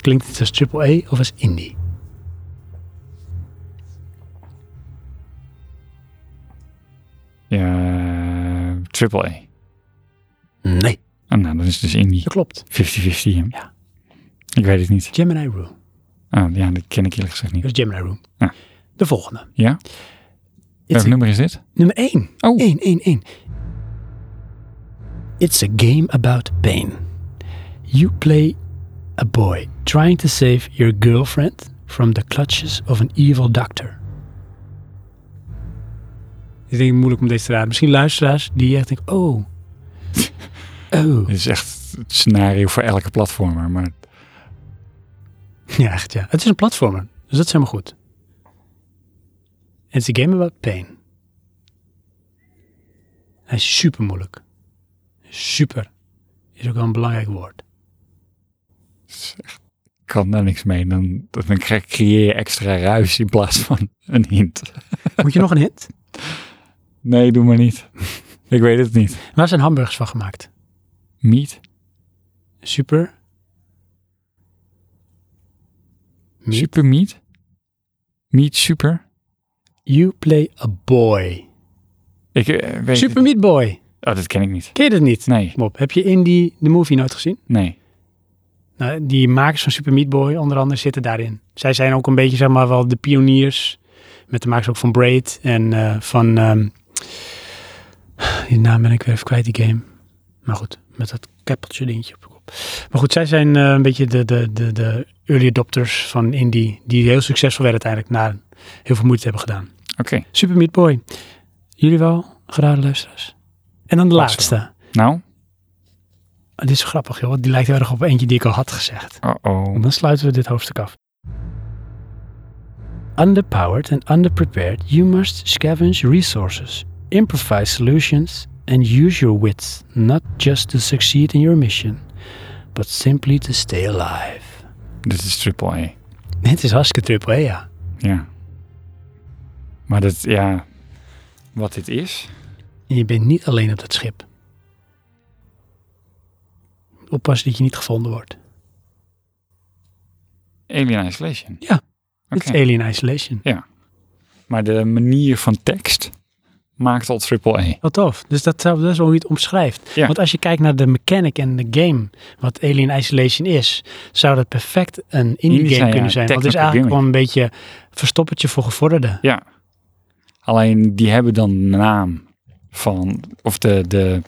Klinkt het als triple A of als indie? Ja, triple A. Nee, Oh, nou, dat is dus indie. dat klopt. 50-50. hè? Ja. Ik weet het niet. Gemini Room. Ah, ja, dat ken ik eerlijk gezegd Dat niet. is Gemini Room. Ja. De volgende. Ja? It's Welk a- nummer is dit? nummer 1. Oh. 1, 1, 1. It's a game about pain. You play a boy trying to save your girlfriend from the clutches of an evil doctor. Ik denk moeilijk om deze te raden. Misschien luisteraars die echt denken, oh. *laughs* Oh. Dit is echt het scenario voor elke platformer. Maar Ja, echt ja. Het is een platformer, dus dat is helemaal goed. It's a game about pain. Hij is super moeilijk. Super is ook wel een belangrijk *laughs* woord. ik kan daar niks mee. Dan, dan krijg- creëer je extra ruis in plaats van een hint. Moet je nog een hint? Nee, doe maar niet. Ik weet het niet. Waar zijn hamburgers van gemaakt? Meat? Super. Meat. Super meat? Meat super? You play a boy. Ik eh, weet Super Meat Boy. Oh, dat ken ik niet. Ken je dit niet? Nee, Bob, heb je Indie de movie nooit gezien? nee. Nou, die makers van Super Meat Boy onder andere zitten daarin. Zij zijn ook een beetje, zeg maar, wel de pioniers. Met de makers ook van Braid en eh, van... ehm, die naam ben ik weer even kwijt, die game. Maar goed, met dat keppeltje dingetje op de kop. Maar goed, zij zijn eh, een beetje de, de, de, de early adopters van indie. Die heel succesvol werden uiteindelijk na heel veel moeite hebben gedaan. Oké, Super Meat Boy. Jullie wel, geraden luisteraars. En dan de Pas wel. laatste. nou. Oh, dit is grappig, joh. want Die lijkt heel erg op eentje die ik al had gezegd. Uh-oh. En dan sluiten we dit hoofdstuk af. Underpowered and underprepared, you must scavenge resources, improvise solutions, and use your wits, not just to succeed in your mission, but simply to stay alive. *laughs* Dit is triple A. Dit is hartstikke triple, hè, ja. Ja. Maar dat, ja. Wat dit is? En je bent niet alleen op dat schip. Oppassen dat je niet gevonden wordt. Alien Isolation. Ja, Dit Oké. is Alien Isolation. Maar de manier van tekst maakt al triple A. Wat tof. Dus dat, zou- dat is wel hoe je het omschrijft. Ja. Want als je kijkt naar de mechanic en de game, wat Alien Isolation is, zou dat perfect een indie Indie game zijn, kunnen ja, zijn. Want het is eigenlijk technical gimmick. gewoon een beetje verstoppertje voor gevorderden. Ja. Alleen die hebben dan de naam van, of de, de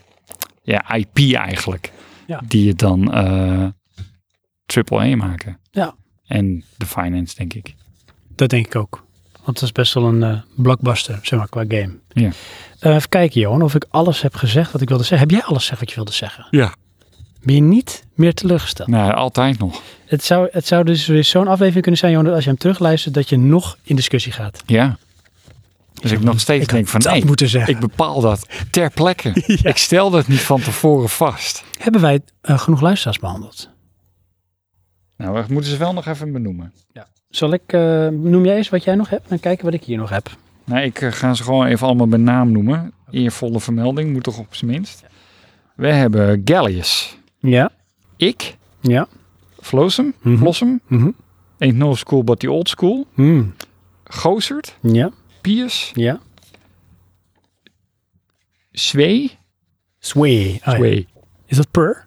ja, IP eigenlijk, Ja. die het dan eh triple A maken. Ja. En de finance, denk ik. Dat denk ik ook. Want dat is best wel een eh, blockbuster, zeg maar, qua game. Ja. Eh, even kijken, Johan, of ik alles heb gezegd wat ik wilde zeggen. Heb jij alles gezegd wat je wilde zeggen? Ja. Ben je niet meer teleurgesteld? Nou, altijd nog. Het, zou, het zou dus weer zo'n aflevering kunnen zijn, Johan, dat als je hem terugluistert, dat je nog in discussie gaat. Ja. Dus ik nog steeds Ik had denk van, dat nee, moeten zeggen. ik bepaal dat ter *laughs* plekke. Ik stel dat niet van tevoren vast. Hebben wij eh, genoeg luisteraars behandeld? Nou, we moeten ze wel nog even benoemen. Zal ik, eh, noem jij eens wat jij nog hebt en kijken wat ik hier nog heb. Nou, ik eh, ga ze gewoon even allemaal bij naam noemen. Eervolle vermelding, moet toch op zijn minst. We hebben Gallius. Ja, Ik, ja. Flossum, Mhm. Flossum. mhm, Ain't no school but the old school. mm, Gozert, Ja, Pius, ja. Zwee, Sway. Oh, ja. Zwee, Is dat per?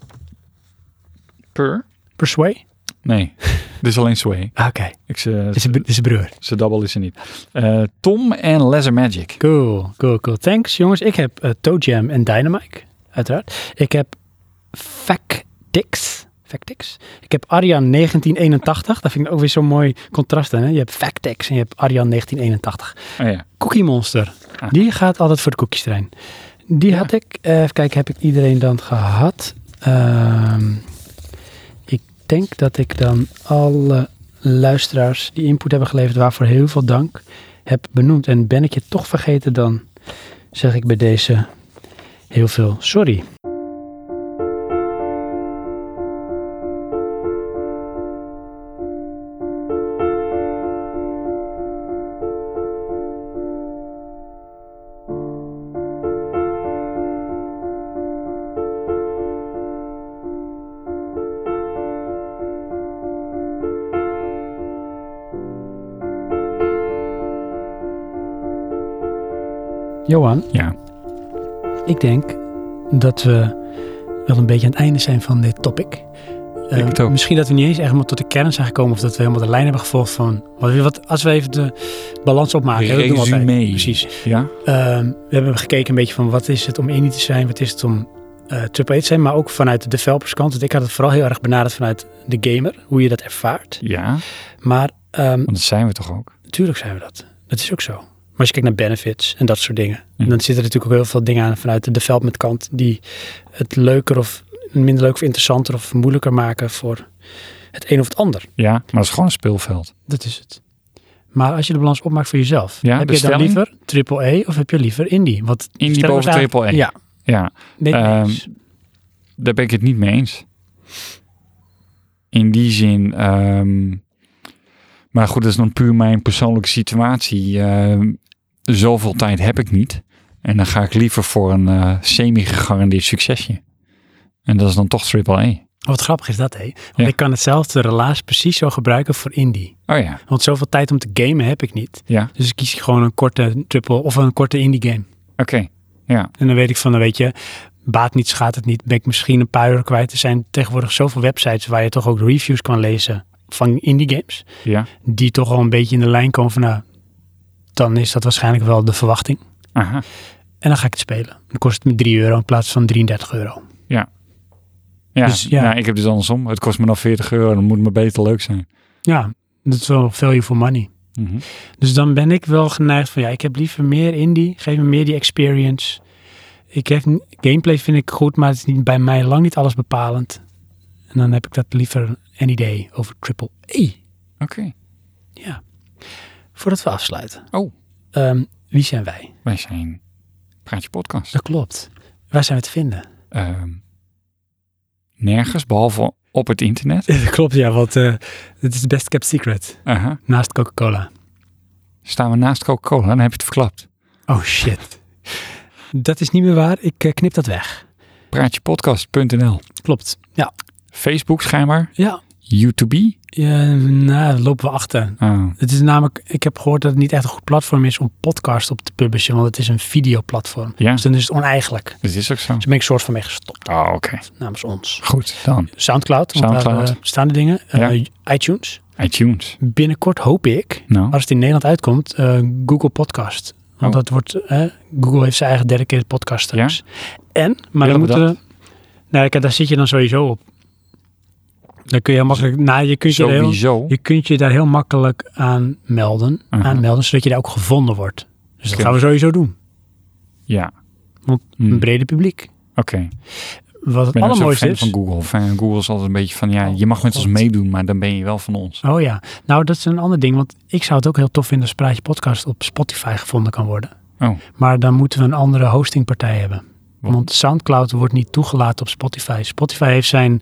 Per. Per sway? Nee, *laughs* dit is alleen Sway. Ah, Oké, Ik ze, dit is een br- dit is een broer. ze double is er niet. Eh, Tom en Lesser Magic. Cool, cool, cool. Thanks jongens. Ik heb eh Toe Jam en Dynamite, uiteraard. Ik heb Factix. Factix. Ik heb Arian 1981. Dat vind ik ook weer zo'n mooi contrast. Hè? Je hebt Factix en je hebt Arian 1981. Oh ja. Cookie Monster. Ah. Die gaat altijd voor de koekjestrein. Die had ik. eh, even kijken, heb ik iedereen dan gehad? Ehm, ik denk dat ik dan alle luisteraars die input hebben geleverd, waarvoor heel veel dank, heb benoemd. En ben ik je toch vergeten, dan zeg ik bij deze heel veel sorry. Johan, Ja. ik denk dat we wel een beetje aan het einde zijn van dit topic. Eh, Ik het ook. Misschien dat we niet eens echt helemaal tot de kern zijn gekomen of dat we helemaal de lijn hebben gevolgd van. Wat, wat, als we even de balans opmaken, hè, dat doen we altijd. Resume. Precies. Ja? Ehm, we hebben gekeken een beetje van wat is het om indie te zijn, wat is het om eh triple A te zijn, maar ook vanuit de developerskant. Want ik had het vooral heel erg benaderd vanuit de gamer, hoe je dat ervaart. Ja, want Maar ehm dat zijn we toch ook? natuurlijk zijn we dat. Dat is ook zo. Maar als je kijkt naar benefits en dat soort dingen, Ja. dan zitten er natuurlijk ook heel veel dingen aan vanuit de development kant die het leuker of minder leuk of interessanter of moeilijker maken voor het een of het ander. Ja, maar het is gewoon een speelveld. Dat is het. Maar als je de balans opmaakt voor jezelf, Ja, heb de je dan stelling? liever triple A of heb je liever indie? Want Indie stelling boven was eigenlijk- AAA. Ja, Ja, ben ik mee Ehm, eens. daar ben ik het niet mee eens. In die zin. ehm, maar goed, dat is dan puur mijn persoonlijke situatie. Ehm, zoveel tijd heb ik niet. En dan ga ik liever voor een eh, semi-gegarandeerd succesje. En dat is dan toch AAA. Wat grappig is dat, hé? Want Ja. ik kan hetzelfde relaas precies zo gebruiken voor indie. Oh ja, Want zoveel tijd om te gamen heb ik niet. ja, Dus ik kies gewoon een korte triple of een korte indie game. oké. En dan weet ik van, dan weet je, baat niet, schaadt het niet. Ben ik misschien een paar uur kwijt. Er zijn tegenwoordig zoveel websites waar je toch ook reviews kan lezen van indie games. Ja, Die toch al een beetje in de lijn komen van, nou, dan is dat waarschijnlijk wel de verwachting. aha. En dan ga ik het spelen. Dan kost het me 3 euro in plaats van 33 euro. Ja, Dus, ja. nou, ik heb dus andersom. Het kost me dan 40 euro. Dan moet het me beter leuk zijn. Ja, dat is wel value for money. Mhm. Dus dan ben ik wel geneigd van ja, ik heb liever meer indie, geef me meer die experience. Ik heb, gameplay vind ik goed, maar het is niet, bij mij lang niet alles bepalend. En dan heb ik dat liever een idee over triple E. Oké. Ja. Voordat we afsluiten. Oh. Ehm, wie zijn wij? Wij zijn Praatje Podcast. Dat klopt. Waar zijn we te vinden? Ehm, nergens, behalve op het internet. *laughs* Dat klopt, ja, want eh, het is de best kept secret. Aha. Naast Coca-Cola. Staan we naast Coca-Cola, dan heb je het verklapt. Oh shit. dat is niet meer waar. Ik eh, knip dat weg. Praatjepodcast.nl Klopt. Ja. Facebook schijnbaar. Ja. YouTube. ja nou, lopen we achter. Oh, Het is namelijk, ik heb gehoord dat het niet echt een goed platform is om podcasts op te publishen, want het is een videoplatform. ja, Dus dan is het oneigenlijk. Dus dat is ook zo. daar ben ik soort van mee gestopt Oh, oké. namens ons. Goed, dan Soundcloud, want Soundcloud. daar eh, staan de dingen. Eh, iTunes. iTunes. Binnenkort hoop ik, Nou, als het in Nederland uitkomt, eh, Google Podcast. Want Oh. dat wordt, eh, Google heeft zijn eigen dedicated podcast straks. En, maar Willen dan we moeten we, nou, kijk, daar zit je dan sowieso op. Dan kun je heel makkelijk, nou, je kunt je er heel, sowieso. je kunt je daar heel makkelijk aan melden, Aha. aanmelden, zodat je daar ook gevonden wordt. Dus dat Mhm. Oké. gaan we sowieso doen. Ja, Want Hmm. een brede publiek. Wat oké. Ik het ben ook zo'n allermooiste fan is. van Google. Fan- Google is altijd een beetje van, ja, je mag met ons God. meedoen, maar dan ben je wel van ons. Oh ja, nou dat is een ander ding, want ik zou het ook heel tof vinden als Praatje Podcast op Spotify gevonden kan worden. Oh. Maar dan moeten we een andere hostingpartij hebben. Wat? Want Soundcloud wordt niet toegelaten op Spotify. Spotify heeft zijn,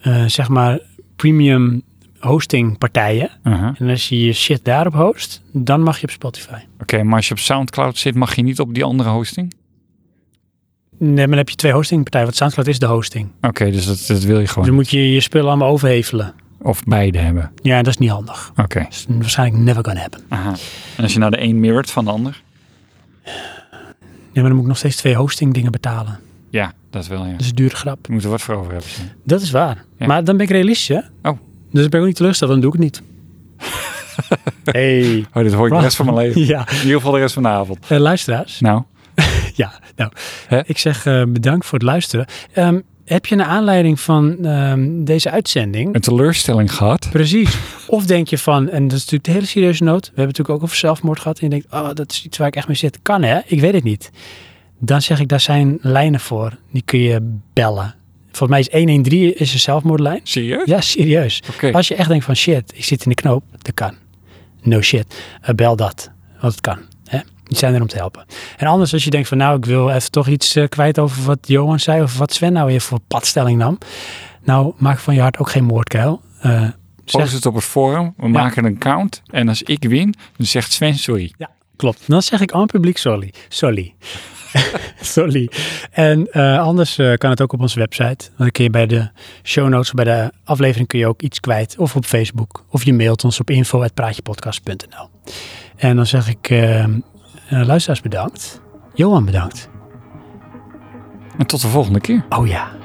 eh, zeg maar, premium hostingpartijen. Uh-huh. En als je je shit daarop host, dan mag je op Spotify. Oké, maar als je op Soundcloud zit, mag je niet op die andere hosting? Nee, maar dan heb je twee hostingpartijen, want Soundcloud is de hosting. Oké, dus dat, dat wil je Dus gewoon. dan moet je je spullen allemaal overhevelen. Of beide hebben. Ja, dat is niet handig. Oké. Dat is waarschijnlijk never gonna happen. Aha. En als je nou de een mirrored van de ander? Ja, maar dan moet ik nog steeds twee hosting dingen betalen. Ja, dat wel, ja. Dat is een dure grap. Je moet er wat voor over hebben. Sam. Dat is waar. Ja. Maar dan ben ik realistisch, hè? Oh. Dus dan ben ik ook niet teleurgesteld, dan doe ik het *laughs* niet. hey. Oh, dit hoor ik de rest van mijn leven. Ja, In ieder geval de rest van de avond. Eh, luisteraars. *laughs* Nou, Ja, nou. Hè? Ik zeg eh, bedankt voor het luisteren. Ehm, heb je naar aanleiding van ehm, deze uitzending... een teleurstelling gehad. Precies. Of denk je van, en dat is natuurlijk de hele serieuze noot. We hebben het natuurlijk ook over zelfmoord gehad. En je denkt, oh, dat is iets waar ik echt mee zit. Kan hè? Ik weet het niet. Dan zeg ik, daar zijn lijnen voor. Die kun je bellen. Volgens mij is 113 is een zelfmoordlijn. Zie je? Ja, serieus. Oké. Als je echt denkt van, shit, ik zit in de knoop. Dat kan. No shit. Eh, bel dat. Want het kan. Hè? Die zijn er om te helpen. En anders als je denkt van, nou, ik wil even toch iets eh, kwijt over wat Johan zei. Of wat Sven nou weer voor padstelling nam. Nou, maak van je hart ook geen moordkuil. Eh, zeg- Post het op het forum. We maken een count. En als ik win, dan zegt Sven sorry. Ja, klopt. Dan zeg ik aan het publiek sorry. Sorry. *laughs* sorry. En eh, anders eh, kan het ook op onze website. Want Dan kun je bij de show notes, bij de aflevering kun je ook iets kwijt. Of op Facebook. Of je mailt ons op info.praatjepodcast.nl En dan zeg ik eh, eh, luisteraars bedankt. Johan bedankt. En tot de volgende keer. Oh ja.